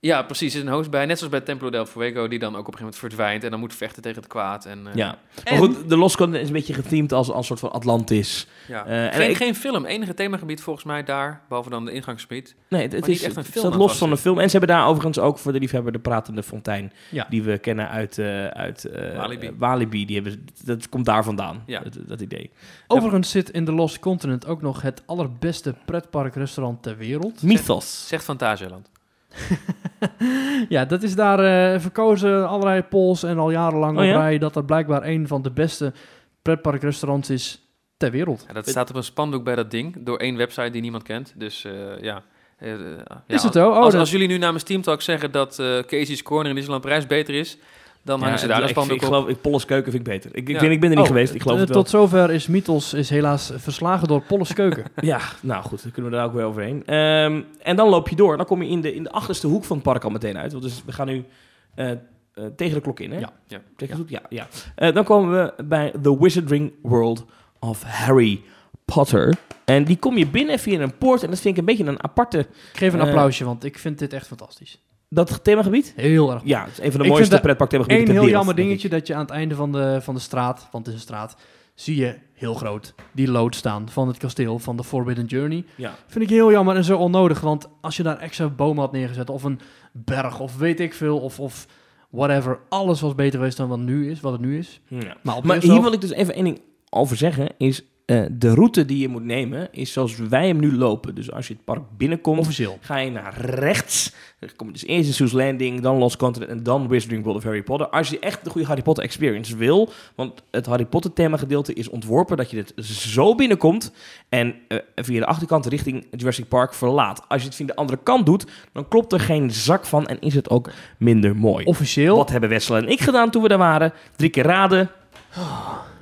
Speaker 3: Ja, precies. Er is een host bij. Net zoals bij Templo del Fuego, die dan ook op een gegeven moment verdwijnt. En dan moet vechten tegen het kwaad. En, eh,
Speaker 2: ja.
Speaker 3: En-
Speaker 2: Maar goed, The Lost Continent is een beetje gethemed als, als een soort van Atlantis.
Speaker 3: Ja.
Speaker 2: Eh, en
Speaker 3: geen,
Speaker 2: ik-
Speaker 3: geen film, enige themagebied volgens mij daar, behalve dan de ingangsgebied.
Speaker 2: Nee, het, het
Speaker 3: Maar niet
Speaker 2: is
Speaker 3: echt een
Speaker 2: het
Speaker 3: film
Speaker 2: staat
Speaker 3: aan
Speaker 2: los
Speaker 3: vast
Speaker 2: van een
Speaker 3: zit.
Speaker 2: film. En ze hebben daar overigens ook voor de liefhebber de Pratende Fontein.
Speaker 1: Ja.
Speaker 2: Die we kennen uit, eh, uit eh,
Speaker 3: Walibi.
Speaker 2: eh, Walibi. Die hebben, ze- dat komt daar vandaan,
Speaker 3: Ja.
Speaker 2: dat, dat idee.
Speaker 1: Overigens zit in The Lost Continent ook nog het allerbeste pretparkrestaurant ter wereld.
Speaker 2: Mythos.
Speaker 3: Zegt Fantasialand.
Speaker 1: Ja, dat is daar eh, verkozen, allerlei polls en al jarenlang
Speaker 2: Oh, ja?
Speaker 1: op rij... dat dat blijkbaar een van de beste pretparkrestaurants is ter wereld.
Speaker 3: Ja, dat staat op een spandoek bij dat ding, door één website die niemand kent. Dus eh, ja. Eh, eh, ja,
Speaker 1: Is het
Speaker 3: als,
Speaker 1: zo? Oh,
Speaker 3: als,
Speaker 1: dat-
Speaker 3: als jullie nu namens Team Talk zeggen dat eh Casey's Corner in Disneyland Prijs beter is, dan hangen ze daar een
Speaker 2: ik, ik,
Speaker 3: spandoek
Speaker 2: ik
Speaker 3: op.
Speaker 2: geloof, ik, Polles Keuken vind ik beter. Ik, ik,
Speaker 3: Ja.
Speaker 2: ben, ik ben er niet
Speaker 1: Oh,
Speaker 2: geweest, ik geloof
Speaker 1: Eh,
Speaker 2: het wel.
Speaker 1: Tot zover is Mythos is helaas verslagen door Polles Keuken.
Speaker 2: Ja, nou goed, dan kunnen we daar ook weer overheen. Ehm, en dan loop je door. Dan kom je in de, in de achterste hoek van het park al meteen uit. Want dus we gaan nu eh, eh, tegen de klok in, hè?
Speaker 1: Ja.
Speaker 3: Ja.
Speaker 2: Tegen de klok, ja. ja. Eh, dan komen we bij The Wizarding World of Harry Potter. En die kom je binnen via een poort. En dat vind ik een beetje een aparte...
Speaker 1: Ik geef een
Speaker 2: Eh,
Speaker 1: applausje, want ik vind dit echt fantastisch.
Speaker 2: Dat themagebied?
Speaker 1: Heel erg.
Speaker 2: Ja, het is een van de
Speaker 1: Ik vind
Speaker 2: mooiste
Speaker 1: dat
Speaker 2: pretparkthemagebieden
Speaker 1: Eén
Speaker 2: ter
Speaker 1: heel
Speaker 2: wereld,
Speaker 1: jammer
Speaker 2: denk ik.
Speaker 1: dingetje dat je aan het einde van de, van de straat, want het is een straat, zie je heel groot die lood staan van het kasteel van de Forbidden Journey.
Speaker 2: Ja.
Speaker 1: Vind ik heel jammer en zo onnodig, want als je daar extra bomen had neergezet of een berg of weet ik veel of, of whatever, alles was beter geweest dan wat, nu is, wat het nu is.
Speaker 2: ja.
Speaker 1: Maar, op
Speaker 2: Maar
Speaker 1: zichzelf-
Speaker 2: hier wil ik dus even één ding over zeggen, is eh, de route die je moet nemen, is zoals wij hem nu lopen. Dus als je het park binnenkomt,
Speaker 1: officieel.
Speaker 2: ga je naar rechts. Dan kom je dus eerst in Soos Landing, dan Lost Continent en dan Wizarding World of Harry Potter. Als je echt de goede Harry Potter experience wil, want het Harry Potter thema gedeelte is ontworpen dat je dit zo binnenkomt en eh, via de achterkant richting Jurassic Park verlaat. Als je het via de andere kant doet, dan klopt er geen zak van en is het ook minder mooi.
Speaker 1: Officieel.
Speaker 2: Wat hebben Wessel en ik gedaan toen we daar waren? Drie keer raden.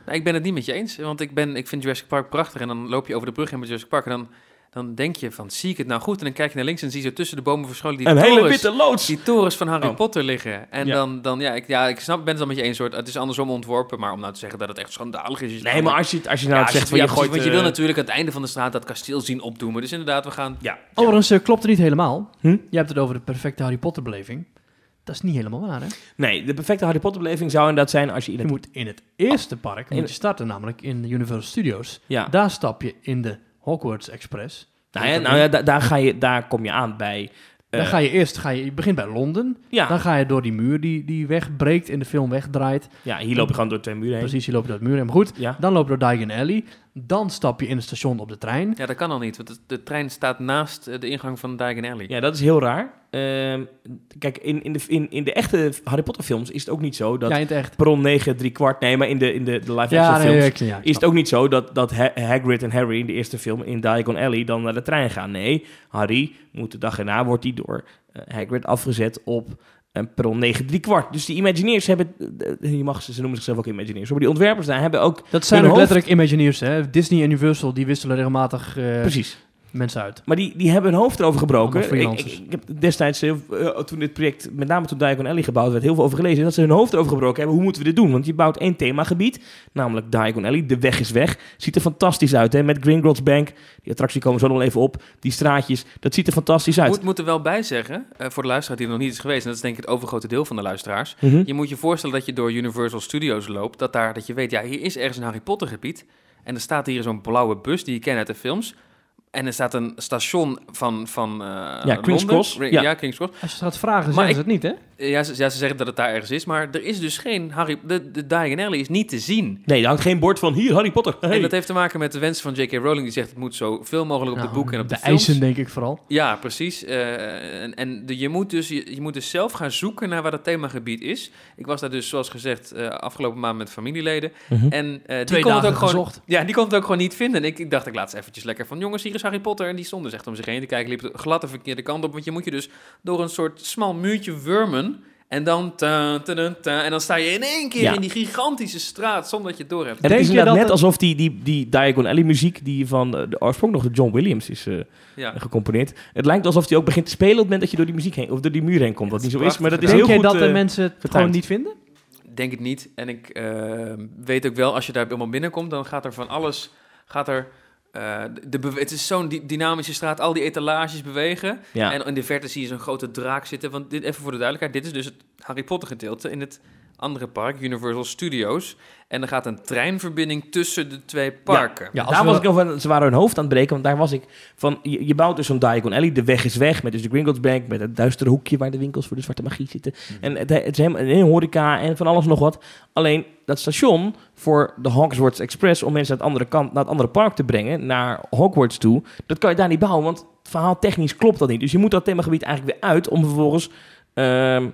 Speaker 3: Nou, ik ben het niet met je eens, want ik, ben, ik vind Jurassic Park prachtig. En dan loop je over de brug heen met Jurassic Park en dan, dan denk je van, zie ik het nou goed? En dan kijk je naar links en zie je tussen de bomen verscholen die
Speaker 2: een
Speaker 3: torens,
Speaker 2: hele witte loods.
Speaker 3: die torens van Harry
Speaker 2: Oh.
Speaker 3: Potter liggen. En
Speaker 2: Ja.
Speaker 3: dan, dan ja, ik, ja, ik snap, ben het dan met je eens, soort. het is andersom ontworpen. Maar om nou te zeggen dat het echt schandalig is... is
Speaker 2: Nee, maar als je, het- als je nou het zegt
Speaker 3: van
Speaker 2: van je gooit...
Speaker 3: Want je wil
Speaker 2: eh,
Speaker 3: natuurlijk aan het einde van de straat dat kasteel zien opdoemen. Dus inderdaad, we gaan...
Speaker 2: Ja.
Speaker 1: Overigens eh, klopt het niet helemaal.
Speaker 2: Hm?
Speaker 1: Je hebt het over de perfecte Harry Potter beleving. Dat is niet helemaal waar, hè?
Speaker 2: Nee, de perfecte Harry Potter beleving zou inderdaad zijn als je...
Speaker 1: Je
Speaker 2: in het-
Speaker 1: moet in het eerste park
Speaker 2: In-
Speaker 1: moet je starten, namelijk in de Universal Studios.
Speaker 2: Ja.
Speaker 1: Daar stap je in de Hogwarts Express.
Speaker 2: Nou ja, nou ja da- daar, ga je, daar kom je aan bij... eh,
Speaker 1: Dan ga je eerst, ga je, je begint bij Londen.
Speaker 2: ja,
Speaker 1: Dan ga je door die muur die, die wegbreekt in de film wegdraait.
Speaker 2: ja, hier loop je gewoon door twee muren heen.
Speaker 1: Precies, je loopt door het muur helemaal goed.
Speaker 2: Ja.
Speaker 1: Dan loop je door Diagon Alley. Dan stap je in het station op de trein.
Speaker 3: Ja, dat kan al niet, want de, de trein staat naast eh, de ingang van Diagon Alley.
Speaker 2: ja, dat is heel raar. Ehm, kijk, in, in, de, in, in de echte Harry Potter films is het ook niet zo dat...
Speaker 1: ja, in het echt.
Speaker 2: Bron 9, 3 kwart, nee, maar in de, in de, de live-action
Speaker 1: Ja, nee,
Speaker 2: films...
Speaker 1: ik- ja, ik
Speaker 2: is
Speaker 1: snap.
Speaker 2: het ook niet zo dat, dat Ha- Hagrid en Harry in de eerste film in Diagon Alley dan naar de trein gaan. Nee, Harry moet de dag erna, wordt hij door eh, Hagrid afgezet op eh, een perron 9 3 kwart. Dus die Imagineers hebben, eh, je mag, ze ze noemen zichzelf ook Imagineers, maar die ontwerpers daar hebben ook,
Speaker 1: Dat zijn
Speaker 2: hun
Speaker 1: ook
Speaker 2: hoofd-
Speaker 1: letterlijk Imagineers, hè? Disney en Universal, die wisselen regelmatig eh,
Speaker 2: precies,
Speaker 1: mensen uit.
Speaker 2: maar die, die hebben hun hoofd erover gebroken.
Speaker 1: Allemaal
Speaker 2: Ik, ik,
Speaker 1: freelancers.
Speaker 2: ik heb destijds, heel veel, eh, toen dit project, met name toen Diagon Alley gebouwd werd, heel veel over gelezen, dat ze hun hoofd erover gebroken hebben. Hoe moeten we dit doen? Want je bouwt één themagebied, namelijk Diagon Alley, de weg is weg. Ziet er fantastisch uit, hè? Met Gringotts Bank, die attractie komen we zo nog wel even op, die straatjes, dat ziet er fantastisch uit.
Speaker 3: Moet, moet er wel bij zeggen, eh, voor de luisteraar die er nog niet is geweest... en dat is denk ik het overgrote deel van de luisteraars...
Speaker 2: Mhm.
Speaker 3: Je moet je voorstellen dat je door Universal Studios loopt. Dat, daar, dat je weet, ja, hier is ergens een Harry Potter gebied. En er staat hier zo'n blauwe bus die je kent uit de films. En er staat een station van, van eh, Londen.
Speaker 2: King's Cross,
Speaker 3: Re-
Speaker 2: ja.
Speaker 3: Ja. King's Cross.
Speaker 1: Als je het gaat vragen,
Speaker 3: Maar
Speaker 1: zeggen ze het niet, hè?
Speaker 3: Eh, Ja ze, ja, ze zeggen dat het daar ergens is. Maar er is dus geen Harry... De, de Diagon Alley is niet te zien.
Speaker 2: Nee, er hangt geen bord van hier, Harry Potter. Hey.
Speaker 3: En dat heeft te maken met de wensen van J.K. Rowling. Die zegt, het moet zoveel mogelijk op
Speaker 1: Nou,
Speaker 3: de boeken en op de,
Speaker 1: de
Speaker 3: films.
Speaker 1: eisen, denk ik vooral.
Speaker 3: Ja, precies. Eh, en en de, je, moet dus, je, je moet dus zelf gaan zoeken naar waar dat themagebied is. Ik was daar dus, zoals gezegd, eh, afgelopen maand met familieleden.
Speaker 2: Mhm.
Speaker 3: En eh, die
Speaker 1: Twee
Speaker 3: kon het ook
Speaker 1: dagen
Speaker 3: gewoon.
Speaker 1: gezocht.
Speaker 3: Ja, die kon het ook gewoon niet vinden. En ik, ik dacht, ik laat ze eventjes lekker van jongens, hier is Harry Potter. En die stonden dus echt om zich heen te kijken, liep glad de verkeerde kant op. Want je moet je dus door een soort smal muurtje wurmen. En dan, ta, ta, ta, ta. en dan sta je in één keer
Speaker 2: Ja.
Speaker 3: in die gigantische straat zonder dat je het door hebt.
Speaker 2: En
Speaker 1: Denk
Speaker 2: het is
Speaker 1: je
Speaker 2: inderdaad
Speaker 1: dat
Speaker 2: net
Speaker 1: het-
Speaker 2: alsof die, die, die Diagon Alley muziek, die van eh, de oorsprong nog de John Williams is eh,
Speaker 3: Ja.
Speaker 2: gecomponeerd. Het lijkt alsof die ook begint te spelen op het moment dat je door die muziek heen, of door die muur heen komt. Wat
Speaker 3: Ja,
Speaker 2: niet
Speaker 3: dat
Speaker 2: zo
Speaker 3: is
Speaker 2: is, maar dat is
Speaker 3: prachtig
Speaker 1: Denk jij
Speaker 2: heel goed.
Speaker 1: dat de
Speaker 2: eh,
Speaker 1: mensen het gewoon
Speaker 2: getimed.
Speaker 1: niet vinden?
Speaker 3: Denk het niet. En ik eh, weet ook wel, als je daar helemaal binnenkomt, dan gaat er van alles. Gaat er, eh, de bewe- het is zo'n di- dynamische straat, al die etalages bewegen.
Speaker 2: eh, ja.
Speaker 3: En in de verte zie je zo'n grote draak zitten. Want dit, even voor de duidelijkheid, dit is dus het Harry Potter gedeelte in het andere park, Universal Studios. En er gaat een treinverbinding tussen de twee parken.
Speaker 1: Ja, als
Speaker 2: daar
Speaker 1: we-
Speaker 2: was ik nog wel, ze waren hun hoofd aan het breken, want daar was ik van, je, je bouwt dus zo'n Diagon Alley, de weg is weg, met dus de Gringotts Bank, met het duistere hoekje waar de winkels voor de zwarte magie zitten.
Speaker 1: Mhm.
Speaker 2: En het, het is helemaal een horeca en van alles nog wat. Alleen dat station voor de Hogwarts Express, om mensen aan het andere kant, naar het andere park te brengen, naar Hogwarts toe, dat kan je daar niet bouwen, want verhaal technisch klopt dat niet. Dus je moet dat themagebied eigenlijk weer uit om vervolgens... ehm,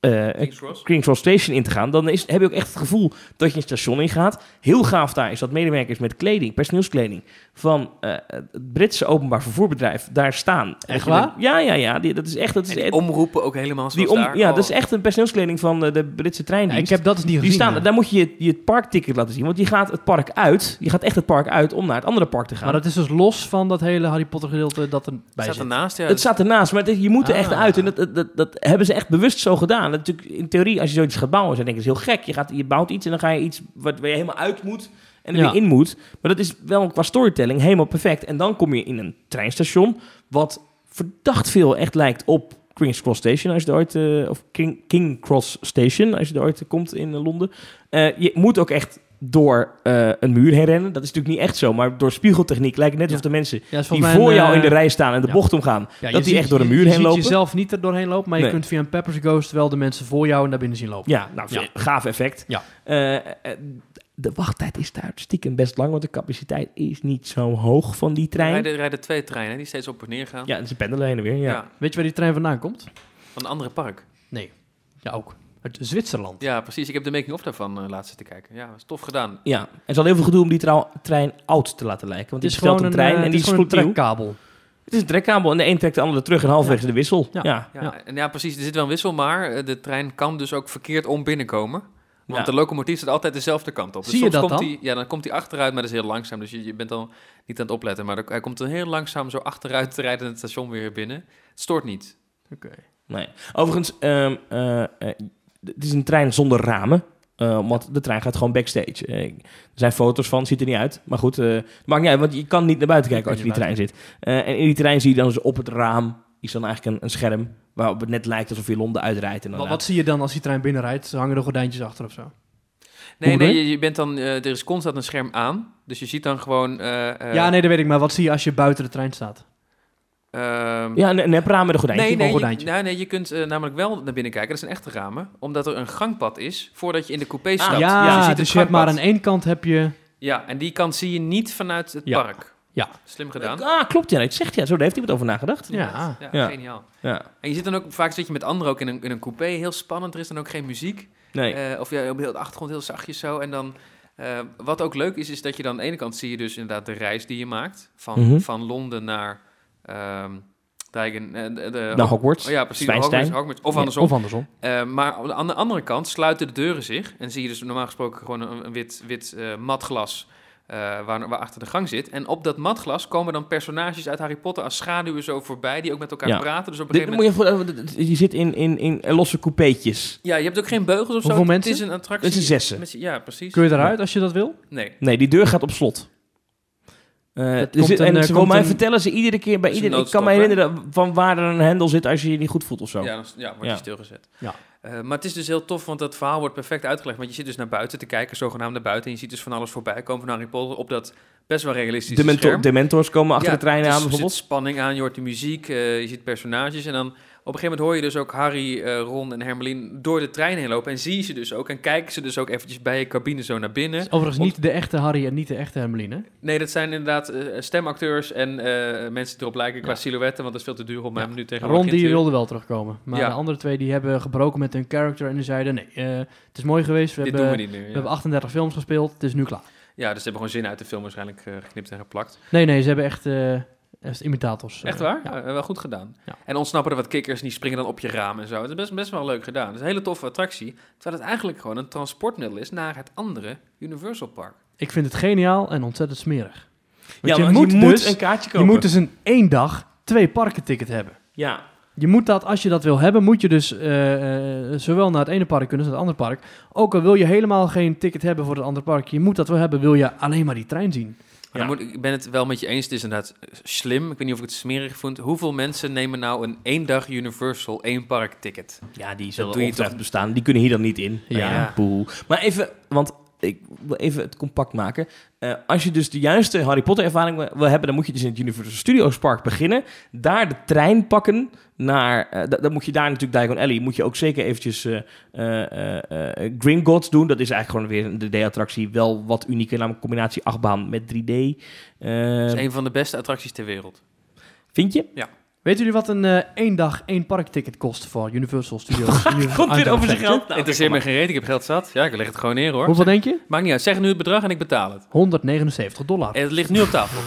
Speaker 2: eh,
Speaker 3: King's Cross.
Speaker 2: Kings Cross Station in te gaan, dan is, heb je ook echt het gevoel dat je een station ingaat. Heel gaaf daar is dat medewerkers met kleding, personeelskleding, van eh, het Britse openbaar vervoerbedrijf daar staan. En dat je
Speaker 1: waar?
Speaker 2: denkt, Ja, ja, ja. Die, dat is echt. Dat is,
Speaker 3: En die
Speaker 2: het-
Speaker 3: omroepen ook helemaal zoals
Speaker 2: die om-
Speaker 3: daar.
Speaker 2: ja,
Speaker 3: Oh.
Speaker 2: dat is echt een personeelskleding van eh, de Britse
Speaker 1: Ja, ik
Speaker 2: treindienst.
Speaker 1: heb dat dus niet
Speaker 2: die
Speaker 1: gezien.
Speaker 2: staan,
Speaker 1: eh.
Speaker 2: daar moet je je, je parkticket laten zien, want je gaat het park uit. Je gaat echt het park uit om naar het andere park te gaan.
Speaker 1: Maar dat is dus los van dat hele Harry Potter gedeelte dat er bij
Speaker 3: staat
Speaker 1: zit.
Speaker 3: ernaast. Ja, dus
Speaker 2: het staat ernaast, maar het is- je moet er echt
Speaker 1: Ah.
Speaker 2: uit. En dat, dat, dat, dat hebben ze echt bewust zo gedaan. natuurlijk in theorie, als je zoiets gaat bouwen, dan denk ik, dat is heel gek. Je, gaat, je bouwt iets en dan ga je iets wat, waar je helemaal uit moet en er
Speaker 1: Ja.
Speaker 2: weer in moet. Maar dat is wel qua storytelling helemaal perfect. En dan kom je in een treinstation, wat verdacht veel echt lijkt op King's Cross Station, als je er ooit, eh, of King, King Cross Station, als je er ooit komt in eh, Londen. Eh, je moet ook echt door eh, een muur heen rennen. Dat is natuurlijk niet echt zo, maar door spiegeltechniek lijkt het net
Speaker 1: Ja.
Speaker 2: of de mensen
Speaker 1: Ja, is volgens
Speaker 2: die
Speaker 1: mij
Speaker 2: voor
Speaker 1: een,
Speaker 2: jou in de
Speaker 1: eh,
Speaker 2: rij staan en de
Speaker 1: ja.
Speaker 2: bocht omgaan,
Speaker 1: Ja, je
Speaker 2: dat die
Speaker 1: ziet-
Speaker 2: echt door de
Speaker 1: je-
Speaker 2: muur heen
Speaker 1: Je
Speaker 2: lopen.
Speaker 1: ziet jezelf niet er doorheen lopen, maar je
Speaker 2: Nee.
Speaker 1: kunt via een Pepper's Ghost wel de mensen voor jou naar binnen zien lopen.
Speaker 2: Ja, nou,
Speaker 1: Ja.
Speaker 2: gaaf effect.
Speaker 1: Ja.
Speaker 2: Eh, eh, de wachttijd is daar stiekem best lang, want de capaciteit is niet zo hoog van die trein.
Speaker 3: Rijden, rijden twee treinen die steeds op en neer gaan.
Speaker 2: Ja, ze pendelen heen en weer. Ja.
Speaker 3: Ja,
Speaker 1: Weet je waar die trein vandaan komt?
Speaker 3: van een andere park.
Speaker 1: Ja, ook. Uit Zwitserland.
Speaker 3: Ja, precies. Ik heb de making-of daarvan eh laatst te kijken. Ja, dat is tof gedaan.
Speaker 2: Ja, en ze hadden heel veel gedoe om die trouw- trein oud te laten lijken. Want
Speaker 1: Het is
Speaker 2: bestelt
Speaker 1: gewoon een
Speaker 2: een trein
Speaker 1: eh,
Speaker 2: en
Speaker 1: het
Speaker 2: die
Speaker 1: is gewoon een
Speaker 2: gloednieuw.
Speaker 1: trekkabel.
Speaker 2: Het is een trekkabel en de een trekt de andere terug en halverwege de wissel.
Speaker 1: Ja.
Speaker 2: Ja.
Speaker 3: Ja,
Speaker 1: Ja.
Speaker 3: En ja, precies. Er zit wel een wissel, maar eh, de trein kan dus ook verkeerd om binnenkomen. Want
Speaker 2: Ja.
Speaker 3: de locomotief zit altijd dezelfde kant op. Dus
Speaker 1: Zie je
Speaker 3: soms
Speaker 1: dat
Speaker 3: komt
Speaker 1: dan?
Speaker 3: Die, ja, dan komt hij achteruit, maar dat is heel langzaam. Dus je, je bent dan niet aan het opletten. Maar dan- hij komt dan heel langzaam zo achteruit te rijden het station weer binnen. Het stoort niet.
Speaker 2: Nee. Overigens, ehm, eh, eh, het is een trein zonder ramen. eh, want de trein gaat gewoon backstage. Eh, er zijn foto's van, ziet er niet uit. Maar goed, eh maakt niet uit, want je kan niet naar buiten kijken
Speaker 1: Je
Speaker 2: als je
Speaker 1: kunt
Speaker 2: in die trein zit. Eh, en in die trein zie je dan dus op het raam is dan eigenlijk een, een scherm waarop het net lijkt alsof je Londen uitrijdt. En
Speaker 1: Wat, wat zie je dan als die trein binnenrijdt? Ze hangen er gordijntjes achter of zo.
Speaker 3: Nee,
Speaker 1: Hoe
Speaker 3: nee,
Speaker 1: bedoel
Speaker 3: je, je bent dan, eh, er is constant een scherm aan. Dus je ziet dan gewoon... eh, eh,
Speaker 1: ja, nee, dat weet ik. Maar wat zie je als je buiten de trein staat?
Speaker 2: Ah,
Speaker 3: ehm,
Speaker 2: Ja, een, een nepraam met een
Speaker 1: gewoon
Speaker 2: gordijntje.
Speaker 3: nee, nee, je,
Speaker 1: gordijntje.
Speaker 3: nou, nee, je kunt eh, namelijk wel naar binnen kijken. Dat zijn echte ramen. Omdat er een gangpad is voordat je in de coupé stapt.
Speaker 1: ja,
Speaker 3: je ziet het
Speaker 1: dus je hebt maar aan
Speaker 3: gangpad.
Speaker 1: één kant heb je...
Speaker 3: Ja, en die kant zie je niet vanuit het
Speaker 1: Ja.
Speaker 3: park.
Speaker 1: Ja.
Speaker 3: Slim gedaan.
Speaker 2: Ah, klopt. Ja, het zegt ja. Zo, daar heeft iemand over nagedacht.
Speaker 1: Ja.
Speaker 3: Ja,
Speaker 2: Ja.
Speaker 3: geniaal.
Speaker 2: Ja.
Speaker 3: En je zit dan ook, vaak zit je met anderen ook in een, in een coupé, heel spannend, er is dan ook geen muziek.
Speaker 2: Nee.
Speaker 3: Eh, of ja, op heel de achtergrond heel zachtjes zo. En dan, eh, wat ook leuk is, is dat je dan aan de ene kant zie je dus inderdaad de reis die je maakt. Van,
Speaker 2: Mhm.
Speaker 3: van Londen naar, ehm Dijken, eh, de, de-
Speaker 2: naar Nou, Hogwarts.
Speaker 3: oh, ja, precies,
Speaker 2: Zwijnstein.
Speaker 3: Hogwarts, Hogwarts, of
Speaker 1: Ja,
Speaker 3: andersom.
Speaker 1: Of andersom.
Speaker 3: Eh, maar aan de andere kant sluiten de deuren zich. En zie je dus normaal gesproken gewoon een, een wit, wit eh, matglas eh, waar, waar achter de gang zit. En op dat matglas komen dan personages uit Harry Potter als schaduwen zo voorbij, die ook met elkaar
Speaker 2: Ja.
Speaker 3: praten. Dus op een
Speaker 2: Dit,
Speaker 3: gegeven
Speaker 2: moet
Speaker 3: moment...
Speaker 2: je, even- eh, je zit in, in, in losse coupeetjes.
Speaker 3: Ja, je hebt ook geen beugels of zo.
Speaker 1: Hoeveel
Speaker 3: Het
Speaker 1: mensen?
Speaker 3: is een attractie.
Speaker 2: Dat is een zessen.
Speaker 3: Met- Ja, precies.
Speaker 1: Kun je eruit als je dat wil?
Speaker 3: Nee.
Speaker 2: Nee, die deur gaat op slot. Eh,
Speaker 1: Dat
Speaker 2: er zit-
Speaker 1: komt een,
Speaker 2: en
Speaker 1: eh,
Speaker 2: ze
Speaker 1: komt
Speaker 2: komen mij
Speaker 1: een-
Speaker 2: vertellen ze iedere keer bij
Speaker 3: is een
Speaker 2: iedereen. Ik kan me
Speaker 3: noodstop, hè?
Speaker 2: herinneren van waar er een hendel zit als je je niet goed voelt of zo.
Speaker 3: Ja, dan, ja wordt
Speaker 2: Ja.
Speaker 3: je stilgezet.
Speaker 1: Ja.
Speaker 3: Eh, maar het is dus heel tof, want dat verhaal wordt perfect uitgelegd. Want je zit dus naar buiten te kijken, zogenaamd naar buiten. En je ziet dus van alles voorbij komen van Harry Potter op dat best wel realistische
Speaker 2: de, mento-
Speaker 3: scherm.
Speaker 2: de mentors komen achter de trein
Speaker 3: dus
Speaker 2: aan
Speaker 3: Er
Speaker 2: bijvoorbeeld.
Speaker 3: zit spanning aan, je hoort de muziek, eh, je ziet personages. En dan op een gegeven moment hoor je dus ook Harry, eh, Ron en Hermeline door de trein heen lopen. En zie je ze dus ook en kijken ze dus ook eventjes bij je cabine zo naar binnen.
Speaker 1: Overigens niet de echte Harry en niet de echte Hermeline.
Speaker 3: Nee, dat zijn inderdaad eh, stemacteurs en eh, mensen die erop lijken qua silhouetten. Want dat is veel te duur om hem nu tegenwoordig
Speaker 1: Ron
Speaker 3: in te
Speaker 1: die
Speaker 3: huren.
Speaker 1: wilde wel terugkomen. Maar
Speaker 3: Ja.
Speaker 1: de andere twee die hebben gebroken met hun character en die zeiden... Nee, eh, het is mooi geweest. We,
Speaker 3: Dit
Speaker 1: hebben,
Speaker 3: doen we niet meer.
Speaker 1: we
Speaker 3: Ja.
Speaker 1: hebben 38 films gespeeld. Het is nu klaar.
Speaker 3: ja, dus ze hebben gewoon zin uit de film waarschijnlijk eh, geknipt en geplakt.
Speaker 1: Nee, nee, ze hebben echt, eh, echt imitators. eh,
Speaker 3: Echt waar?
Speaker 1: ja.
Speaker 3: Eh, wel goed gedaan.
Speaker 1: Ja.
Speaker 3: En ontsnappen er wat kikkers en die springen dan op je raam en zo. Het is best, best wel leuk gedaan. Het is een hele toffe attractie. Terwijl het eigenlijk gewoon een transportmiddel is naar het andere Universal Park.
Speaker 1: Ik vind het geniaal en ontzettend smerig. Want
Speaker 2: ja,
Speaker 1: je,
Speaker 2: want
Speaker 1: moet dus,
Speaker 2: een kaartje
Speaker 1: je
Speaker 2: kopen.
Speaker 1: moet dus een één dag twee parkenticket hebben.
Speaker 2: ja.
Speaker 1: Je moet dat, als je dat wil hebben, moet je dus eh, eh, zowel naar het ene park kunnen als naar het andere park. Ook al wil je helemaal geen ticket hebben voor het andere park, je moet dat wel hebben, wil je alleen maar die trein zien.
Speaker 3: Ja.
Speaker 2: Ja.
Speaker 3: moet- ik ben het wel met je eens. Het is inderdaad eh, slim. Ik weet niet of ik het smerig vond. Hoeveel mensen nemen nou een één dag Universal één park ticket?
Speaker 2: ja, die zullen
Speaker 3: doe je
Speaker 2: ongetwijfeld bestaan. Die kunnen hier dan niet in.
Speaker 1: Ja.
Speaker 2: Nou boe. Maar even, want ik wil even het compact maken. Eh, als je dus de juiste Harry Potter ervaring wil- wil hebben, dan moet je dus in het Universal Studios Park beginnen. Daar de trein pakken naar, eh, da- dan moet je daar natuurlijk Diagon Alley, moet je ook zeker eventjes eh eh, eh, eh, Gringotts doen. Dat is eigenlijk gewoon weer een 3D-attractie. Wel wat unieke, namelijk combinatie achtbaan met 3D. Eh,
Speaker 3: Dat is een van de beste attracties ter wereld.
Speaker 2: vind je?
Speaker 1: Weten jullie wat een eh één dag één parkticket kost voor Universal Studios? Universal
Speaker 3: Ah,
Speaker 2: Komt dit over zijn
Speaker 1: Adventure?
Speaker 2: geld? Nou,
Speaker 3: Interesseer me geen reet. Ik heb geld zat. Ja, ik leg het gewoon neer hoor.
Speaker 1: Hoeveel denk je?
Speaker 3: Maakt niet uit. Zeg nu het bedrag en ik betaal het.
Speaker 1: 179 dollar.
Speaker 3: En het ligt nu op tafel.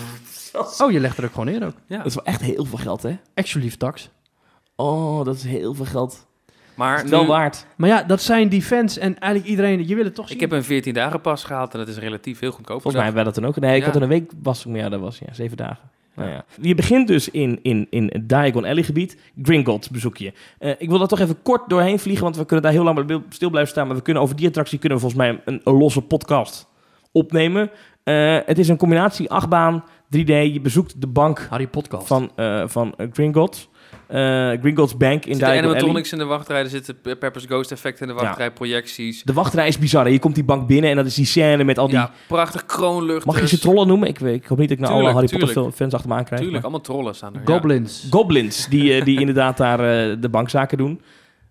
Speaker 1: Oh, je legt er ook gewoon neer ook.
Speaker 3: Ja.
Speaker 2: Dat is wel echt heel veel geld, hè?
Speaker 1: Actually tax.
Speaker 2: Oh, dat is heel veel geld.
Speaker 3: Maar
Speaker 2: wel
Speaker 3: nu-
Speaker 2: waard.
Speaker 1: Maar ja, dat zijn die fans en eigenlijk iedereen, je wil het toch zien.
Speaker 3: Ik heb een 14 dagen pas gehaald en dat is relatief heel goedkoop.
Speaker 2: Volgens mij hebben wij dat dan ook. Nee, ik
Speaker 3: Ja.
Speaker 2: had er een week was ik met jou daar was. Ja, zeven dagen. Nou ja. Je begint dus in, in, in het Diagon Alley gebied. Gringotts bezoek je. Eh, ik wil daar toch even kort doorheen vliegen, want we kunnen daar heel lang bij stil blijven staan. Maar we kunnen over die attractie kunnen we volgens mij een, een losse podcast opnemen. Eh, het is een combinatie achtbaan, 3D. Je bezoekt de bank
Speaker 1: Harry Podcast.
Speaker 2: van, eh van eh, Gringotts. Eh, Gringotts Bank in
Speaker 3: zitten
Speaker 2: Diagon Alley.
Speaker 3: animatronics in de wachtrij, er zitten pe- Pepper's Ghost effecten in de wachtrij, projecties.
Speaker 2: De wachtrij is bizar. hè. Je komt die bank binnen en dat is die scène met al die...
Speaker 3: Ja, prachtig kroonlucht.
Speaker 2: Mag je ze trollen noemen? Ik, weet- ik hoop niet dat ik nou alle
Speaker 3: Tuurlijk,
Speaker 2: Harry Potter
Speaker 3: tuurlijk.
Speaker 2: fans achter me aankrijg. maar-
Speaker 3: Tuurlijk, allemaal trollen staan er. ja.
Speaker 1: Goblins.
Speaker 2: Goblins, die, eh, die inderdaad daar eh, de bankzaken doen.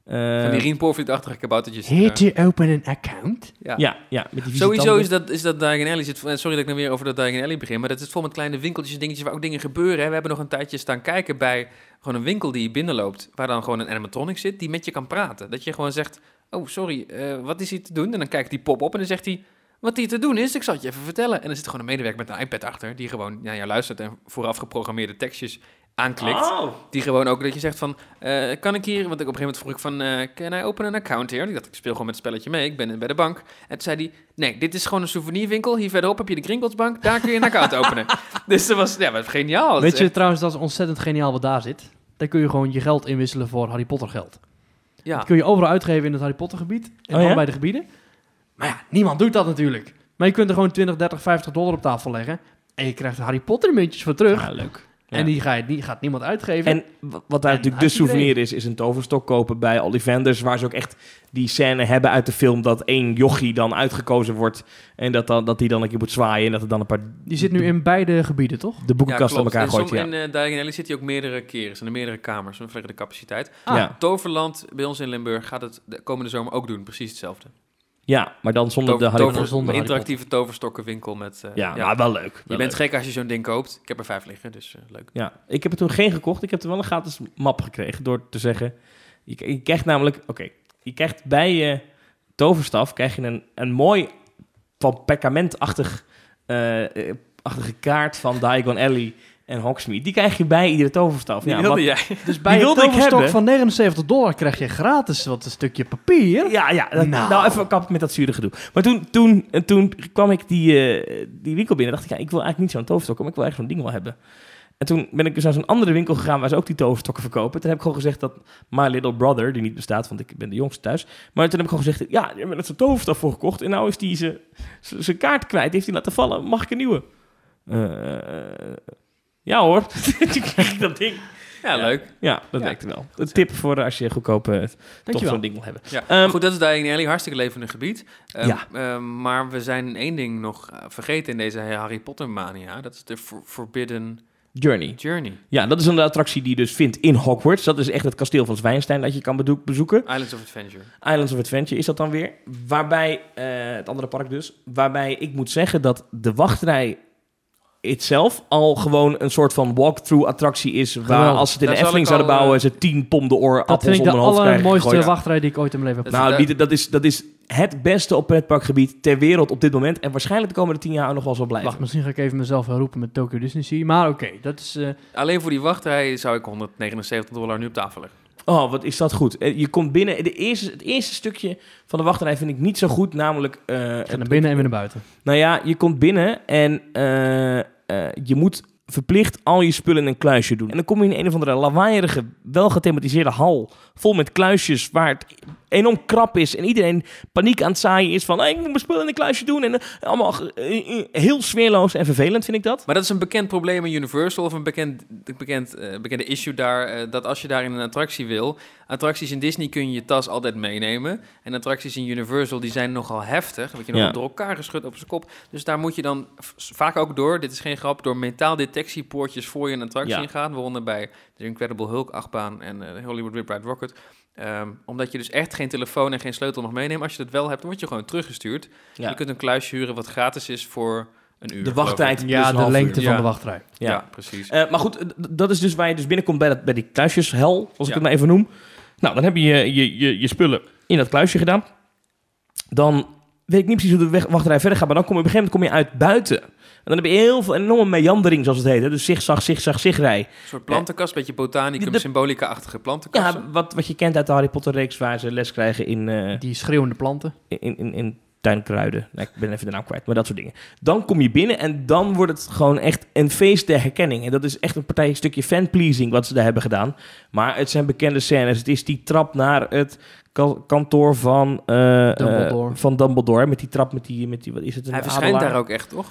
Speaker 2: Eh,
Speaker 3: Van die Rien Porfied-achtige kaboutertjes.
Speaker 1: Heet je open een account?
Speaker 3: Ja.
Speaker 2: ja, ja, met die
Speaker 3: Sowieso
Speaker 2: visitanten.
Speaker 3: is dat, is dat Diagon Alley zit, eh, sorry dat ik nou weer over dat Diagon Alley begin, maar dat is vol met kleine winkeltjes en dingetjes waar ook dingen gebeuren. Hè. We hebben nog een tijdje staan kijken bij gewoon een winkel die je binnenloopt, waar dan gewoon een animatronic zit, die met je kan praten. Dat je gewoon zegt, oh sorry, eh, wat is hier te doen? En dan kijkt die pop op en dan zegt hij, wat hier te doen is, ik zal het je even vertellen. En er zit gewoon een medewerker met een iPad achter, die gewoon naar jou luistert en vooraf geprogrammeerde tekstjes aanklikt.
Speaker 2: Oh,
Speaker 3: Die gewoon ook dat je zegt van, eh, kan ik hier, want ik op een gegeven moment vroeg ik van, eh can I open an account here? Ik dacht, ik speel gewoon met het spelletje mee, ik ben bij de bank. En toen zei hij, nee, dit is gewoon een souvenirwinkel, hier verderop heb je de Gringottsbank, daar kun je een account openen. Dus dat was, ja, maar geniaal. Dat
Speaker 1: Weet
Speaker 3: is
Speaker 1: je
Speaker 3: echt-
Speaker 1: trouwens, dat is ontzettend geniaal wat daar zit. Daar kun je gewoon je geld inwisselen voor Harry Potter geld.
Speaker 3: ja.
Speaker 1: Dat kun je overal uitgeven in het Harry Potter gebied. En
Speaker 2: Ah. Oh ja?
Speaker 1: allebei de gebieden. Maar ja, niemand doet dat natuurlijk. Maar je kunt er gewoon 20, 30, 50 dollar op tafel leggen. En je krijgt de Harry Potter muntjes voor terug.
Speaker 2: ja, leuk. ja.
Speaker 1: En die, ga je, die gaat niemand uitgeven.
Speaker 2: En w- wat daar
Speaker 1: En
Speaker 2: natuurlijk de
Speaker 1: had je
Speaker 2: souvenir is, is een toverstok kopen bij Ollivanders, waar ze ook echt die scène hebben uit de film dat één jochie dan uitgekozen wordt en dat, dan, dat die dan een keer moet zwaaien en dat er dan een paar
Speaker 1: die zit nu in beide gebieden, toch?
Speaker 2: de boekenkast
Speaker 3: ja,
Speaker 2: aan elkaar gooit.
Speaker 3: klopt.
Speaker 2: Ja.
Speaker 3: En soms in eh Diagon Alley zit hij ook meerdere keren, zijn er meerdere kamers, vanwege de capaciteit.
Speaker 1: Ah,
Speaker 2: ja.
Speaker 3: Toverland, bij ons in Limburg, gaat het de komende zomer ook doen, precies hetzelfde.
Speaker 2: ja, maar dan zonder
Speaker 3: Tover-
Speaker 2: de Harry
Speaker 3: tover-
Speaker 2: Potter.
Speaker 1: zonder Harry
Speaker 3: interactieve toverstokkenwinkel met... eh,
Speaker 2: Ja,
Speaker 3: ja.
Speaker 2: maar wel leuk.
Speaker 3: Je
Speaker 2: wel
Speaker 3: bent
Speaker 2: leuk.
Speaker 3: gek als je zo'n ding koopt. Ik heb er vijf liggen, dus eh, leuk.
Speaker 2: Ja, ik heb er toen geen gekocht. Ik heb er wel een gratis map gekregen door te zeggen... Je, je krijgt namelijk... Oké, je krijgt bij je toverstaf krijg je een, een mooi van perkamentachtig eh, eh, achtige kaart van Diagon Alley en Hogsmeade. Die krijg je bij iedere toverstaf.
Speaker 3: Die
Speaker 2: Ja,
Speaker 3: wilde
Speaker 2: wat-
Speaker 3: jij.
Speaker 1: Dus bij
Speaker 2: wilde
Speaker 1: een
Speaker 2: ik
Speaker 1: toverstok
Speaker 2: hebben.
Speaker 1: van 79 dollar krijg je gratis wat een stukje papier.
Speaker 2: Ja, ja. dat- nou.
Speaker 1: Nou.
Speaker 2: even kap ik met dat zure gedoe. Maar toen, toen, en toen kwam ik die, eh, die winkel binnen. dacht ik, ja, ik wil eigenlijk niet zo'n toverstok, maar ik wil eigenlijk zo'n ding wel hebben. En toen ben ik dus naar zo'n andere winkel gegaan waar ze ook die toverstokken verkopen. Toen heb ik gewoon gezegd dat My Little Brother, die niet bestaat, want ik ben de jongste thuis. Maar toen heb ik gewoon gezegd, ja, daar hebben we zo'n toverstof voor gekocht. En nou is die zijn- zijn zijn kaart kwijt, heeft hij laten vallen. Mag ik een nieuwe? Eh, ja hoor. Toen kreeg ik dat ding.
Speaker 3: Ja, leuk.
Speaker 2: Ja, dat
Speaker 3: Ja.
Speaker 2: werkte wel. Een tip voor als je goedkoop eh, toch
Speaker 1: Dankjewel.
Speaker 2: zo'n ding wil hebben.
Speaker 3: Ja.
Speaker 2: Ehm,
Speaker 3: Goed, dat is Diagon Alley, hartstikke levendig gebied. Ehm,
Speaker 2: Ja.
Speaker 3: ehm, maar we zijn één ding nog eh, vergeten in deze Harry Potter mania. Dat is de For- Forbidden
Speaker 2: Journey.
Speaker 3: Journey.
Speaker 2: Ja, dat is een attractie die je dus vindt in Hogwarts. Dat is echt het kasteel van Zwijnstein dat je kan bedoek- bezoeken.
Speaker 3: Islands of Adventure.
Speaker 2: Islands of Adventure is dat dan weer. Waarbij, eh, het andere park dus, waarbij ik moet zeggen dat de wachtrij itself al gewoon een soort van walkthrough attractie is. Waar
Speaker 1: Geweldig.
Speaker 2: als ze het in
Speaker 3: Daar
Speaker 2: de
Speaker 3: zal
Speaker 2: Efteling
Speaker 3: ik al,
Speaker 2: zouden bouwen, ze tien pom de oor
Speaker 1: eh, Dat
Speaker 2: appels
Speaker 1: vind ik de
Speaker 2: onder hun hoofd krijgen
Speaker 1: allermooiste
Speaker 2: gegooid.
Speaker 1: wachtrij die ik ooit in mijn leven heb.
Speaker 2: Nou,
Speaker 3: Dat-
Speaker 2: die- dat is, dat is het beste op pretparkgebied ter wereld op dit moment. En waarschijnlijk de komende tien jaar nog wel zo blijven.
Speaker 1: Wacht, misschien ga ik even mezelf herroepen met Tokyo Disney Sea. Maar oké, dat is... eh,
Speaker 3: Alleen voor die wachtrij zou ik 179 dollar nu op tafel leggen.
Speaker 2: Oh, wat is dat goed. Eh, Je komt binnen. De eerste, het eerste stukje van de wachtrij vind ik niet zo goed. Namelijk... eh,
Speaker 1: ik ga naar binnen en weer naar buiten.
Speaker 2: Nou ja, je komt binnen en eh, eh, je moet verplicht al je spullen in een kluisje doen. En dan kom je in een of andere lawaaierige, wel gethematiseerde hal... vol met kluisjes waar het enorm krap is... en iedereen paniek aan het zaaien is van... "Hey, ik moet mijn spullen in een kluisje doen. En eh, allemaal ge- eh, eh, heel sfeerloos en vervelend vind ik dat.
Speaker 3: Maar dat is een bekend probleem in Universal of een bekend, bekend, eh, bekende issue daar. eh, dat als je daar in een attractie wil. Attracties in Disney kun je je tas altijd meenemen. En attracties in Universal die zijn nogal heftig. Word je nog
Speaker 2: Ja.
Speaker 3: door elkaar geschud op zijn kop. Dus daar moet je dan v- vaak ook door, dit is geen grap, door metaaldetectiepoortjes voor je een attractie
Speaker 2: Ja.
Speaker 3: ingaat. Waaronder bij de Incredible Hulk achtbaan en eh, Hollywood Rip Ride Rocket. Ehm, omdat je dus echt geen telefoon en geen sleutel mag meenemen. Als je dat wel hebt, dan word je gewoon teruggestuurd.
Speaker 2: Ja.
Speaker 3: Je kunt een kluisje huren wat gratis is voor een uur.
Speaker 2: De
Speaker 3: geloof ik.
Speaker 2: wachttijd plus
Speaker 1: Ja,
Speaker 2: een
Speaker 1: de
Speaker 2: half
Speaker 1: lengte
Speaker 2: uur.
Speaker 1: van
Speaker 3: Ja.
Speaker 1: de wachtrij.
Speaker 3: Ja,
Speaker 2: Ja.
Speaker 3: precies.
Speaker 2: Eh, maar goed, eh, d- dat is dus waar je dus binnenkomt bij, dat, bij die kluisjeshel, als
Speaker 3: Ja.
Speaker 2: ik het maar even noem. Nou, dan heb je je, je, je je spullen in dat kluisje gedaan. Dan weet ik niet precies hoe de weg, wachtrij verder gaat, maar dan kom je op een gegeven moment kom je uit buiten. En dan heb je heel veel enorme meandering, zoals het heet. Hè? Dus zigzag, zigzag, zigrij.
Speaker 3: Een soort plantenkast,
Speaker 1: eh,
Speaker 3: beetje botanicum,
Speaker 2: De-
Speaker 3: symbolica-achtige plantenkast.
Speaker 2: Ja, wat, wat je kent uit de Harry Potter reeks, waar ze les krijgen in, eh,
Speaker 1: Die schreeuwende planten.
Speaker 2: in, in, in tuinkruiden. Nou, ik ben even de naam kwijt, maar dat soort dingen. Dan kom je binnen en dan wordt het gewoon echt een feest der herkenning. En dat is echt een partij, een stukje fanpleasing wat ze daar hebben gedaan. Maar het zijn bekende scènes. Het is die trap naar het ka- kantoor van, eh,
Speaker 1: Dumbledore.
Speaker 2: eh, van Dumbledore. Met die trap, met die, met die wat is het? Een
Speaker 3: Hij verschijnt
Speaker 2: adelaar?
Speaker 3: daar ook echt, toch?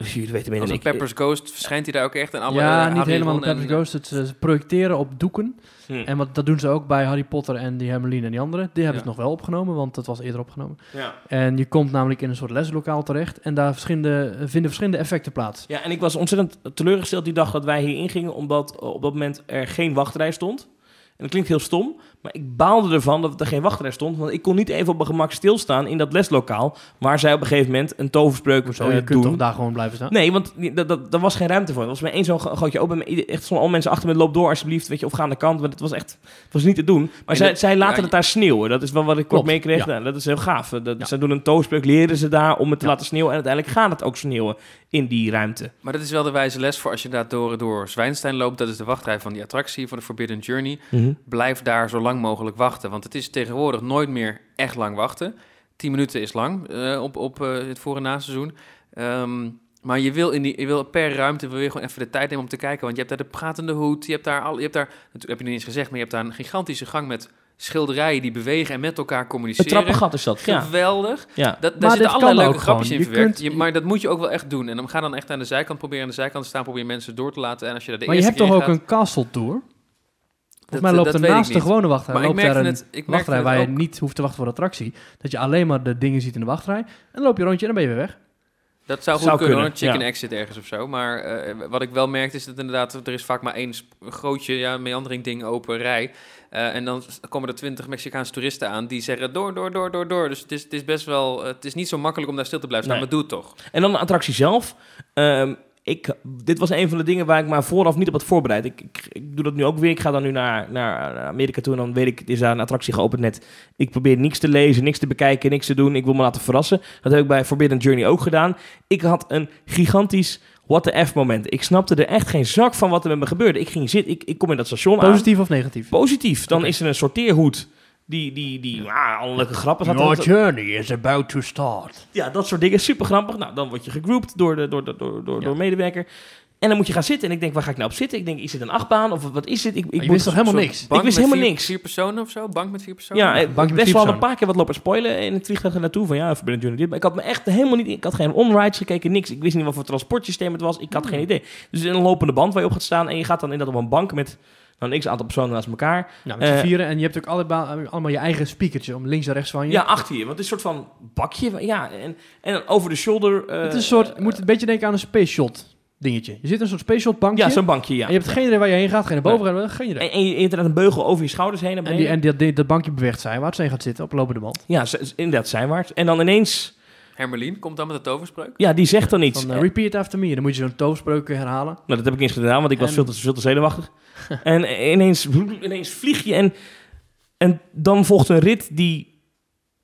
Speaker 2: Dus jullie weten meer
Speaker 3: Als
Speaker 2: dan
Speaker 3: een
Speaker 2: ik.
Speaker 3: Pepper's Ghost verschijnt hij daar ook echt. En alle,
Speaker 1: ja,
Speaker 3: eh,
Speaker 1: niet
Speaker 3: Harry,
Speaker 1: helemaal een
Speaker 3: Ron en- eh,
Speaker 1: Pepper's Ghost. Het, ze projecteren op doeken.
Speaker 2: Hm.
Speaker 1: En wat, dat doen ze ook bij Harry Potter en die Hermeline en die anderen. Die hebben
Speaker 3: Ja.
Speaker 1: het nog wel opgenomen, want dat was eerder opgenomen.
Speaker 2: Ja.
Speaker 1: En je komt namelijk in een soort leslokaal terecht. En daar verschillende, eh, vinden verschillende effecten plaats.
Speaker 2: Ja, en ik was ontzettend teleurgesteld die dag dat wij hierin gingen, omdat eh, op dat moment er geen wachtrij stond. En dat klinkt heel stom, maar ik baalde ervan dat er geen wachtrij stond, want ik kon niet even op mijn gemak stilstaan in dat leslokaal, waar zij op een gegeven moment een toverspreuk
Speaker 1: Hoezo?
Speaker 2: eh,
Speaker 1: je kunt
Speaker 2: doen.
Speaker 1: toch daar gewoon blijven staan?
Speaker 2: Nee, want die- dat- dat- daar was geen ruimte voor. Er was maar één zo'n gootje open. en Echt stonden al mensen achter me, loop door alsjeblieft, weet je, of ga aan de kant. Want het was echt het was niet te doen. Maar
Speaker 3: En
Speaker 2: zij,
Speaker 3: dat-
Speaker 2: zij laten
Speaker 3: ja,
Speaker 2: het daar sneeuwen. Dat is wel wat ik kort
Speaker 1: Klopt, ja.
Speaker 2: meekreeg. Nou, dat is heel gaaf. Dat,
Speaker 1: Ja.
Speaker 2: Zij doen een toospreuk, leren ze daar om het te
Speaker 1: Ja.
Speaker 2: laten sneeuwen. En uiteindelijk gaat het ook sneeuwen in die ruimte.
Speaker 3: Maar dat is wel de wijze les voor als je daar door, door Zwijnstein loopt. Dat is de wachtrij van die attractie, van de Forbidden Journey. blijf daar zo lang mogelijk wachten. Want het is tegenwoordig nooit meer echt lang wachten. 10 minuten is lang eh, op, op eh, het voor- en na-seizoen. Ehm, maar je wil, in die, je wil per ruimte wil je gewoon even de tijd nemen om te kijken. Want je hebt daar de pratende hoed. Je hebt daar, al, je hebt daar dat heb je niet eens gezegd, maar je hebt daar een gigantische gang met schilderijen die bewegen en met elkaar
Speaker 2: Een
Speaker 3: communiceren.
Speaker 2: trappengat is dat, ja.
Speaker 3: Geweldig.
Speaker 2: ja.
Speaker 3: Dat, daar
Speaker 1: Maar dit
Speaker 3: zitten allerlei
Speaker 1: kan
Speaker 3: leuke
Speaker 1: ook
Speaker 3: grapjes
Speaker 1: gewoon.
Speaker 3: in
Speaker 1: Je
Speaker 3: verwerkt.
Speaker 1: kunt-
Speaker 3: Je- maar dat moet je ook wel echt doen. En dan ga dan echt aan de zijkant proberen. Aan de zijkant staan, probeer mensen door te laten. En als je daar de
Speaker 1: maar je
Speaker 3: eerste
Speaker 1: hebt toch
Speaker 3: keer
Speaker 1: ook
Speaker 3: in gaat-
Speaker 1: een castle tour?
Speaker 3: Dat-
Speaker 1: Volgens mij loopt
Speaker 3: dat
Speaker 1: er
Speaker 3: weet ik
Speaker 1: naast de
Speaker 3: niet.
Speaker 1: gewone wachtrij
Speaker 3: Maar ik
Speaker 1: loopt daar
Speaker 3: merkte
Speaker 1: een
Speaker 3: het, ik merkte
Speaker 1: wachtrij
Speaker 3: het
Speaker 1: waar je
Speaker 3: ook.
Speaker 1: niet hoeft te wachten voor de attractie. Dat je alleen maar de dingen ziet in de wachtrij. En dan loop je een rondje en dan ben je weer weg.
Speaker 3: Dat zou goed
Speaker 2: Zou
Speaker 3: kunnen,
Speaker 2: kunnen,
Speaker 3: hoor. chicken
Speaker 2: ja.
Speaker 3: exit ergens of zo. Maar eh, wat ik wel merkte is dat inderdaad, er is vaak maar één sp- grootje, ja, meandering ding open rij. Eh, en dan s- komen er twintig Mexicaanse toeristen aan die zeggen door, door, door, door, door. Dus het is, het is best wel, het is niet zo makkelijk om daar stil te blijven staan,
Speaker 2: Nee.
Speaker 3: maar doe het toch.
Speaker 2: En dan de attractie zelf. Ehm, ik, dit was een van de dingen waar ik me vooraf niet op had voorbereid. Ik, ik, ik doe dat nu ook weer. Ik ga dan nu naar, naar Amerika toe en dan weet ik, is daar een attractie geopend net. Ik probeer niks te lezen, niks te bekijken, niks te doen. Ik wil me laten verrassen. Dat heb ik bij Forbidden Journey ook gedaan. Ik had een gigantisch what the F moment. Ik snapte er echt geen zak van wat er met me gebeurde. Ik ging zitten, ik, ik kom in dat station aan.
Speaker 1: Positief of negatief?
Speaker 2: Positief. Dan
Speaker 1: Oké.
Speaker 2: is er een sorteerhoed. Die, die, die, ja, alle leuke grappen. zaten er-
Speaker 1: journey is about to start.
Speaker 2: ja, dat soort dingen. Super grappig. Nou, dan word je gegroept door, de, door, door, door, door,
Speaker 1: Ja.
Speaker 2: door medewerker. En dan moet je gaan zitten. En ik denk, waar ga ik nou op zitten? Ik denk, is dit een achtbaan? Of wat is dit? Ik, ik
Speaker 1: je wist toch helemaal niks?
Speaker 2: wist
Speaker 3: met
Speaker 2: helemaal
Speaker 3: vier-
Speaker 2: niks.
Speaker 3: Vier personen of zo? Bank met vier personen? Nou,
Speaker 2: Ja, eh,
Speaker 1: Bankje met
Speaker 2: best wel
Speaker 1: fietsen.
Speaker 2: een paar keer wat lopen spoilen in het vliegtuig er naartoe. Van ja, Forbidden Journey dit. Maar ik had me echt helemaal niet... Ik had geen onrides gekeken, niks. Ik wist niet wat voor transportsysteem het was. Ik
Speaker 1: Hmm.
Speaker 2: had geen idee. Dus een lopende band waar je op gaat staan. En je gaat dan inderdaad op een bank met nou, een x-aantal personen naast elkaar.
Speaker 1: Nou, met z'n
Speaker 2: Eh,
Speaker 1: vieren. En je hebt ook allemaal, allemaal je eigen speakertje om links en rechts van je.
Speaker 2: Ja, achter je. Want het is een soort van bakje. Ja, en, en dan over de shoulder... eh,
Speaker 1: het is een soort, je moet een beetje denken aan een space shot dingetje. Je zit in een soort space shot bankje.
Speaker 2: ja, zo'n bankje, ja.
Speaker 1: En je hebt geen idee waar je heen gaat, geen naar boven, gaan, geen idee.
Speaker 2: En, en je je hebt inderdaad een beugel over je schouders heen. naar
Speaker 1: En,
Speaker 2: beneden.
Speaker 1: die, en die, die- dat bankje beweegt zij, waar het zijn gaat zitten op lopende band.
Speaker 2: Ja, ze- ze- inderdaad, zijwaarts. En dan ineens,
Speaker 3: Hermelien komt dan met de toverspreuk.
Speaker 2: ja, die zegt dan iets.
Speaker 1: Van, eh,
Speaker 2: Eh,
Speaker 1: repeat after me. Dan moet je zo'n toverspreuk herhalen.
Speaker 2: nou, dat heb ik niet eens gedaan, want ik was
Speaker 1: en-
Speaker 2: veel te, veel te zenuwachtig. en eh, ineens, ineens vlieg je en, en dan volgt een rit die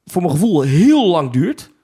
Speaker 2: voor mijn gevoel heel lang duurt.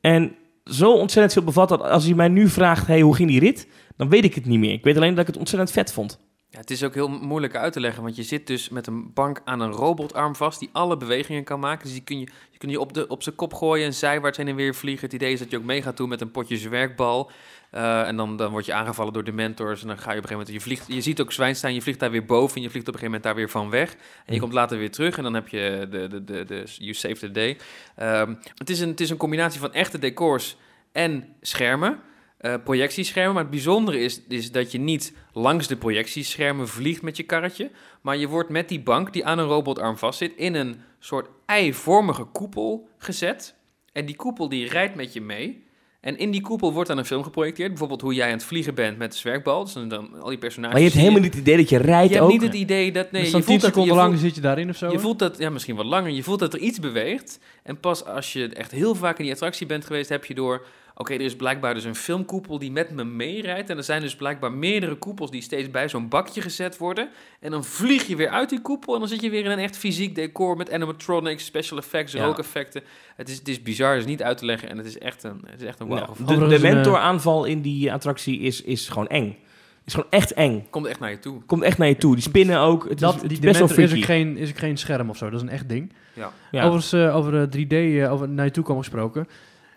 Speaker 2: En zo ontzettend veel bevat dat als je mij nu vraagt, hey, hoe ging die rit? Dan weet ik het niet meer. Ik weet alleen dat ik het ontzettend vet vond.
Speaker 3: Ja, het is ook heel moeilijk uit te leggen, want je zit dus met een bank aan een robotarm vast die alle bewegingen kan maken. Dus die kun je, je, kun je op, de, op zijn kop gooien en zijwaarts heen en weer vliegen. Het idee is dat je ook mee gaat doen met een potje zwerkbal. Eh, en dan, dan word je aangevallen door de mentors en dan ga je op een gegeven moment... Je, vliegt, je ziet ook Zwijnstein, je vliegt daar weer boven en je vliegt op een gegeven moment daar weer van weg. En
Speaker 2: Mm.
Speaker 3: je komt later weer terug en dan heb je de, de, de, de You Save the Day. Ehm, het, is een, het is een combinatie van echte decors en schermen. eh, projectieschermen. Maar het bijzondere is, is dat je niet langs de projectieschermen vliegt met je karretje. Maar je wordt met die bank die aan een robotarm vastzit in een soort eivormige koepel gezet. En die koepel die rijdt met je mee. En in die koepel wordt dan een film geprojecteerd. Bijvoorbeeld hoe jij aan het vliegen bent met de zwerkbal. Dus dan, dan al die personages.
Speaker 2: Maar je hebt
Speaker 3: zie
Speaker 2: helemaal niet het idee dat je rijdt
Speaker 3: je hebt
Speaker 2: ook.
Speaker 3: niet het idee dat... Nee,
Speaker 1: dus
Speaker 3: je
Speaker 1: dan 10
Speaker 3: voelt dat, je
Speaker 1: seconden
Speaker 3: voelt-
Speaker 1: lang zit je daarin of zo.
Speaker 3: je voelt dat, ja, misschien wat langer, je voelt dat er iets beweegt. En pas als je echt heel vaak in die attractie bent geweest, heb je door... Oké, er is blijkbaar dus een filmkoepel die met me meerijdt. En er zijn dus blijkbaar meerdere koepels die steeds bij zo'n bakje gezet worden. En dan vlieg je weer uit die koepel en dan zit je weer in een echt fysiek decor met animatronics, special effects,
Speaker 2: Ja.
Speaker 3: rookeffecten. Het is, het is bizar, het is niet uit te leggen en het is echt een, het is echt een wow.
Speaker 2: Nou, de, de
Speaker 1: Overigens een, eh,
Speaker 2: mentoraanval in die attractie is, is gewoon eng. is gewoon echt eng.
Speaker 3: Komt echt naar je toe.
Speaker 2: Komt echt naar je toe. Die spinnen ook. Het
Speaker 1: dat,
Speaker 2: is, het
Speaker 1: die
Speaker 2: is best wel
Speaker 1: Dementor is ook,
Speaker 2: freaky.
Speaker 1: geen, is ook geen scherm of zo. Dat is een echt ding.
Speaker 3: Ja.
Speaker 2: Ja.
Speaker 1: Overigens, eh, over eh, 3D, eh, over naar je toe komen gesproken.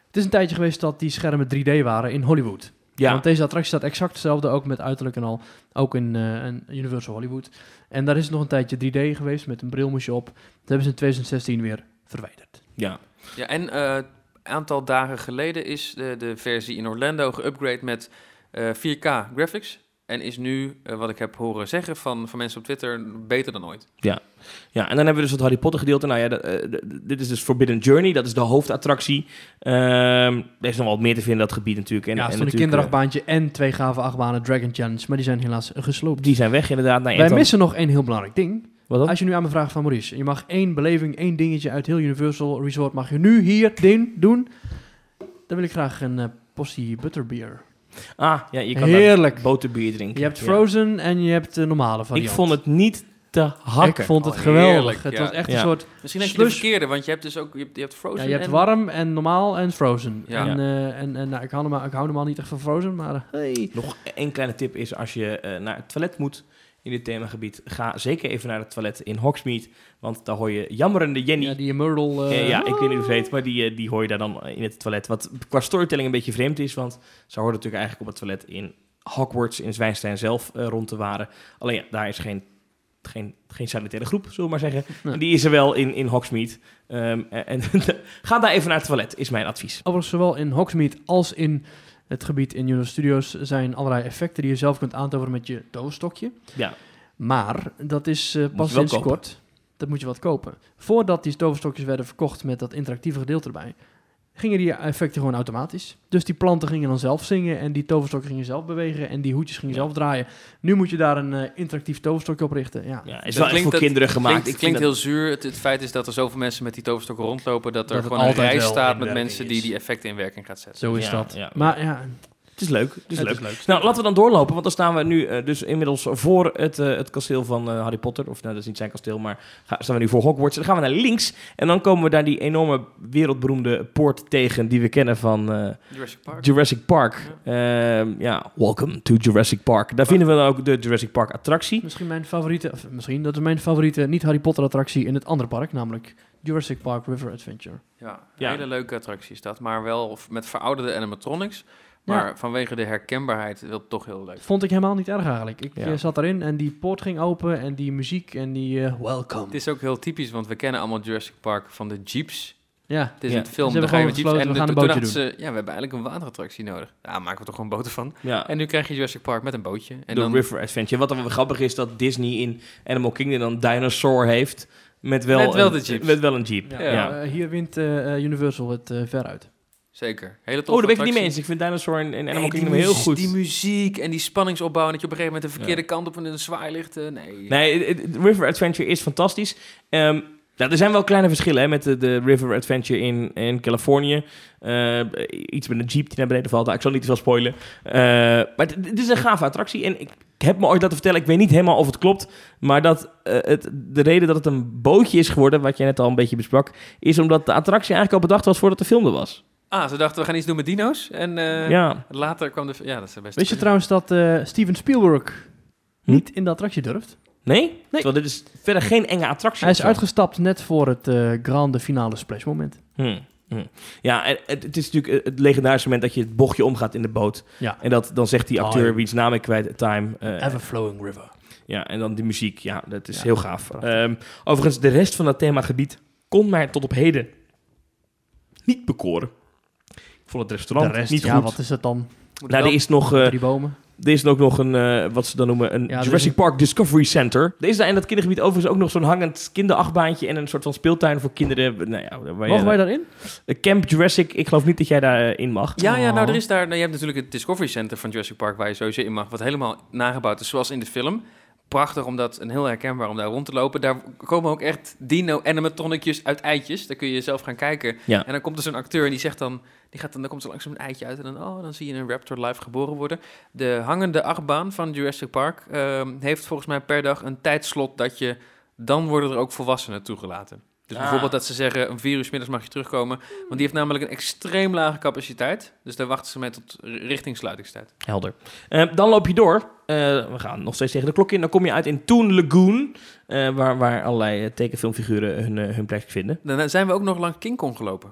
Speaker 1: Het is een tijdje geweest dat die schermen 3D waren in Hollywood.
Speaker 2: ja.
Speaker 1: Want deze attractie staat exact hetzelfde, ook met uiterlijk en al. Ook in, eh, in Universal Hollywood. En daar is nog een tijdje 3D geweest met een brilmoesje op. Dat hebben ze in 2016 weer verwijderd.
Speaker 2: ja.
Speaker 3: ja en een aantal dagen geleden is de, de versie in Orlando geüpgrade met eh, 4K graphics. En is nu, eh, wat ik heb horen zeggen van, van mensen op Twitter, beter dan ooit.
Speaker 2: Ja, en dan hebben we dus het Harry Potter gedeelte. Nou ja, dat, eh, d- d- dit is dus Forbidden Journey. Dat is de hoofdattractie. Ehm, er is nog wel wat meer te vinden in dat gebied natuurlijk. En,
Speaker 1: ja,
Speaker 2: en
Speaker 1: er stond een
Speaker 2: natuurlijk,
Speaker 1: kinderachtbaantje en twee gave achtbanen Dragon Challenge. Maar die zijn helaas
Speaker 2: eh,
Speaker 1: gesloopt.
Speaker 2: die zijn weg inderdaad. Nou, ja,
Speaker 1: Wij
Speaker 2: en dan-
Speaker 1: missen nog één heel belangrijk ding.
Speaker 2: Wat dan?
Speaker 1: Als je nu aan me vraagt van Maurice, je mag één beleving, één dingetje uit heel Universal Resort mag je nu hier din, doen. Dan wil ik graag een eh postie butterbeer.
Speaker 2: Ah, ja, je kan daar
Speaker 1: Heerlijk.
Speaker 2: boterbier drinken.
Speaker 1: Je hebt
Speaker 2: Ja.
Speaker 1: frozen en je hebt de normale
Speaker 2: Ik
Speaker 1: variant.
Speaker 2: vond het niet te hakken.
Speaker 1: Ik vond het
Speaker 3: Oh,
Speaker 1: geweldig.
Speaker 3: heerlijk,
Speaker 1: het
Speaker 3: ja.
Speaker 1: was echt
Speaker 2: Ja.
Speaker 1: een soort.
Speaker 3: Misschien heb je de
Speaker 1: Slush.
Speaker 3: verkeerde, want je hebt dus ook, je hebt, je hebt Frozen
Speaker 1: Ja, je hebt
Speaker 3: en-
Speaker 1: warm en normaal en frozen.
Speaker 3: Ja.
Speaker 1: En, eh, en, en nou, ik, hou normaal, ik hou normaal niet echt van frozen, maar. eh, hey.
Speaker 2: Nog één kleine tip is als je eh, naar het toilet moet in dit themagebied, ga zeker even naar het toilet in Hogsmeade, want daar hoor je jammerende Jenny.
Speaker 1: Ja, die Myrtle. eh,
Speaker 2: Eh, ja, ik weet niet hoe ze heet, maar die, eh, die hoor je daar dan in het toilet. Wat qua storytelling een beetje vreemd is, want ze hoorden natuurlijk eigenlijk op het toilet in Hogwarts, in Zwijnstein zelf, eh, rond te waren. Alleen ja, daar is geen, geen, geen sanitaire groep, zullen we maar zeggen.
Speaker 1: Nee.
Speaker 2: Die is er wel in, in Hogsmeade. Ehm, en, en ga daar even naar het toilet, is mijn advies.
Speaker 1: Overigens, zowel in Hogsmeade als in het gebied in Universal Studios zijn allerlei effecten die je zelf kunt aantoveren met je doosstokje.
Speaker 2: Ja.
Speaker 1: Maar dat is eh, pas
Speaker 2: wel
Speaker 1: sinds
Speaker 2: kopen.
Speaker 1: kort. Dat moet je wat kopen. Voordat die toverstokjes werden verkocht met dat interactieve gedeelte erbij, gingen die effecten gewoon automatisch. Dus die planten gingen dan zelf zingen en die toverstokken gingen zelf bewegen en die hoedjes gingen
Speaker 2: Ja.
Speaker 1: zelf draaien. Nu moet je daar een eh, interactief toverstokje op richten. Ja.
Speaker 2: Ja, is wel
Speaker 3: Dat
Speaker 2: echt
Speaker 3: klinkt-
Speaker 2: voor
Speaker 3: dat
Speaker 2: kinderen gemaakt.
Speaker 3: Klinkt,
Speaker 2: Ik
Speaker 3: het
Speaker 2: vind
Speaker 3: klinkt
Speaker 2: dat-
Speaker 3: heel zuur. Het, het feit is dat er zoveel mensen met die toverstokken rondlopen... dat er
Speaker 1: Dat het
Speaker 3: gewoon een
Speaker 1: altijd
Speaker 3: rij
Speaker 1: wel
Speaker 3: staat
Speaker 2: in
Speaker 3: met
Speaker 2: de
Speaker 3: mensen
Speaker 2: ding
Speaker 3: die
Speaker 2: is.
Speaker 3: die effecten in werking gaat zetten.
Speaker 1: Zo is
Speaker 2: Ja,
Speaker 1: dat.
Speaker 2: ja.
Speaker 1: Maar ja, het
Speaker 2: Het is leuk. Het is leuk.
Speaker 1: leuk.
Speaker 2: Nou, laten we dan doorlopen, want dan staan we nu eh, dus inmiddels voor het, eh, het kasteel van eh, Harry Potter. Of nou, dat is niet zijn kasteel, maar ga- staan we nu voor Hogwarts. Dan gaan we naar links en dan komen we daar die enorme wereldberoemde poort tegen die we kennen van eh,
Speaker 3: Jurassic Park.
Speaker 2: Jurassic Park. Ehm, ja, welcome to Jurassic Park. Daar vinden we dan ook de Jurassic Park attractie.
Speaker 1: Misschien mijn favoriete, of misschien dat is mijn favoriete niet-Harry Potter attractie in het andere park, namelijk Jurassic Park River Adventure.
Speaker 3: Ja,
Speaker 2: Ja.
Speaker 3: hele leuke attractie is dat. Maar wel of- met verouderde animatronics. Maar vanwege de herkenbaarheid wil het toch heel leuk.
Speaker 1: Vond ik helemaal niet erg eigenlijk. Ik
Speaker 2: Ja.
Speaker 1: eh, zat erin en die poort ging open en die muziek en die eh, welcome.
Speaker 3: Het is ook heel typisch, want we kennen allemaal Jurassic Park van de jeeps.
Speaker 1: Ja,
Speaker 3: Het is
Speaker 2: Ja.
Speaker 3: een film,
Speaker 1: Ze
Speaker 3: dan
Speaker 1: hebben
Speaker 3: ga je
Speaker 1: gewoon
Speaker 3: met jeeps.
Speaker 1: besloten,
Speaker 3: En
Speaker 1: we
Speaker 3: de-
Speaker 1: gaan een
Speaker 3: toen
Speaker 1: bootje
Speaker 3: dachten ze, ja, we hebben eigenlijk een waterattractie nodig. Ja, maken we toch gewoon boten van.
Speaker 2: Ja.
Speaker 3: En nu krijg je Jurassic Park met een bootje. En
Speaker 2: de
Speaker 3: dan,
Speaker 2: River Adventure. Wat dan wel grappig is dat Disney in Animal Kingdom dan Dinosaur heeft. Met wel,
Speaker 3: Met wel
Speaker 2: een,
Speaker 3: de jeeps.
Speaker 2: Met wel een jeep.
Speaker 1: Ja,
Speaker 3: Ja.
Speaker 1: ja, eh, hier wint eh, eh, Universal het eh, veruit.
Speaker 3: Zeker. Hele
Speaker 2: Oh,
Speaker 3: toffe
Speaker 2: daar ben ik het niet
Speaker 3: attractie.
Speaker 2: mee eens. Ik vind Dinosaur en, en
Speaker 3: Nee,
Speaker 2: Animal
Speaker 3: die
Speaker 2: Kingdom heel
Speaker 3: muziek-
Speaker 2: goed.
Speaker 3: Die muziek en die spanningsopbouw. En dat je op een gegeven moment de verkeerde kant op en een zwaai ligt. eh, nee.
Speaker 2: Nee, het- het River Adventure is fantastisch. Ehm, nou, er zijn wel kleine verschillen hè, met de, de River Adventure in, in Californië. Eh, iets met een jeep die naar beneden valt. Nou, ik zal niet te veel spoilen. Eh, maar het, het is een gave attractie. En ik heb me ooit laten vertellen, ik weet niet helemaal of het klopt... maar dat eh, het, de reden dat het een bootje is geworden... wat je net al een beetje besprak... is omdat de attractie eigenlijk al bedacht was voordat de film er was.
Speaker 3: Ah, ze dachten we gaan iets doen met dino's. En eh,
Speaker 2: ja.
Speaker 3: later kwam de... Ja, dat is best...
Speaker 1: Weet je trouwens dat eh, Steven Spielberg
Speaker 2: Hm?
Speaker 1: niet in de attractie durft?
Speaker 2: Nee? Terwijl dit is verder geen enge attractie.
Speaker 1: Hij is
Speaker 2: of zo.
Speaker 1: uitgestapt net voor het eh, grande finale splash moment.
Speaker 2: Hmm, hmm. Ja, en het, het is natuurlijk het legendarische moment dat je het bochtje omgaat in de boot.
Speaker 1: Ja.
Speaker 2: En dat, dan zegt die acteur
Speaker 1: Time.
Speaker 2: wie zijn naam ik kwijt, Time. eh,
Speaker 1: Everflowing River.
Speaker 2: ja, en dan die muziek. Ja, dat is
Speaker 1: Ja,
Speaker 2: heel gaaf.
Speaker 1: prachtig.
Speaker 2: Ehm, overigens, de rest van dat themagebied kon mij tot op heden niet bekoren. Ik vond het
Speaker 1: De
Speaker 2: restaurant
Speaker 1: rest,
Speaker 2: niet
Speaker 1: ja,
Speaker 2: goed.
Speaker 1: wat is dat dan?
Speaker 3: Moet
Speaker 2: nou,
Speaker 3: wel-
Speaker 2: er is nog... eh,
Speaker 1: Drie bomen.
Speaker 2: er is ook nog een, eh, wat ze dan noemen, een
Speaker 1: Ja, er is
Speaker 2: Jurassic
Speaker 1: een-
Speaker 2: Park Discovery Center. Er is daar in dat kindergebied overigens ook nog zo'n hangend kinderachtbaantje en een soort van speeltuin voor kinderen. Nou ja, waar je-
Speaker 1: Mogen wij daarin?
Speaker 2: Eh, Camp Jurassic, ik geloof niet dat jij daarin mag.
Speaker 3: Ja, ja, nou,
Speaker 1: Oh.
Speaker 3: er is daar... Nou, je hebt natuurlijk het Discovery Center van Jurassic Park... waar je sowieso in mag, wat helemaal nagebouwd is, zoals in de film. Prachtig om dat... En heel herkenbaar om daar rond te lopen. Daar komen ook echt dino-animatronicjes uit eitjes. Daar kun je zelf gaan kijken.
Speaker 2: Ja.
Speaker 3: En dan komt er zo'n acteur en die zegt dan... Die gaat dan, dan komt er langzaam een eitje uit en dan, oh, dan zie je een raptor live geboren worden. De hangende achtbaan van Jurassic Park ehm, heeft volgens mij per dag een tijdslot dat je... Dan worden er ook volwassenen toegelaten. Dus
Speaker 2: Ah.
Speaker 3: bijvoorbeeld dat ze zeggen, om vier uur 's middags mag je terugkomen. Want die heeft namelijk een extreem lage capaciteit. Dus daar wachten ze mee tot r- richting sluitingstijd.
Speaker 2: Helder. Eh, dan loop je door. Eh, we gaan nog steeds tegen de klok in. Dan kom je uit in Toon Lagoon, eh, waar, waar allerlei eh, tekenfilmfiguren hun, eh, hun plek vinden.
Speaker 3: Daarna zijn we ook nog lang King Kong gelopen.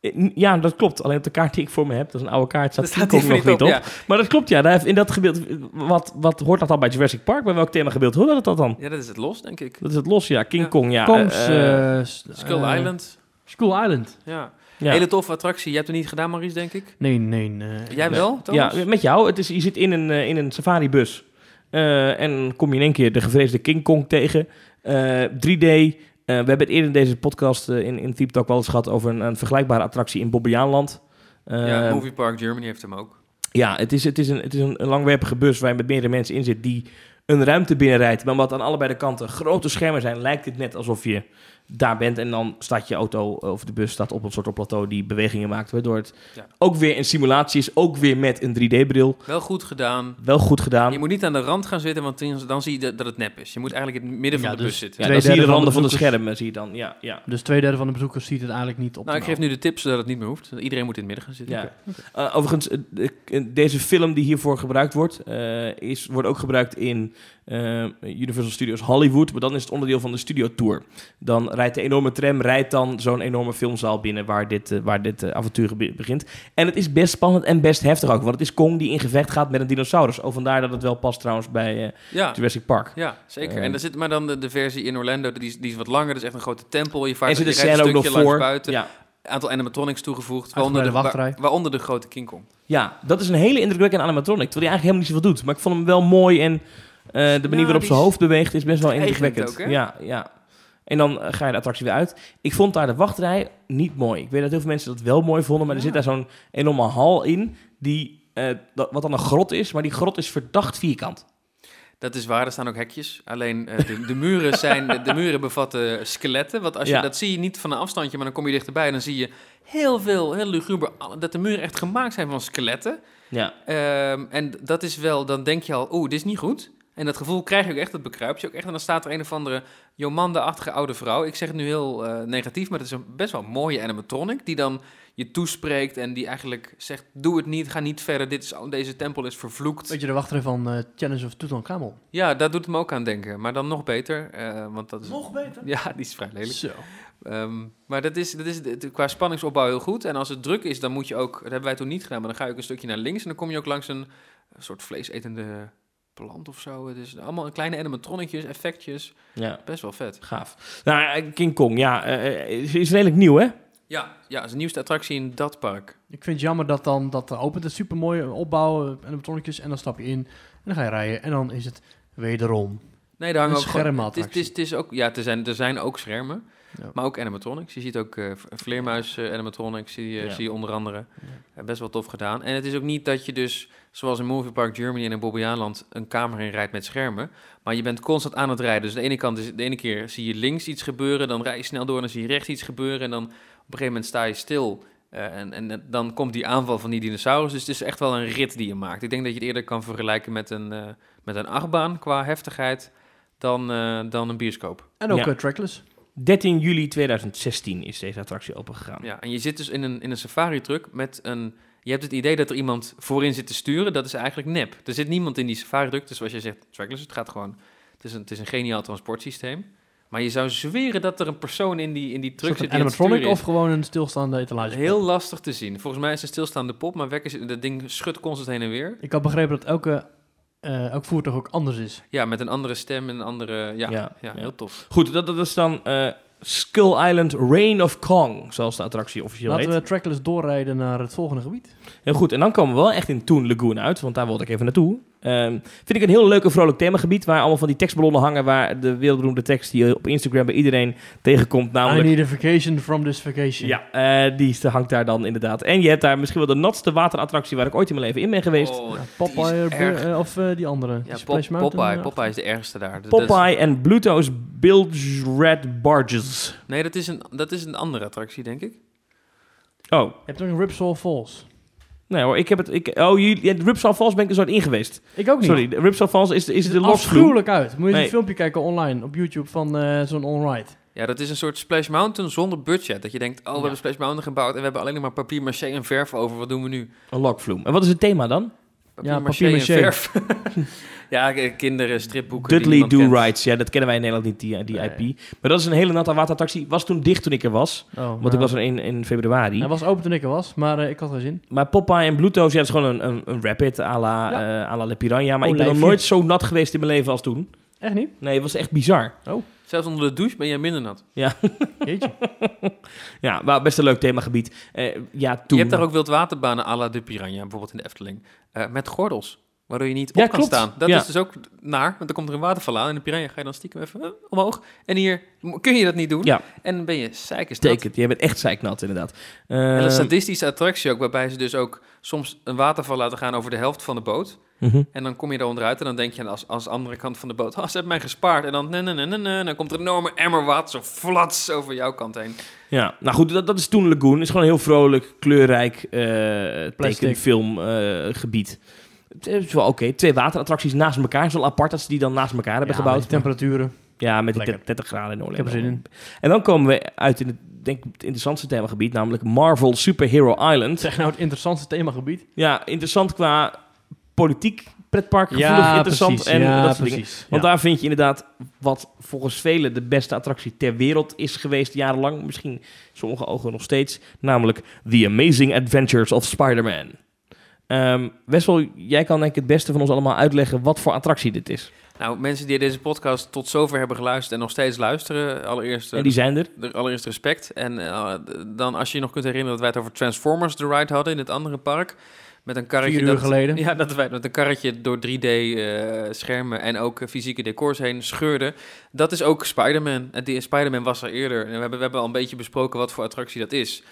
Speaker 2: Eh, n- ja, dat klopt. Alleen op de kaart die ik voor me heb, dat is een oude kaart, staat King Kong
Speaker 3: even
Speaker 2: nog niet op.
Speaker 3: Ja.
Speaker 2: Maar dat klopt, ja. Daar heeft in dat gebied, wat, wat hoort dat dan bij Jurassic Park? Bij welk themagebied hoort dat dan?
Speaker 3: Ja, dat is het los, denk ik.
Speaker 2: Dat is het los, ja. King
Speaker 3: Ja.
Speaker 2: Kong, ja.
Speaker 1: Kongs,
Speaker 2: eh, eh,
Speaker 1: eh, s-
Speaker 3: Skull
Speaker 1: eh,
Speaker 3: Island.
Speaker 1: Skull Island.
Speaker 3: Ja.
Speaker 2: ja.
Speaker 3: Hele toffe attractie. Je hebt het niet gedaan, Maurice, denk ik.
Speaker 1: Nee, nee. nee.
Speaker 3: Jij
Speaker 1: Nee.
Speaker 3: wel, Thomas?
Speaker 2: Ja, met jou. Het is, je zit in een, eh, in een safaribus. Eh, en kom je in één keer de gevreesde King Kong tegen. Eh, 3D. Eh, we hebben het eerder in deze podcast eh, in, in Deep Talk wel eens gehad over een, een vergelijkbare attractie in Bobbejaanland. Eh,
Speaker 3: ja, Movie Park Germany heeft hem ook.
Speaker 2: ja, het is, het is, een, het is een, een langwerpige bus waar je met meerdere mensen in zit die een ruimte binnenrijdt. Maar wat aan allebei de kanten grote schermen zijn, lijkt het net alsof je daar bent. En dan staat je auto eh, of de bus staat op een soort plateau die bewegingen maakt. Waardoor het
Speaker 3: Ja.
Speaker 2: ook weer een simulatie is, ook weer met een 3D-bril.
Speaker 3: Wel goed gedaan.
Speaker 2: Wel goed gedaan.
Speaker 3: Je moet niet aan de rand gaan zitten, want dan- dan zie je dat- dat het nep is. Je moet eigenlijk in het midden van
Speaker 1: Ja,
Speaker 3: de
Speaker 1: dus-
Speaker 3: bus zitten.
Speaker 2: Ja,
Speaker 1: Twee
Speaker 2: dan zie je de
Speaker 1: derde van
Speaker 2: randen
Speaker 1: de
Speaker 2: van de
Speaker 1: bezoekers.
Speaker 2: schermen, zie je dan. Ja, ja.
Speaker 1: Dus twee derde van de bezoekers ziet het eigenlijk niet op.
Speaker 3: Nou, ik geef nu de tips zodat het niet meer hoeft. Iedereen moet in het midden gaan zitten.
Speaker 2: Ja. Eh, overigens, eh, de- eh, deze film die hiervoor gebruikt wordt, eh, is, wordt ook gebruikt in eh, Universal Studios Hollywood. Maar dan is het onderdeel van de studio tour. Dan rijdt de enorme tram, rijdt dan zo'n enorme filmzaal binnen waar dit, eh, waar dit eh, avontuur be- begint. En het is best spannend en best heftig ook. Want het is Kong die in gevecht gaat met een dinosaurus. Oh, vandaar dat het wel past trouwens bij eh,
Speaker 3: Ja,
Speaker 2: Jurassic Park.
Speaker 3: ja zeker.
Speaker 2: Eh.
Speaker 3: en daar zit maar dan de, de versie in Orlando, die is, die is wat langer. Dat is echt een grote tempel. Je vaart
Speaker 2: En zit de
Speaker 3: je rijdt
Speaker 2: scène ook nog
Speaker 3: een stukje langs
Speaker 2: voor.
Speaker 3: buiten.
Speaker 2: Ja.
Speaker 3: Een aantal animatronics toegevoegd, waaronder
Speaker 1: Uitgebreide
Speaker 3: de, waar-
Speaker 1: wachtrij.
Speaker 3: waaronder de grote King Kong.
Speaker 2: Ja, dat is een hele indrukwekkende animatronic. Terwijl hij eigenlijk helemaal niet zoveel doet. Maar ik vond hem wel mooi en eh, de manier
Speaker 3: Ja,
Speaker 2: waarop
Speaker 3: die
Speaker 2: zijn
Speaker 3: is-
Speaker 2: hoofd beweegt is best wel
Speaker 3: Eigen
Speaker 2: indrukwekkend.
Speaker 3: ook, hè?
Speaker 2: ja, ja. En dan eh, ga je de attractie weer uit. Ik vond daar de wachtrij niet mooi. Ik weet dat heel veel mensen dat wel mooi vonden. Maar er
Speaker 3: Ja.
Speaker 2: zit daar zo'n enorme hal in. Die, eh, dat- wat dan een grot is. Maar die grot is verdacht vierkant.
Speaker 3: Dat is waar, er staan ook hekjes. Alleen eh, de, de, muren zijn, de, de muren bevatten skeletten. Want als je,
Speaker 2: Ja.
Speaker 3: dat zie je niet van een afstandje, maar dan kom je dichterbij en dan zie je heel veel, heel luguber, dat de muren echt gemaakt zijn van skeletten.
Speaker 2: Ja.
Speaker 3: Ehm, en dat is wel, dan denk je al, oeh, dit is niet goed. En dat gevoel krijg je ook echt, dat bekruipt je ook echt. En dan staat er een of andere Jomanda-achtige oude vrouw. Ik zeg het nu heel eh, negatief, maar het is een best wel mooie animatronic. Die dan je toespreekt en die eigenlijk zegt, doe het niet, ga niet verder. Dit is, deze tempel is vervloekt.
Speaker 1: Weet je, de wachtrij van eh, Challenge of Tutankhamon.
Speaker 3: Ja, daar doet het me ook aan denken. Maar dan nog beter, eh, want dat is...
Speaker 1: beter.
Speaker 3: Ja, die is vrij lelijk.
Speaker 1: Zo.
Speaker 3: Ehm, maar dat is, dat is het- qua spanningsopbouw heel goed. En als het druk is, dan moet je ook... Dat hebben wij toen niet gedaan, maar dan ga je ook een stukje naar links... en dan kom je ook langs een soort vleesetende plant of zo. Het is allemaal kleine animatronnetjes, effectjes.
Speaker 2: ja.
Speaker 3: Best wel vet.
Speaker 2: Gaaf. Nou, eh, King Kong, ja, eh, eh, is, is redelijk nieuw, hè?
Speaker 3: Ja, ja, is de nieuwste attractie in dat park.
Speaker 1: Ik vind het jammer dat dan dat er opent. Het is super mooi opbouw eh, en animatronicjes. En dan stap je in en dan ga je rijden. En dan is het wederom.
Speaker 3: Nee, daar hangen
Speaker 1: Een
Speaker 3: ook gewoon-
Speaker 1: schermattractie.
Speaker 3: Het is, het is, het is ook... Ja, er zijn, er zijn ook schermen,
Speaker 1: Ja.
Speaker 3: maar ook animatronics. Je ziet ook eh, v- vleermuis eh, animatronics, zie je,
Speaker 2: Ja.
Speaker 3: zie je onder andere. Eh, best wel tof gedaan. En het is ook niet dat je dus, zoals in Movie Park Germany en in Bobbejaanland, een kamer in rijdt met schermen. Maar je bent constant aan het rijden. Dus de ene, kant is, de ene keer zie je links iets gebeuren, dan rij je snel door, dan zie je rechts iets gebeuren. En dan op een gegeven moment sta je stil. eh, en, en eh, dan komt die aanval van die dinosaurus. Dus het is echt wel een rit die je maakt. Ik denk dat je het eerder kan vergelijken met een, eh, met een achtbaan qua heftigheid dan, eh, dan een bioscoop.
Speaker 1: En ook
Speaker 2: Ja.
Speaker 1: eh, trackless.
Speaker 2: 13 juli 2016 is deze attractie opengegaan.
Speaker 3: Ja, en je zit dus in een, in een safari-truck met een... Je hebt het idee dat er iemand voorin zit te sturen. Dat is eigenlijk nep. Er zit niemand in die safari-truck. Dus zoals jij zegt, trackless, het gaat gewoon... Het is een, het is een geniaal transportsysteem. Maar je zou zweren dat er een persoon in die, in die
Speaker 1: Is
Speaker 3: truck
Speaker 1: dat
Speaker 3: zit
Speaker 1: een
Speaker 3: die aan het
Speaker 1: animatronic
Speaker 3: sturen is.
Speaker 1: of gewoon een stilstaande etalage?
Speaker 3: Heel lastig te zien. Volgens mij is het een stilstaande pop, maar wekker zit, dat ding schudt constant heen en weer.
Speaker 1: Ik had begrepen dat elke, eh, elk voertuig ook anders is.
Speaker 3: Ja, met een andere stem en een andere... Ja, ja,
Speaker 2: Ja, ja.
Speaker 3: heel tof.
Speaker 2: Goed, dat, dat is dan eh, Skull Island Reign of Kong, zoals de attractie officieel
Speaker 1: Laten
Speaker 2: heet.
Speaker 1: we trackless doorrijden naar het volgende gebied.
Speaker 2: Heel goed, en dan komen we wel echt in Toon Lagoon uit, want daar wilde ik even naartoe. Ehm, vind ik een heel leuk en vrolijk themagebied, waar allemaal van die tekstballonnen hangen, waar de wereldberoemde tekst die je op Instagram bij iedereen tegenkomt, namelijk...
Speaker 1: I need a vacation from this vacation.
Speaker 2: Ja, eh, die is- hangt daar dan inderdaad. En je hebt daar misschien wel de natste waterattractie waar ik ooit in mijn leven in ben geweest.
Speaker 3: Oh,
Speaker 1: Ja,
Speaker 3: die is
Speaker 1: Popeye eh,
Speaker 3: erg.
Speaker 1: eh, of eh, die andere. die
Speaker 3: Ja,
Speaker 1: Splash
Speaker 3: Pop-
Speaker 1: Mountain,
Speaker 3: Popeye.
Speaker 1: eh,
Speaker 3: Popeye is de ergste daar. Dat- dat is-
Speaker 2: Popeye en Bluto's Bilge Red Barges.
Speaker 3: nee, dat is, een, dat is een andere attractie, denk ik.
Speaker 2: Oh,
Speaker 1: Je hebt ook een Ripsaw Falls.
Speaker 2: nee hoor, ik heb het... Ik, oh, jullie, ja, Ripsaw Falls ben ik dus ooit in geweest.
Speaker 1: Ik ook niet.
Speaker 2: Sorry, de Ripsaw Falls is, is de
Speaker 1: Het ziet er
Speaker 2: losvloer.
Speaker 1: afschuwelijk uit. Moet je
Speaker 2: Nee. Oh,
Speaker 1: een filmpje kijken online op YouTube van eh, zo'n on-ride.
Speaker 3: Ja, Ja, dat is een soort Splash Mountain zonder budget. Dat je denkt, oh, we
Speaker 2: Ja.
Speaker 3: hebben Splash Mountain gebouwd... en we hebben alleen maar papier maché en verf over. Wat doen we nu?
Speaker 2: Een lokvloem. En wat is het thema dan? Ja, papier-mâché.
Speaker 3: verf. ja, k- kinderen, stripboeken. die
Speaker 2: Dudley
Speaker 3: niemand
Speaker 2: Do
Speaker 3: kent.
Speaker 2: Rights. Ja, dat kennen wij in Nederland niet, die, die
Speaker 3: Nee.
Speaker 2: IP. Maar dat is een hele natte waterattractie. Was toen dicht toen ik er was. Want ik was er in, in februari.
Speaker 1: Hij was open toen ik er was, maar eh, ik had geen zin.
Speaker 2: Maar Popeye en Bluto's, ja, dat is gewoon een, een, een rapid à la,
Speaker 1: Ja.
Speaker 2: eh, à la Le Piranha. Maar ik ben
Speaker 1: Olijfje.
Speaker 2: nog nooit zo nat geweest in mijn leven als toen.
Speaker 1: Echt niet?
Speaker 2: Nee, het was echt bizar.
Speaker 3: Zelfs onder de douche ben jij minder nat.
Speaker 1: Jeetje.
Speaker 2: Ja, maar best een leuk themagebied. Eh, ja, toen.
Speaker 3: Je hebt daar ook wildwaterbanen à la de Piranha, bijvoorbeeld in de Efteling. eh, met gordels, waardoor je niet op
Speaker 2: Ja,
Speaker 3: kan
Speaker 2: klopt.
Speaker 3: staan. Dat
Speaker 2: Ja.
Speaker 3: is dus ook naar, want dan komt er een waterval aan. En de Piranha ga je dan stiekem even eh, omhoog. En hier m- kun je dat niet doen.
Speaker 2: Ja.
Speaker 3: En dan ben je zeikers nat.
Speaker 2: Tekent. Je bent echt zeiknat, inderdaad.
Speaker 3: En
Speaker 2: Ehm,
Speaker 3: een sadistische attractie ook, waarbij ze dus ook soms een waterval laten gaan over de helft van de boot.
Speaker 2: mhm.
Speaker 3: En dan kom je eronder uit en dan denk je als, als andere kant van de boot, oh, ze hebben mij gespaard. En dan, nee, nee, nee, nee, nee. En dan komt er een enorme emmer water zo flats over jouw kant heen.
Speaker 2: Ja, nou goed, dat, dat is toen Lagoon. is gewoon een heel vrolijk, kleurrijk eh
Speaker 1: Plastic.
Speaker 2: tekenfilmgebied. het is wel oké. Twee waterattracties naast elkaar. Het is wel apart dat ze die dan naast elkaar hebben
Speaker 1: Ja,
Speaker 2: gebouwd.
Speaker 1: met die temperaturen.
Speaker 2: Ja, met
Speaker 1: Lekker.
Speaker 2: die 30 graden in Orlando.
Speaker 1: Ik heb er zin in.
Speaker 2: En dan komen we uit in het, denk ik, het interessantste themagebied, namelijk Marvel Superhero Island.
Speaker 1: Zeg nou het interessantste themagebied.
Speaker 2: Ja, interessant qua politiek pretpark gevoelig interessant en dat soort dingen. Want daar vind je inderdaad wat volgens velen de beste attractie ter wereld is geweest jarenlang. Misschien sommige ogen nog steeds. Namelijk The Amazing Adventures of Spider-Man. Ehm Wessel, jij kan denk ik het beste van ons allemaal uitleggen wat voor attractie dit is.
Speaker 3: Nou, mensen die deze podcast tot zover hebben geluisterd en nog steeds luisteren, allereerst... eh,
Speaker 2: En die zijn er.
Speaker 3: de- Allereerst respect. En eh, dan als je je nog kunt herinneren dat wij het over Transformers The Ride hadden in het andere park. Met een karretje
Speaker 1: Vier uur
Speaker 3: dat,
Speaker 1: geleden.
Speaker 3: Ja, dat wij met een karretje door 3D-schermen en ook eh, fysieke decors heen scheurden. Dat is ook Spider-Man. En die Spider-Man was er eerder. En we hebben, we hebben al een beetje besproken wat voor attractie dat is.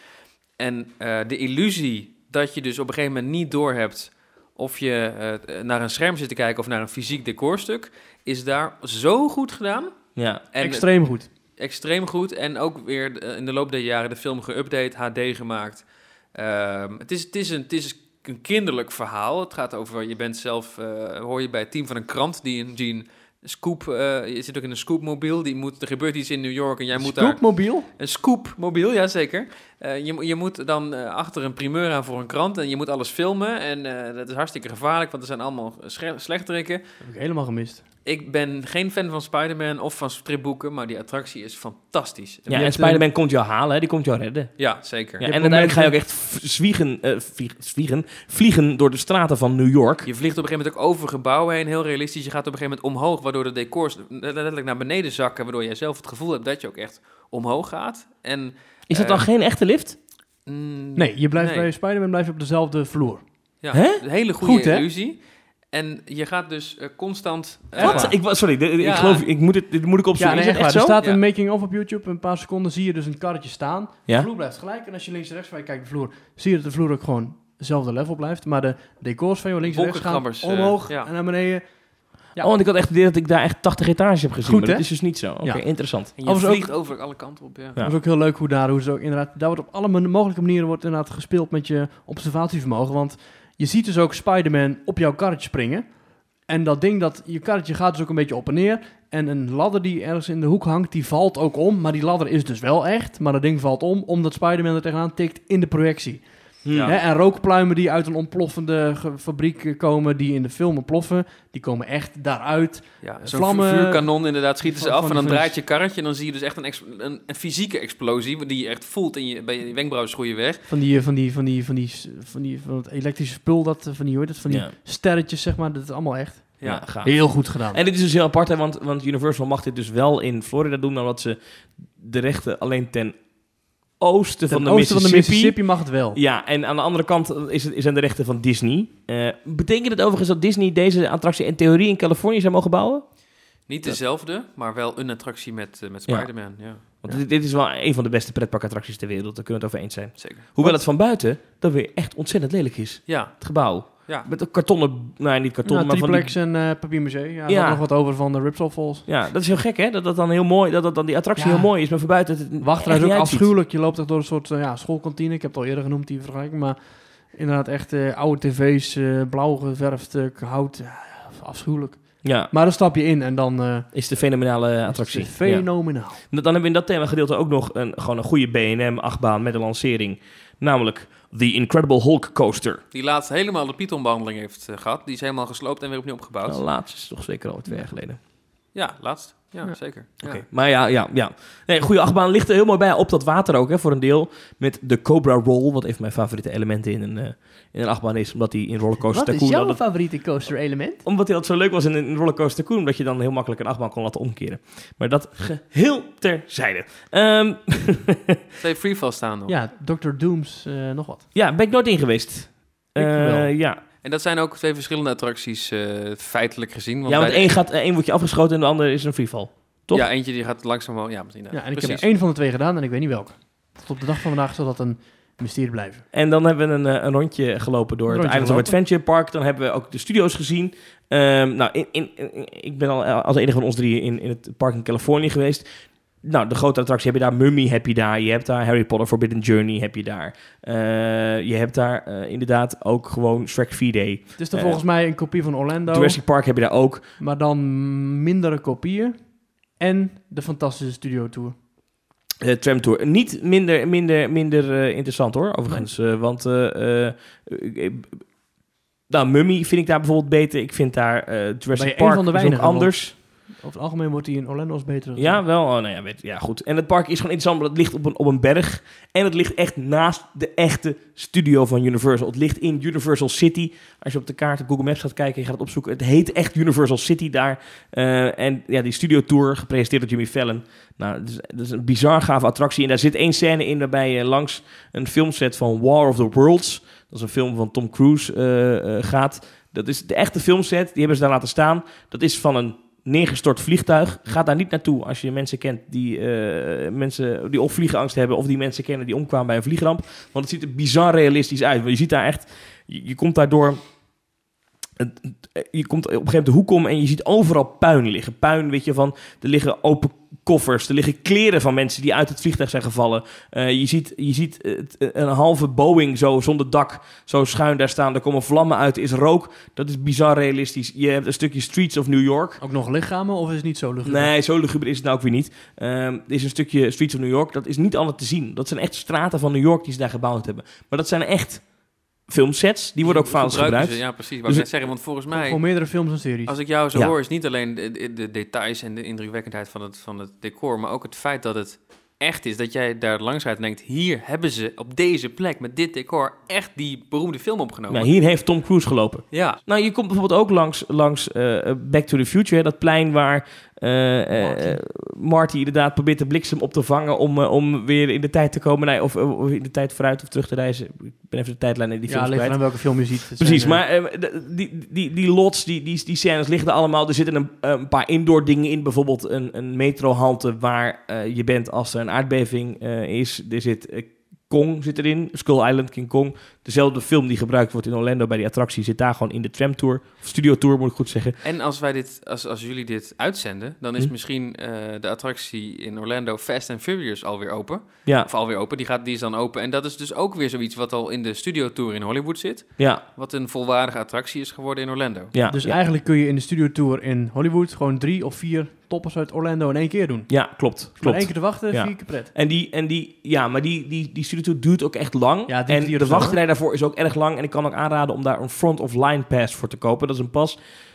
Speaker 3: En eh, de illusie dat je dus op een gegeven moment niet doorhebt of je eh, naar een scherm zit te kijken of naar een fysiek decorstuk, is daar zo goed gedaan.
Speaker 2: Ja.
Speaker 3: En
Speaker 1: Extreem goed.
Speaker 3: extreem goed. En ook weer eh, in de loop der jaren de film geüpdate, HD gemaakt. Ehm, het, is, het, is een, het is een kinderlijk verhaal. Het gaat over, je bent zelf, eh, hoor je bij het team van een krant die een, die een scoop, eh, je zit ook in een scoopmobiel. Die moet, er gebeurt iets in New York en jij moet daar...
Speaker 1: Scoopmobiel?
Speaker 3: Een scoopmobiel, jazeker. Eh je, mo- je moet dan eh, achter een primeur aan voor een krant en je moet alles filmen. En eh, dat is hartstikke gevaarlijk, want er zijn allemaal sche- slechterikken.
Speaker 1: Heb ik helemaal gemist.
Speaker 3: Ik ben geen fan van Spider-Man of van stripboeken, maar die attractie is fantastisch.
Speaker 2: ja
Speaker 1: Je
Speaker 2: en
Speaker 1: hebt, eh,
Speaker 2: Spider-Man komt jou halen, hè? die komt jou redden.
Speaker 3: Ja, zeker.
Speaker 2: Ja,
Speaker 1: hebt
Speaker 2: en uiteindelijk ga je ook
Speaker 1: momenten-
Speaker 2: echt v- zwiegen, eh, vlieg- zwiegen, vliegen door de straten van New York.
Speaker 3: Je vliegt op een gegeven moment ook over gebouwen heen, heel realistisch. Je gaat op een gegeven moment omhoog, waardoor de decors letterlijk naar beneden zakken. Waardoor jij zelf het gevoel hebt dat je ook echt omhoog gaat. En,
Speaker 2: Is dat dan
Speaker 3: Eh,
Speaker 2: geen echte lift?
Speaker 3: mm,
Speaker 1: Nee, je blijft
Speaker 3: nee.
Speaker 1: bij Spider-Man blijf je op dezelfde vloer.
Speaker 3: Ja,
Speaker 2: Hè?
Speaker 3: een hele goede
Speaker 1: Goed, hè?
Speaker 3: illusie. En je gaat dus eh, constant... eh,
Speaker 1: Echt waar?
Speaker 2: Wat? Ik, wa- sorry, dit-
Speaker 3: Ja.
Speaker 2: ik geloof, ik moet het, dit moet ik opzoeken.
Speaker 1: ja,
Speaker 2: is
Speaker 1: nee,
Speaker 2: het
Speaker 1: echt waar.
Speaker 2: echt
Speaker 1: Er
Speaker 2: zo?
Speaker 1: staat
Speaker 3: Ja.
Speaker 1: een making-of op YouTube. Een paar seconden zie je dus een karretje staan. De
Speaker 2: Ja?
Speaker 1: vloer blijft gelijk. En als je links en rechts van je kijkt de vloer, zie je dat de vloer ook gewoon hetzelfde level blijft. Maar de decors van je links en rechts gaan
Speaker 3: Wolkenkrabbers, eh,
Speaker 1: omhoog
Speaker 3: ja.
Speaker 1: en naar beneden. Ja.
Speaker 2: Oh, want ik had echt het idee dat ik daar echt 80 etages heb gezien.
Speaker 1: Goed,
Speaker 2: maar dat
Speaker 1: hè?
Speaker 2: is dus niet zo. Oké,
Speaker 1: Ja.
Speaker 2: interessant.
Speaker 3: en je
Speaker 1: Overigens
Speaker 3: vliegt over alle kanten op, ja.
Speaker 2: Ja.
Speaker 1: Dat is ook heel leuk hoe daar, hoe ze ook inderdaad, daar wordt op alle man- mogelijke manieren wordt inderdaad gespeeld met je observatievermogen. Want je ziet dus ook Spider-Man op jouw karretje springen. En dat ding, dat je karretje gaat dus ook een beetje op en neer. En een ladder die ergens in de hoek hangt, die valt ook om. Maar die ladder is dus wel echt. Maar dat ding valt om, omdat Spider-Man er tegenaan tikt in de projectie.
Speaker 3: Ja.
Speaker 2: Oh,
Speaker 1: Hè, en rookpluimen die uit een ontploffende ge- fabriek komen, die in de film ontploffen, die komen echt daaruit.
Speaker 3: Ja, zo'n
Speaker 1: Vlammen-
Speaker 3: vu- vuurkanon inderdaad schieten ze
Speaker 1: van-
Speaker 3: af
Speaker 1: van
Speaker 3: en dan
Speaker 1: die-
Speaker 3: draait je karretje en dan zie je dus echt een, ex- een, een fysieke explosie die je echt voelt in je, bij je wenkbrauwen schroeien weg.
Speaker 1: Van die, eh, van die, van die, van die, van die, van het elektrische spul, dat, eh, van die, hoe heet het, van die
Speaker 2: Ja.
Speaker 1: sterretjes, zeg maar. Dat is allemaal echt.
Speaker 3: Ja.
Speaker 2: Ja, gaaf.
Speaker 1: Heel goed gedaan.
Speaker 2: En dit is dus heel apart, hè, want, want Universal mag dit dus wel in Florida doen, omdat ze de rechten alleen ten oosten,
Speaker 1: Ten
Speaker 2: van, de
Speaker 1: oosten van de
Speaker 2: Mississippi...
Speaker 1: Mississippi mag het wel.
Speaker 2: Ja, en aan de andere kant is het, zijn de rechten van Disney. Eh, betekent het overigens dat Disney deze attractie in theorie in Californië zou mogen bouwen?
Speaker 3: Niet dezelfde, maar wel een attractie met, eh, met
Speaker 2: Ja.
Speaker 3: Spider-Man. Ja,
Speaker 2: Want dit, dit is wel een van de beste pretparkattracties ter wereld, daar kunnen we het over eens zijn.
Speaker 3: zeker.
Speaker 2: Hoewel het van buiten dan weer echt ontzettend lelijk is,
Speaker 3: Ja,
Speaker 2: het gebouw.
Speaker 3: ja.
Speaker 2: Met een kartonnen, nou niet karton,
Speaker 1: Ja,
Speaker 2: maar van die
Speaker 1: Triplex en eh Papier Museum. Ja, we
Speaker 2: Ja.
Speaker 1: hadden nog wat over van de Ripsaw Falls.
Speaker 2: Ja, dat is heel gek, hè? Dat, dat dan heel mooi, dat, dat dan die attractie
Speaker 1: Ja.
Speaker 2: heel mooi is, maar voor buiten het
Speaker 1: Wacht,
Speaker 2: echt
Speaker 1: is ook
Speaker 2: niet uitziet.
Speaker 1: afschuwelijk. Je loopt echt door een soort eh, ja, schoolkantine. Ik heb het al eerder genoemd, die vergelijking. Maar inderdaad echt eh, oude tv's, eh, blauw geverfd eh, hout. Ja, afschuwelijk.
Speaker 2: Ja,
Speaker 1: Maar dan stap je in en dan eh,
Speaker 2: is de fenomenale
Speaker 1: is
Speaker 2: attractie.
Speaker 1: het
Speaker 2: Ja.
Speaker 1: fenomenaal.
Speaker 2: Dan hebben we in dat thema gedeelte ook nog een, gewoon een goede BNM-achtbaan met een lancering. Namelijk The Incredible Hulk Coaster.
Speaker 3: Die laatst helemaal de Python-behandeling heeft eh, gehad. Die is helemaal gesloopt en weer opnieuw opgebouwd.
Speaker 2: Nou, laatst is toch zeker al twee jaar geleden.
Speaker 3: Ja, laatst. Ja,
Speaker 1: Ja.
Speaker 3: zeker. Ja.
Speaker 2: Oké, Maar ja, ja, ja. Nee, goede achtbaan ligt er heel mooi bij op dat water ook, hè, voor een deel. Met de Cobra Roll, wat een van mijn favoriete elementen in een, eh, in een achtbaan is. Omdat die in Rollercoaster
Speaker 1: Wat is
Speaker 2: Tycoon...
Speaker 1: jouw
Speaker 2: dat-
Speaker 1: favoriete coaster element?
Speaker 2: omdat hij dat zo leuk was in een Rollercoaster Tycoon, omdat je dan heel makkelijk een achtbaan kon laten omkeren. Maar dat geheel terzijde. Ehm,
Speaker 3: Twee freefall staan nog.
Speaker 1: Ja, Dr. Dooms, eh, nog wat.
Speaker 2: ja, ben ik nooit in geweest.
Speaker 1: Ik wel.
Speaker 2: Eh, ja,
Speaker 3: En dat zijn ook twee verschillende attracties eh, feitelijk gezien. Want
Speaker 2: ja, want
Speaker 3: bij de-
Speaker 2: één, gaat, eh, één wordt je afgeschoten en de ander is een freefall. toch?
Speaker 3: Ja, eentje die gaat langzaam wel. Ja, misschien.
Speaker 1: Ja, en ik
Speaker 3: precies.
Speaker 1: heb er één van de twee gedaan en ik weet niet welke. Tot op de dag van vandaag zal dat een mysterie blijven.
Speaker 2: En dan hebben we een, eh, een rondje gelopen door
Speaker 1: Een
Speaker 2: het
Speaker 1: rondje
Speaker 2: Islands
Speaker 1: gelopen.
Speaker 2: of Adventure Park. Dan hebben we ook de studio's gezien. Ehm, nou, in, in, in- ik ben al eh, als enige van ons drie in, in het park in Californië geweest. Nou, de grote attractie heb je daar. Mummy heb je daar. Je hebt daar Harry Potter Forbidden Journey heb je daar. Eh, je hebt daar eh, inderdaad ook gewoon Shrek 4D.
Speaker 1: Het is dan
Speaker 2: Eh,
Speaker 1: volgens mij een kopie van Orlando,
Speaker 2: Jurassic Park heb je daar ook.
Speaker 1: maar dan mindere kopieën. En de fantastische studio tour.
Speaker 2: eh tram tour. Niet minder, minder, minder eh, interessant hoor, overigens. Eh, want, eh, eh, eh, nou, Mummy vind ik daar bijvoorbeeld beter. Ik vind daar eh,
Speaker 1: Ben
Speaker 2: Jurassic
Speaker 1: je een van
Speaker 2: Park
Speaker 1: de
Speaker 2: is ook
Speaker 1: weinigen,
Speaker 2: anders.
Speaker 1: Over het algemeen wordt die in Orlando als beter.
Speaker 2: Ja, wel. Oh, nou ja, weet, ja, goed. En het park is gewoon interessant, omdat het ligt op een, op een berg. En het ligt echt naast de echte studio van Universal. Het ligt in Universal City. Als je op de kaart op Google Maps gaat kijken, je gaat het opzoeken. Het heet echt Universal City daar. Eh, en ja, die studio tour, gepresenteerd door Jimmy Fallon. Nou, dat is, dat is een bizar gave attractie. En daar zit één scène in waarbij je langs een filmset van War of the Worlds... dat is een film van Tom Cruise, eh, eh, gaat. Dat is de echte filmset, die hebben ze daar laten staan. Dat is van een neergestort vliegtuig. Ga daar niet naartoe als je mensen kent die, eh, mensen die of vliegangst hebben... of die mensen kennen die omkwamen bij een vliegramp. Want het ziet er bizar realistisch uit. Want je ziet daar echt... Je, je komt daardoor... het- het- Je komt op een gegeven moment de hoek om en je ziet overal puin liggen. Puin, weet je, van... Er liggen open koffers, er liggen kleren van mensen die uit het vliegtuig zijn gevallen. Eh, je ziet, je ziet eh, het- een halve Boeing zo zonder dak, zo schuin daar staan. Er komen vlammen uit, er is rook. Dat is bizar realistisch. Je hebt een stukje Streets of New York.
Speaker 1: Ook nog lichamen of is het niet zo luguber?
Speaker 2: Nee, zo luguber is het nou ook weer niet. Ehm, er is een stukje Streets of New York. Dat is niet altijd te zien. Dat zijn echt straten van New York die ze daar gebouwd hebben. Maar dat zijn echt filmsets. Die worden ook vaak
Speaker 3: Gebruiken
Speaker 2: gebruikt.
Speaker 3: ze- Ja, precies. Wat
Speaker 2: Dus
Speaker 3: ik net
Speaker 2: het-
Speaker 3: zeggen, want volgens
Speaker 1: Voor
Speaker 3: mij,
Speaker 1: meerdere films en series.
Speaker 3: als ik jou zo
Speaker 2: Ja.
Speaker 3: hoor, is niet alleen de, de- de details en de indrukwekkendheid van het, van het decor, maar ook het feit dat het echt is. Dat jij daar langs rijdt en denkt, hier hebben ze op deze plek met dit decor echt die beroemde film opgenomen.
Speaker 2: Nou, hier heeft Tom Cruise gelopen.
Speaker 3: Ja.
Speaker 2: Nou, je komt bijvoorbeeld ook langs, langs eh, Back to the Future. Hè, dat plein waar eh, eh, Marty. inderdaad probeert de bliksem op te vangen... om, eh, om weer in de tijd te komen. Nee, of, eh, of in de tijd vooruit of terug te reizen. Ik ben even de tijdlijn in die
Speaker 1: ja,
Speaker 2: films
Speaker 1: ligt
Speaker 2: kwijt.
Speaker 1: aan welke film je ziet. Het
Speaker 2: Precies,
Speaker 1: zijn, eh,
Speaker 2: maar eh, d- die, die, die lots, die, die, die scènes liggen er allemaal. Er zitten een, een paar indoor dingen in. Bijvoorbeeld een, een metrohalte waar eh, je bent als er een aardbeving eh, is. Er zit eh, Kong zit erin, Skull Island, King Kong. Dezelfde film die gebruikt wordt in Orlando bij die attractie zit daar gewoon in de tramtour. Of studiotour moet ik goed zeggen.
Speaker 3: En als wij dit, als, als jullie dit uitzenden, dan is
Speaker 2: Hm.
Speaker 3: misschien eh, de attractie in Orlando Fast and Furious alweer open.
Speaker 2: Ja,
Speaker 3: Of alweer open, die, gaat, die is dan open. En dat is dus ook weer zoiets wat al in de studiotour in Hollywood zit.
Speaker 2: ja,
Speaker 3: Wat een volwaardige attractie is geworden in Orlando.
Speaker 2: ja.
Speaker 1: Dus
Speaker 2: ja.
Speaker 1: eigenlijk kun je in de studio tour in Hollywood gewoon drie of vier toppers uit Orlando in één keer doen.
Speaker 2: Ja, klopt,
Speaker 1: Door
Speaker 2: klopt.
Speaker 1: één keer te wachten,
Speaker 2: Ja.
Speaker 1: vier keer pret.
Speaker 2: En die, en die, ja, maar die, die, die studiotour duurt ook echt lang.
Speaker 1: Ja, het duurt
Speaker 2: en
Speaker 1: drie uur
Speaker 2: de
Speaker 1: of zo,
Speaker 2: wachtrij daarvoor is ook erg lang. En ik kan ook aanraden om daar een front-of-line pass voor te kopen. Dat is een pas.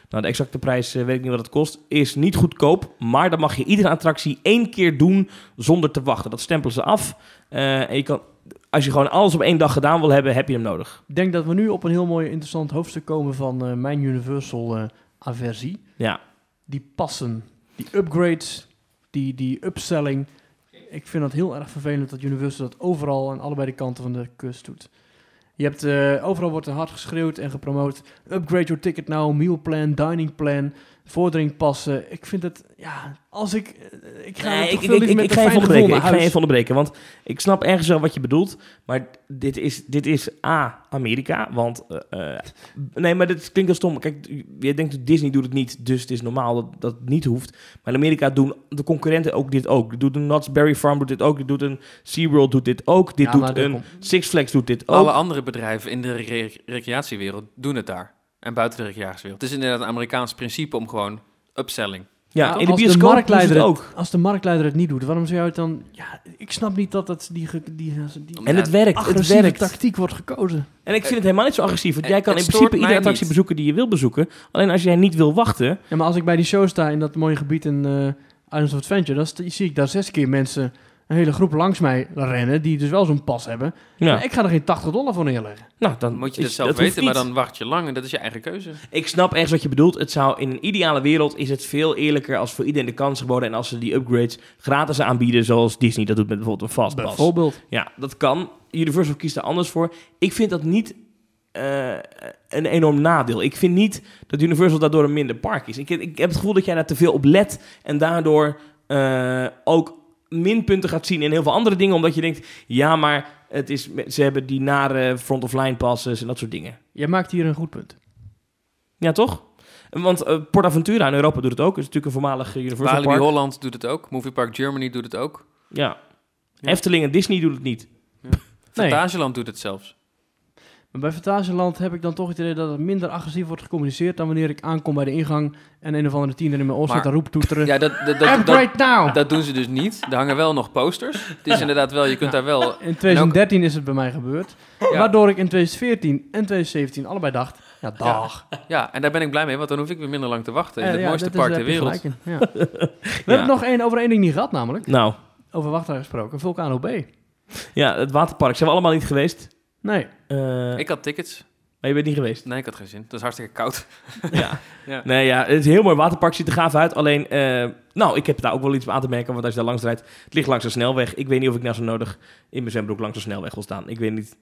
Speaker 2: Nou, de exacte prijs eh, weet ik niet wat het kost. Is niet goedkoop, maar dan mag je iedere attractie één keer doen zonder te wachten. Dat stempelen ze af. Eh, en je kan, als je gewoon alles op één dag gedaan wil hebben, heb je hem nodig.
Speaker 1: Ik denk dat we nu op een heel mooi interessant hoofdstuk komen van eh, mijn Universal eh, aversie.
Speaker 2: Ja.
Speaker 1: Die passen, die upgrades, die, die upselling. Ik vind dat heel erg vervelend dat Universal dat overal aan allebei de kanten van de kust doet. Je hebt, eh, overal wordt er hard geschreeuwd en gepromoot. Upgrade your ticket now, meal plan, dining plan, vordering passen. Ik vind het, ja, als ik, eh, ik ga toch
Speaker 2: Nee, ik,
Speaker 1: veel
Speaker 2: ik,
Speaker 1: liever
Speaker 2: ik,
Speaker 1: met
Speaker 2: ik
Speaker 1: een
Speaker 2: ga even
Speaker 1: fijn gevoel
Speaker 2: onderbreken.
Speaker 1: naar
Speaker 2: Ik ga
Speaker 1: huis.
Speaker 2: even onderbreken, want ik snap ergens wel wat je bedoelt. Maar dit is, dit is A, Amerika. Want, eh, eh, nee, maar dit klinkt heel stom. Kijk, je denkt Disney doet het niet, dus het is normaal dat dat het niet hoeft. Maar in Amerika doen de concurrenten ook dit ook. Doet een Knott's Berry Farm doet dit ook. Dit doet een SeaWorld doet dit ook. Dit
Speaker 1: Ja, maar
Speaker 2: doet
Speaker 1: dat
Speaker 2: een
Speaker 1: komt-
Speaker 2: Six Flags doet dit ook.
Speaker 3: Alle andere bedrijven in de re- recreatiewereld doen het daar. en buiten de rechtjaarswereld. Het is inderdaad een Amerikaans principe om gewoon upselling.
Speaker 2: Ja,
Speaker 1: Nou,
Speaker 2: in de
Speaker 1: als de
Speaker 2: bioscoop is
Speaker 1: marktleider
Speaker 2: het
Speaker 1: het-
Speaker 2: ook.
Speaker 1: Als de marktleider het niet doet, waarom zou je het dan... Ja, ik snap niet dat dat die, ge- die, die, die
Speaker 2: En het
Speaker 3: Ja,
Speaker 2: werkt, het
Speaker 1: agressieve
Speaker 2: werkt.
Speaker 1: tactiek Eh, wordt gekozen.
Speaker 2: En ik vind het helemaal niet zo agressief. Want
Speaker 3: Het-
Speaker 2: jij kan in
Speaker 3: het
Speaker 2: principe
Speaker 3: stoort
Speaker 2: iedere
Speaker 3: mij
Speaker 2: attractie
Speaker 3: niet.
Speaker 2: bezoeken die je wil bezoeken. Alleen als jij niet wil wachten...
Speaker 1: Ja, maar als ik bij die show sta in dat mooie gebied in eh Islands of Adventure, dan st- zie ik daar zes keer mensen, een hele groep langs mij rennen, die dus wel zo'n pas hebben.
Speaker 2: Nou,
Speaker 1: Maar ik ga er geen 80 dollar voor neerleggen.
Speaker 2: nou dan
Speaker 3: Dan moet je
Speaker 2: is-
Speaker 3: dat zelf
Speaker 2: hoeft
Speaker 3: weten, maar
Speaker 2: niet.
Speaker 3: dan wacht je lang en dat is je eigen keuze.
Speaker 2: Ik snap echt wat je bedoelt. Het zou in een ideale wereld is het veel eerlijker als voor iedereen de kans geboden en als ze die upgrades gratis aanbieden, zoals Disney dat doet met bijvoorbeeld een fastpass.
Speaker 1: Bijvoorbeeld.
Speaker 2: Ja, dat kan. Universal kiest er anders voor. Ik vind dat niet eh, een enorm nadeel. Ik vind niet dat Universal daardoor een minder park is. Ik, ik heb het gevoel dat jij daar te veel op let en daardoor eh, ook minpunten gaat zien in heel veel andere dingen, omdat je denkt, ja, maar het is, ze hebben die nare front-of-line passes en dat soort dingen.
Speaker 1: Jij maakt hier een goed punt.
Speaker 2: Ja, toch? Want eh, PortAventura in Europa doet het ook. Het is natuurlijk een voormalig eh, Universal
Speaker 3: Walibi
Speaker 2: Park.
Speaker 3: Holland doet het ook. Movie Park Germany doet het ook.
Speaker 2: Ja.
Speaker 3: Ja.
Speaker 2: Efteling en Disney doen het niet.
Speaker 3: Fantasieland doet het zelfs.
Speaker 1: Maar bij Fantasieland heb ik dan toch het idee dat het minder agressief wordt gecommuniceerd dan wanneer ik aankom bij de ingang en een of andere tiener in mijn oor zit
Speaker 3: Maar-
Speaker 1: en roept toeteren.
Speaker 3: Ja, dat, dat,
Speaker 1: I'm
Speaker 3: dat, dat,
Speaker 1: right now!
Speaker 3: dat doen ze dus niet. Er hangen wel nog posters. Het is inderdaad wel, je kunt daar wel...
Speaker 1: in 2013 is het bij mij gebeurd.
Speaker 3: Ja,
Speaker 1: Waardoor ik in 2014 en 2017 allebei dacht, ja dag.
Speaker 3: ja, en daar ben ik blij mee, want dan hoef ik weer minder lang te wachten. In
Speaker 1: Eh,
Speaker 3: het
Speaker 1: ja,
Speaker 3: mooiste
Speaker 1: dat is-
Speaker 3: park
Speaker 1: daar
Speaker 3: ter
Speaker 1: heb je
Speaker 3: wereld.
Speaker 1: gelijk in, ja. We hebben nog één over één ding niet gehad namelijk.
Speaker 2: Nou,
Speaker 1: Over wachtrij gesproken, Vulcano B.
Speaker 2: ja, het waterpark. Zijn we allemaal niet geweest?
Speaker 1: Nee,
Speaker 2: Eh,
Speaker 3: Ik had tickets.
Speaker 2: Maar je bent niet geweest.
Speaker 3: Nee, ik had geen zin. Het is hartstikke koud.
Speaker 2: ja.
Speaker 3: Ja.
Speaker 2: Nee, ja, het is een heel mooi waterpark. Ziet er gaaf uit. Alleen, eh, nou, ik heb daar ook wel iets op aan te merken. Want als je daar langs rijdt, het ligt langs de snelweg. Ik weet niet of ik nou zo nodig in mijn zwembroek langs de snelweg wil staan. Ik weet niet. Ik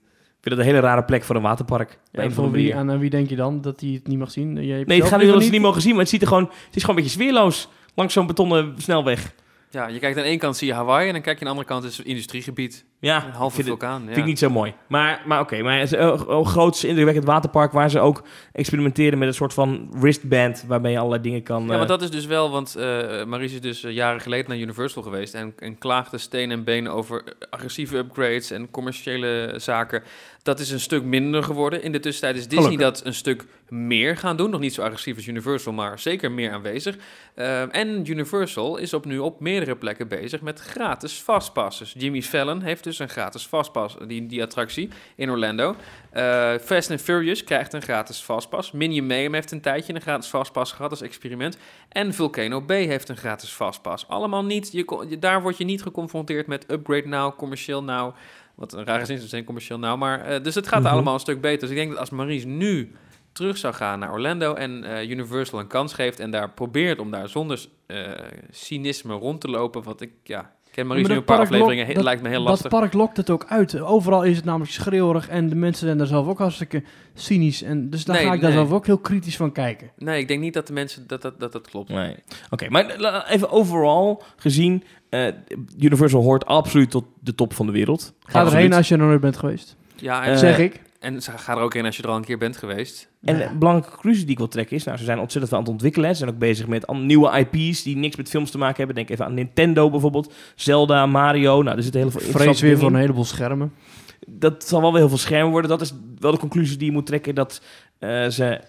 Speaker 2: vind dat een hele rare plek voor een waterpark. Op een
Speaker 1: en
Speaker 2: of andere
Speaker 1: voor wie,
Speaker 2: manier.
Speaker 1: aan, aan wie denk je dan dat hij het niet mag zien? Jij hebt
Speaker 2: Nee, het
Speaker 1: zelf
Speaker 2: gaat niet om dat
Speaker 3: dus
Speaker 1: liever
Speaker 2: ze niet mogen zien. Maar het, ziet er gewoon, het is gewoon een beetje sfeerloos langs zo'n betonnen snelweg.
Speaker 3: Ja, je kijkt aan één kant zie je Hawaii en dan kijk je aan de andere kant is het industriegebied.
Speaker 2: Ja,
Speaker 3: Een
Speaker 2: Ah, ik
Speaker 3: halve
Speaker 2: vind het-
Speaker 3: vulkaan. Ja.
Speaker 2: Vind ik niet zo mooi. Maar, maar oké, maar het is een een groot indrukwekkend waterpark waar ze ook experimenteren met een soort van wristband waarmee je allerlei dingen kan.
Speaker 3: Ja,
Speaker 2: eh,
Speaker 3: maar dat is dus wel, want eh Maries is dus eh, jaren geleden naar Universal geweest en, en klaagde steen en been over eh, agressieve upgrades en commerciële zaken. Dat is een stuk minder geworden. In de tussentijd is Disney
Speaker 1: Gelukkig.
Speaker 3: dat een stuk meer gaan doen. Nog niet zo agressief als Universal, maar zeker meer aanwezig. Eh, en Universal is op nu op meerdere plekken bezig met gratis fastpasses. Jimmy Fallon heeft dus een gratis fastpass, die, die attractie in Orlando. Eh, Fast and Furious krijgt een gratis fastpass. Minion Mayhem heeft een tijdje een gratis fastpass gehad als experiment. En Volcano B heeft een gratis fastpass. Allemaal niet, je, kon- je- daar word je niet geconfronteerd met upgrade now, commercieel now. Wat een rare zin ze zijn, commercieel now. Maar, eh, dus het gaat
Speaker 2: Mhm.
Speaker 3: allemaal een stuk beter. Dus ik denk dat als Maries nu terug zou gaan naar Orlando en eh, Universal een kans geeft en daar probeert om daar zonder eh, cynisme rond te lopen, wat ik, ja, ik ken Maries
Speaker 1: Maar
Speaker 3: nu
Speaker 1: dat
Speaker 3: een paar
Speaker 1: park
Speaker 3: afleveringen,
Speaker 1: lokt-
Speaker 3: het lijkt me heel
Speaker 1: Dat
Speaker 3: lastig.
Speaker 1: park lokt het ook uit. Overal is het namelijk schreeuwerig en de mensen zijn daar zelf ook hartstikke cynisch. En dus daar
Speaker 3: Nee,
Speaker 1: ga ik daar
Speaker 3: nee.
Speaker 1: zelf ook heel kritisch van kijken.
Speaker 3: Nee, ik denk niet dat de mensen, dat dat, dat, dat klopt.
Speaker 2: Nee. Oké, maar la- even overal gezien, eh, Universal hoort absoluut tot de top van de wereld.
Speaker 1: Ga
Speaker 2: Absoluut.
Speaker 1: erheen als je er nooit bent geweest,
Speaker 3: Ja,
Speaker 2: Eh,
Speaker 3: en,
Speaker 1: zeg ik.
Speaker 3: en ze- ga er ook in als je er al een keer bent geweest.
Speaker 2: En
Speaker 1: Ja.
Speaker 2: een belangrijke conclusie die ik wil trekken is, nou, ze zijn ontzettend veel aan het ontwikkelen. hè. Ze zijn ook bezig met an- nieuwe IP's die niks met films te maken hebben. Denk even aan Nintendo bijvoorbeeld, Zelda, Mario. Nou, er zitten heel veel
Speaker 1: Vrees
Speaker 2: interessante
Speaker 1: weer
Speaker 2: dingen
Speaker 1: voor
Speaker 2: in.
Speaker 1: een heleboel schermen.
Speaker 2: dat zal wel weer heel veel schermen worden. Dat is wel de conclusie die je moet trekken. Dat eh, ze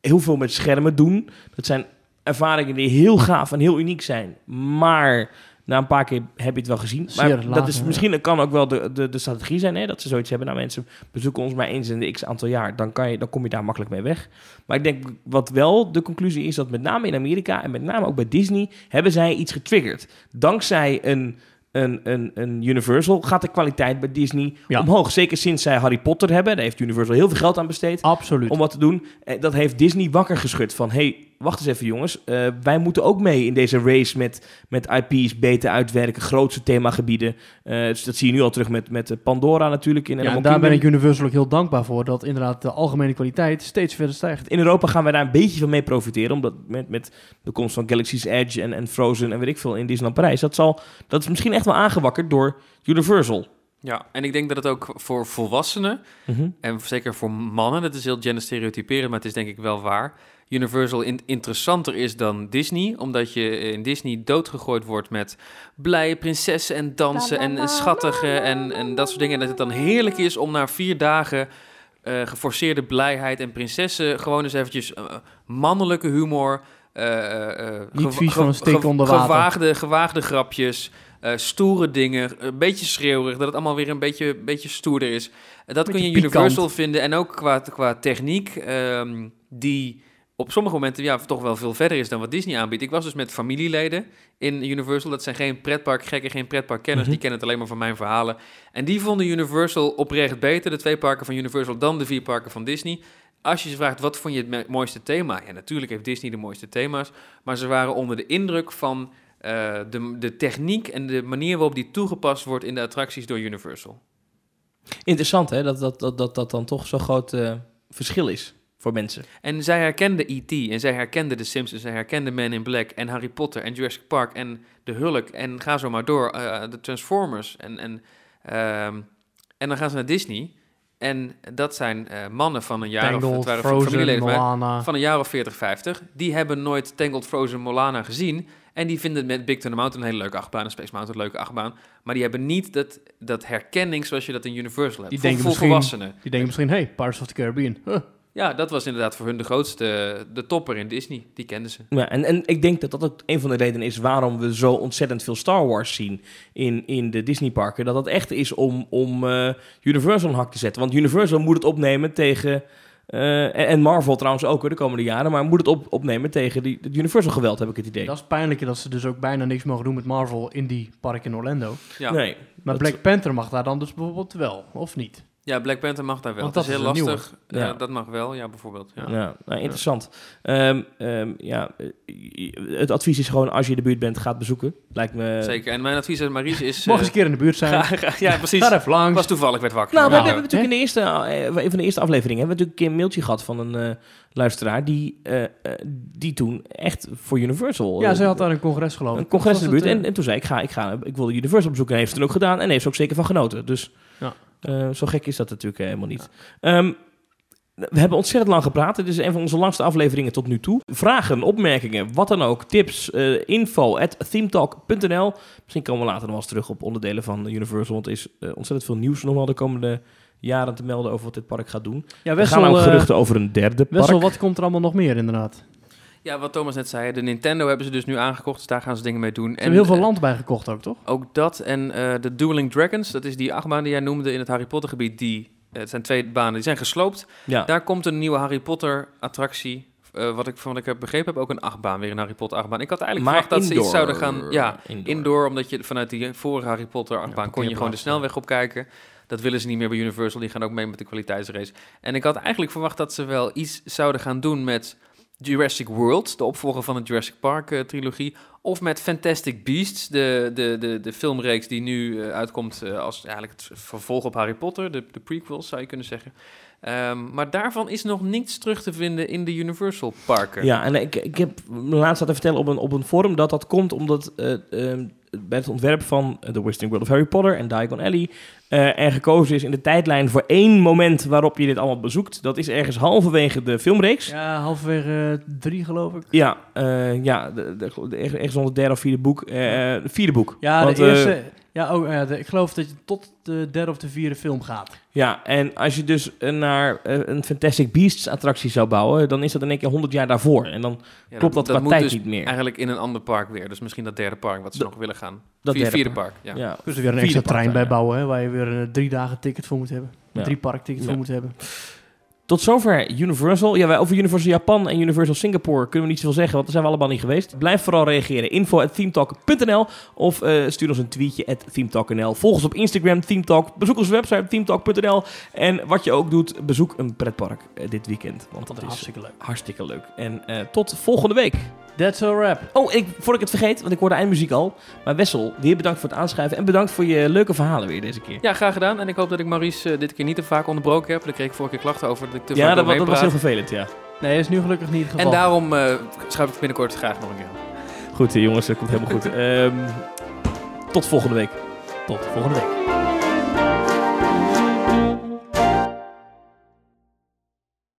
Speaker 2: heel veel met schermen doen. Dat zijn ervaringen die heel gaaf en heel uniek zijn. Maar na een paar keer heb je het wel gezien.
Speaker 1: Zeer
Speaker 2: Maar dat
Speaker 1: later,
Speaker 2: is
Speaker 1: ja.
Speaker 2: misschien dat kan ook wel de, de, de strategie zijn. Hè? Dat ze zoiets hebben. Nou mensen bezoeken ons maar eens in de x aantal jaar. Dan, kan je, dan kom je daar makkelijk mee weg. Maar ik denk wat wel de conclusie is. Dat met name in Amerika en met name ook bij Disney. Hebben zij iets getriggerd. Dankzij een... Een, een, een Universal gaat de kwaliteit bij Disney
Speaker 1: Ja.
Speaker 2: omhoog. Zeker sinds zij Harry Potter hebben. Daar heeft Universal heel veel geld aan besteed
Speaker 1: Absoluut.
Speaker 2: om wat te doen. Eh, Dat heeft Disney wakker geschud van... hey, wacht eens even jongens. Eh, wij moeten ook mee in deze race met, met IP's beter uitwerken. Grootste themagebieden. Eh, dus dat zie je nu al terug met, met eh, Pandora natuurlijk. In
Speaker 1: ja,
Speaker 2: Animal
Speaker 1: en daar ben ik
Speaker 2: Kingdom.
Speaker 1: Universal ook heel dankbaar voor. Dat inderdaad de algemene kwaliteit steeds verder stijgt.
Speaker 2: In Europa gaan wij daar een beetje van mee profiteren. Omdat met, met de komst van Galaxy's Edge en, en Frozen en weet ik veel in Disneyland Parijs. Dat, zal, dat is misschien echt wel aangewakkerd door Universal.
Speaker 3: Ja, en ik denk dat het ook voor volwassenen
Speaker 2: Mhm.
Speaker 3: En zeker voor mannen, dat is heel genderstereotyperend, maar het is denk ik wel waar. Universal in- interessanter is dan Disney, omdat je in Disney doodgegooid wordt met blije prinsessen en dansen en, en schattige en, en dat soort dingen. En dat het dan heerlijk is om na vier dagen eh, geforceerde blijheid en prinsessen. Gewoon eens eventjes eh, mannelijke humor. eh, eh,
Speaker 1: Niet
Speaker 3: gewa-
Speaker 1: vies van een
Speaker 3: ge-
Speaker 1: steek
Speaker 3: ge-
Speaker 1: onder water.
Speaker 3: Gewaagde, gewaagde grapjes, eh, stoere dingen, een beetje schreeuwerig. Dat het allemaal weer een beetje, beetje stoerder is. Eh, Dat kun je
Speaker 1: Beetje
Speaker 3: in
Speaker 1: pikant.
Speaker 3: Universal vinden. En ook qua, qua techniek, ehm, die op sommige momenten ja, toch wel veel verder is dan wat Disney aanbiedt. Ik was dus met familieleden in Universal. Dat zijn geen pretparkgekken, geen pretparkkenners.
Speaker 2: Mhm.
Speaker 3: Die kennen het alleen maar van mijn verhalen. En die vonden Universal oprecht beter, de twee parken van Universal, dan de vier parken van Disney. Als je ze vraagt, wat vond je het me- mooiste thema? Ja, natuurlijk heeft Disney de mooiste thema's. Maar ze waren onder de indruk van eh, de, de techniek en de manier waarop die toegepast wordt in de attracties door Universal.
Speaker 2: Interessant, hè? Dat dat, dat, dat, dat dan toch zo'n groot eh, verschil is voor mensen.
Speaker 3: En zij herkende E.T. en zij herkende The Simpsons, zij herkende Man in Black en Harry Potter en Jurassic Park en De Hulk en ga zo maar door, eh, de Transformers. En, en, ehm, en dan gaan ze naar Disney en dat zijn eh, mannen van een jaar of...
Speaker 1: Tangled,
Speaker 3: het waren
Speaker 1: Frozen,
Speaker 3: familieleden van mij,
Speaker 1: Moana.
Speaker 3: van een jaar of 40, 50. Die hebben nooit Tangled Frozen Molana gezien. En die vinden met Big Thunder Mountain een hele leuke achtbaan. En Space Mountain een leuke achtbaan. Maar die hebben niet dat, dat herkenning zoals je dat in Universal hebt.
Speaker 1: Die
Speaker 3: voor
Speaker 1: denken
Speaker 3: voor
Speaker 1: misschien-
Speaker 3: volwassenen.
Speaker 1: Die denken misschien, hey, Pirates of the Caribbean. Huh.
Speaker 3: Ja, dat was inderdaad voor hun de grootste, de topper in Disney. Die kenden ze.
Speaker 2: Ja, en, en ik denk dat dat ook een van de redenen is waarom we zo ontzettend veel Star Wars zien in, in de Disneyparken. Dat dat echt is om, om eh, Universal een hak te zetten. Want Universal moet het opnemen tegen. eh, en, en Marvel trouwens ook hoor, de komende jaren. Maar moet het op, opnemen tegen die, het Universal geweld, heb ik het idee.
Speaker 1: Dat is pijnlijk dat ze dus ook bijna niks mogen doen met Marvel in die park in Orlando.
Speaker 3: Ja.
Speaker 2: Nee,
Speaker 1: Maar
Speaker 2: Dat-
Speaker 1: Black Panther mag daar dan dus bijvoorbeeld wel, of niet?
Speaker 3: ja, Black Panther mag daar wel.
Speaker 1: Want
Speaker 3: dat
Speaker 1: dat
Speaker 3: is heel
Speaker 1: is een
Speaker 3: lastig.
Speaker 2: nieuwe.
Speaker 3: Ja,
Speaker 2: Ja.
Speaker 3: dat mag wel, ja, bijvoorbeeld. Ja.
Speaker 2: Ja. nou, interessant. Ehm, ehm, ja, eh, het advies is gewoon als je in de buurt bent, gaat bezoeken. Lijkt me.
Speaker 3: Zeker. En mijn advies aan Maries is...
Speaker 1: Mocht eens
Speaker 3: eh,
Speaker 1: een keer in de buurt zijn.
Speaker 3: ga- ga- ja, precies.
Speaker 1: Ga even
Speaker 3: Ik
Speaker 1: langs.
Speaker 3: was toevallig, werd wakker.
Speaker 2: Nou, we
Speaker 3: Ja.
Speaker 2: hebben natuurlijk in de eerste, eh, een van de eerste afleveringen hebben we natuurlijk een keer een mailtje gehad van een eh, luisteraar die, eh, eh, die toen echt voor Universal.
Speaker 1: Ja,
Speaker 2: eh,
Speaker 1: zij had daar een congres
Speaker 3: Oh,
Speaker 1: geloof ik.
Speaker 2: een congres in de
Speaker 1: Was
Speaker 2: buurt.
Speaker 1: het,
Speaker 3: eh,
Speaker 2: En, en toen zei ik, ga, ik, ga, ik wil Universal bezoeken. En heeft het toen ook gedaan. En heeft er ook zeker van genoten. Dus
Speaker 1: Ja.
Speaker 2: eh, zo gek is dat natuurlijk eh, helemaal niet. Ehm, we hebben ontzettend lang gepraat. Dit is een van onze langste afleveringen tot nu toe. Vragen, opmerkingen, wat dan ook, tips, eh info at themetalk.nl. Misschien komen we later nog wel eens terug op onderdelen van Universal. Want er is eh, ontzettend veel nieuws nog wel de komende jaren te melden over wat dit park gaat doen.
Speaker 1: eh, Ja,
Speaker 2: Er gaan
Speaker 1: Wessel,
Speaker 2: ook
Speaker 1: eh,
Speaker 2: geruchten over een derde park.
Speaker 1: Wessel, wat komt er allemaal nog meer inderdaad?
Speaker 3: Ja, wat Thomas net zei, de Nintendo hebben ze dus nu aangekocht. Dus daar gaan ze dingen mee doen.
Speaker 1: Ze hebben heel
Speaker 3: eh,
Speaker 1: veel land bij gekocht ook, toch?
Speaker 3: Ook dat en eh, de Dueling Dragons, dat is die achtbaan die jij noemde in het Harry Potter gebied. Die, eh, het zijn twee banen, die zijn gesloopt.
Speaker 2: ja.
Speaker 3: Daar komt een nieuwe Harry Potter attractie. eh, wat ik van wat ik heb begrepen heb, ook een achtbaan, weer een Harry Potter achtbaan. Ik had eigenlijk
Speaker 2: Maar
Speaker 3: verwacht dat ze iets
Speaker 2: indoor.
Speaker 3: zouden gaan... Ja, indoor, omdat je vanuit die vorige Harry Potter achtbaan kon je gewoon de
Speaker 2: parkeerplaats,
Speaker 3: snelweg opkijken. Dat willen ze niet meer bij Universal, die gaan ook mee met de kwaliteitsrace. En ik had eigenlijk verwacht dat ze wel iets zouden gaan doen met Jurassic World, de opvolger van de Jurassic Park eh, trilogie. Of met Fantastic Beasts, de, de, de, de filmreeks die nu eh, uitkomt eh, als eigenlijk het vervolg op Harry Potter, de, de prequels zou je kunnen zeggen. Ehm, maar daarvan is nog niets terug te vinden in de Universal parken.
Speaker 2: Ja, en ik, ik heb me laatst laten vertellen op een, op een forum dat dat komt omdat eh, ehm, bij het ontwerp van eh, The Wizarding World of Harry Potter en Diagon Alley eh, er gekozen is in de tijdlijn voor één moment waarop je dit allemaal bezoekt. Dat is ergens halverwege de filmreeks. Ja.
Speaker 1: Ja, halverwege drie geloof ik.
Speaker 2: eh, ja, de, de, de- ergens onder het derde of vierde boek. eh, eh, vierde boek.
Speaker 1: Ja,
Speaker 2: Want,
Speaker 1: de
Speaker 2: eh,
Speaker 1: eerste... ja, oh, ja, de- ik geloof dat je tot de derde of de vierde film gaat.
Speaker 2: ja, en als je dus eh, naar eh, een Fantastic Beasts attractie zou bouwen, dan is dat in één keer 100 jaar daarvoor. En dan
Speaker 3: Ja,
Speaker 2: klopt dat, qua
Speaker 3: moet
Speaker 2: tijd
Speaker 3: dus
Speaker 2: niet meer.
Speaker 3: Eigenlijk in een ander park weer. Dus misschien dat derde park wat ze
Speaker 2: Dat-
Speaker 3: nog willen gaan.
Speaker 2: Dat
Speaker 3: Vier-
Speaker 2: derde
Speaker 3: vierde park, ja.
Speaker 2: Ja.
Speaker 1: Dus er weer een
Speaker 2: Vierde
Speaker 1: extra
Speaker 2: partij,
Speaker 1: trein bij
Speaker 2: ja.
Speaker 1: bouwen, hè, waar je weer een drie dagen ticket voor moet hebben.
Speaker 2: Ja.
Speaker 1: Een drie park ticket
Speaker 2: Ja.
Speaker 1: voor moet hebben.
Speaker 2: Tot zover Universal. Ja, wij over Universal Japan en Universal Singapore kunnen we niet zoveel zeggen, want daar zijn we allemaal niet geweest. Blijf vooral reageren. Info at themetalk.nl of eh, stuur ons een tweetje at themetalk.nl. Volg ons op Instagram, themetalk. Bezoek onze website, themetalk.nl. En wat je ook doet, bezoek een pretpark eh, dit weekend, want
Speaker 1: Dat
Speaker 2: dat
Speaker 1: is
Speaker 2: is
Speaker 1: hartstikke leuk.
Speaker 2: hartstikke leuk. En eh, tot volgende week.
Speaker 1: That's a wrap.
Speaker 2: Oh, en ik, voor ik het vergeet, want ik hoor de eindmuziek al. Maar Wessel, weer bedankt voor het aanschrijven en bedankt voor je leuke verhalen weer deze keer.
Speaker 3: Ja, graag gedaan. En ik hoop dat ik Maurice eh, dit keer niet te vaak onderbroken heb. Daar kreeg ik vorige keer klachten over dat ik te
Speaker 2: Ja, dat,
Speaker 3: vaak
Speaker 2: wa-
Speaker 3: doorheen
Speaker 2: dat was heel
Speaker 3: praat.
Speaker 2: vervelend, ja.
Speaker 1: Nee, is nu gelukkig niet het geval.
Speaker 3: En daarom eh schuif ik het binnenkort graag nog een keer aan.
Speaker 2: Goed, eh, jongens, dat komt helemaal goed. Ehm, tot volgende week.
Speaker 1: Tot volgende week.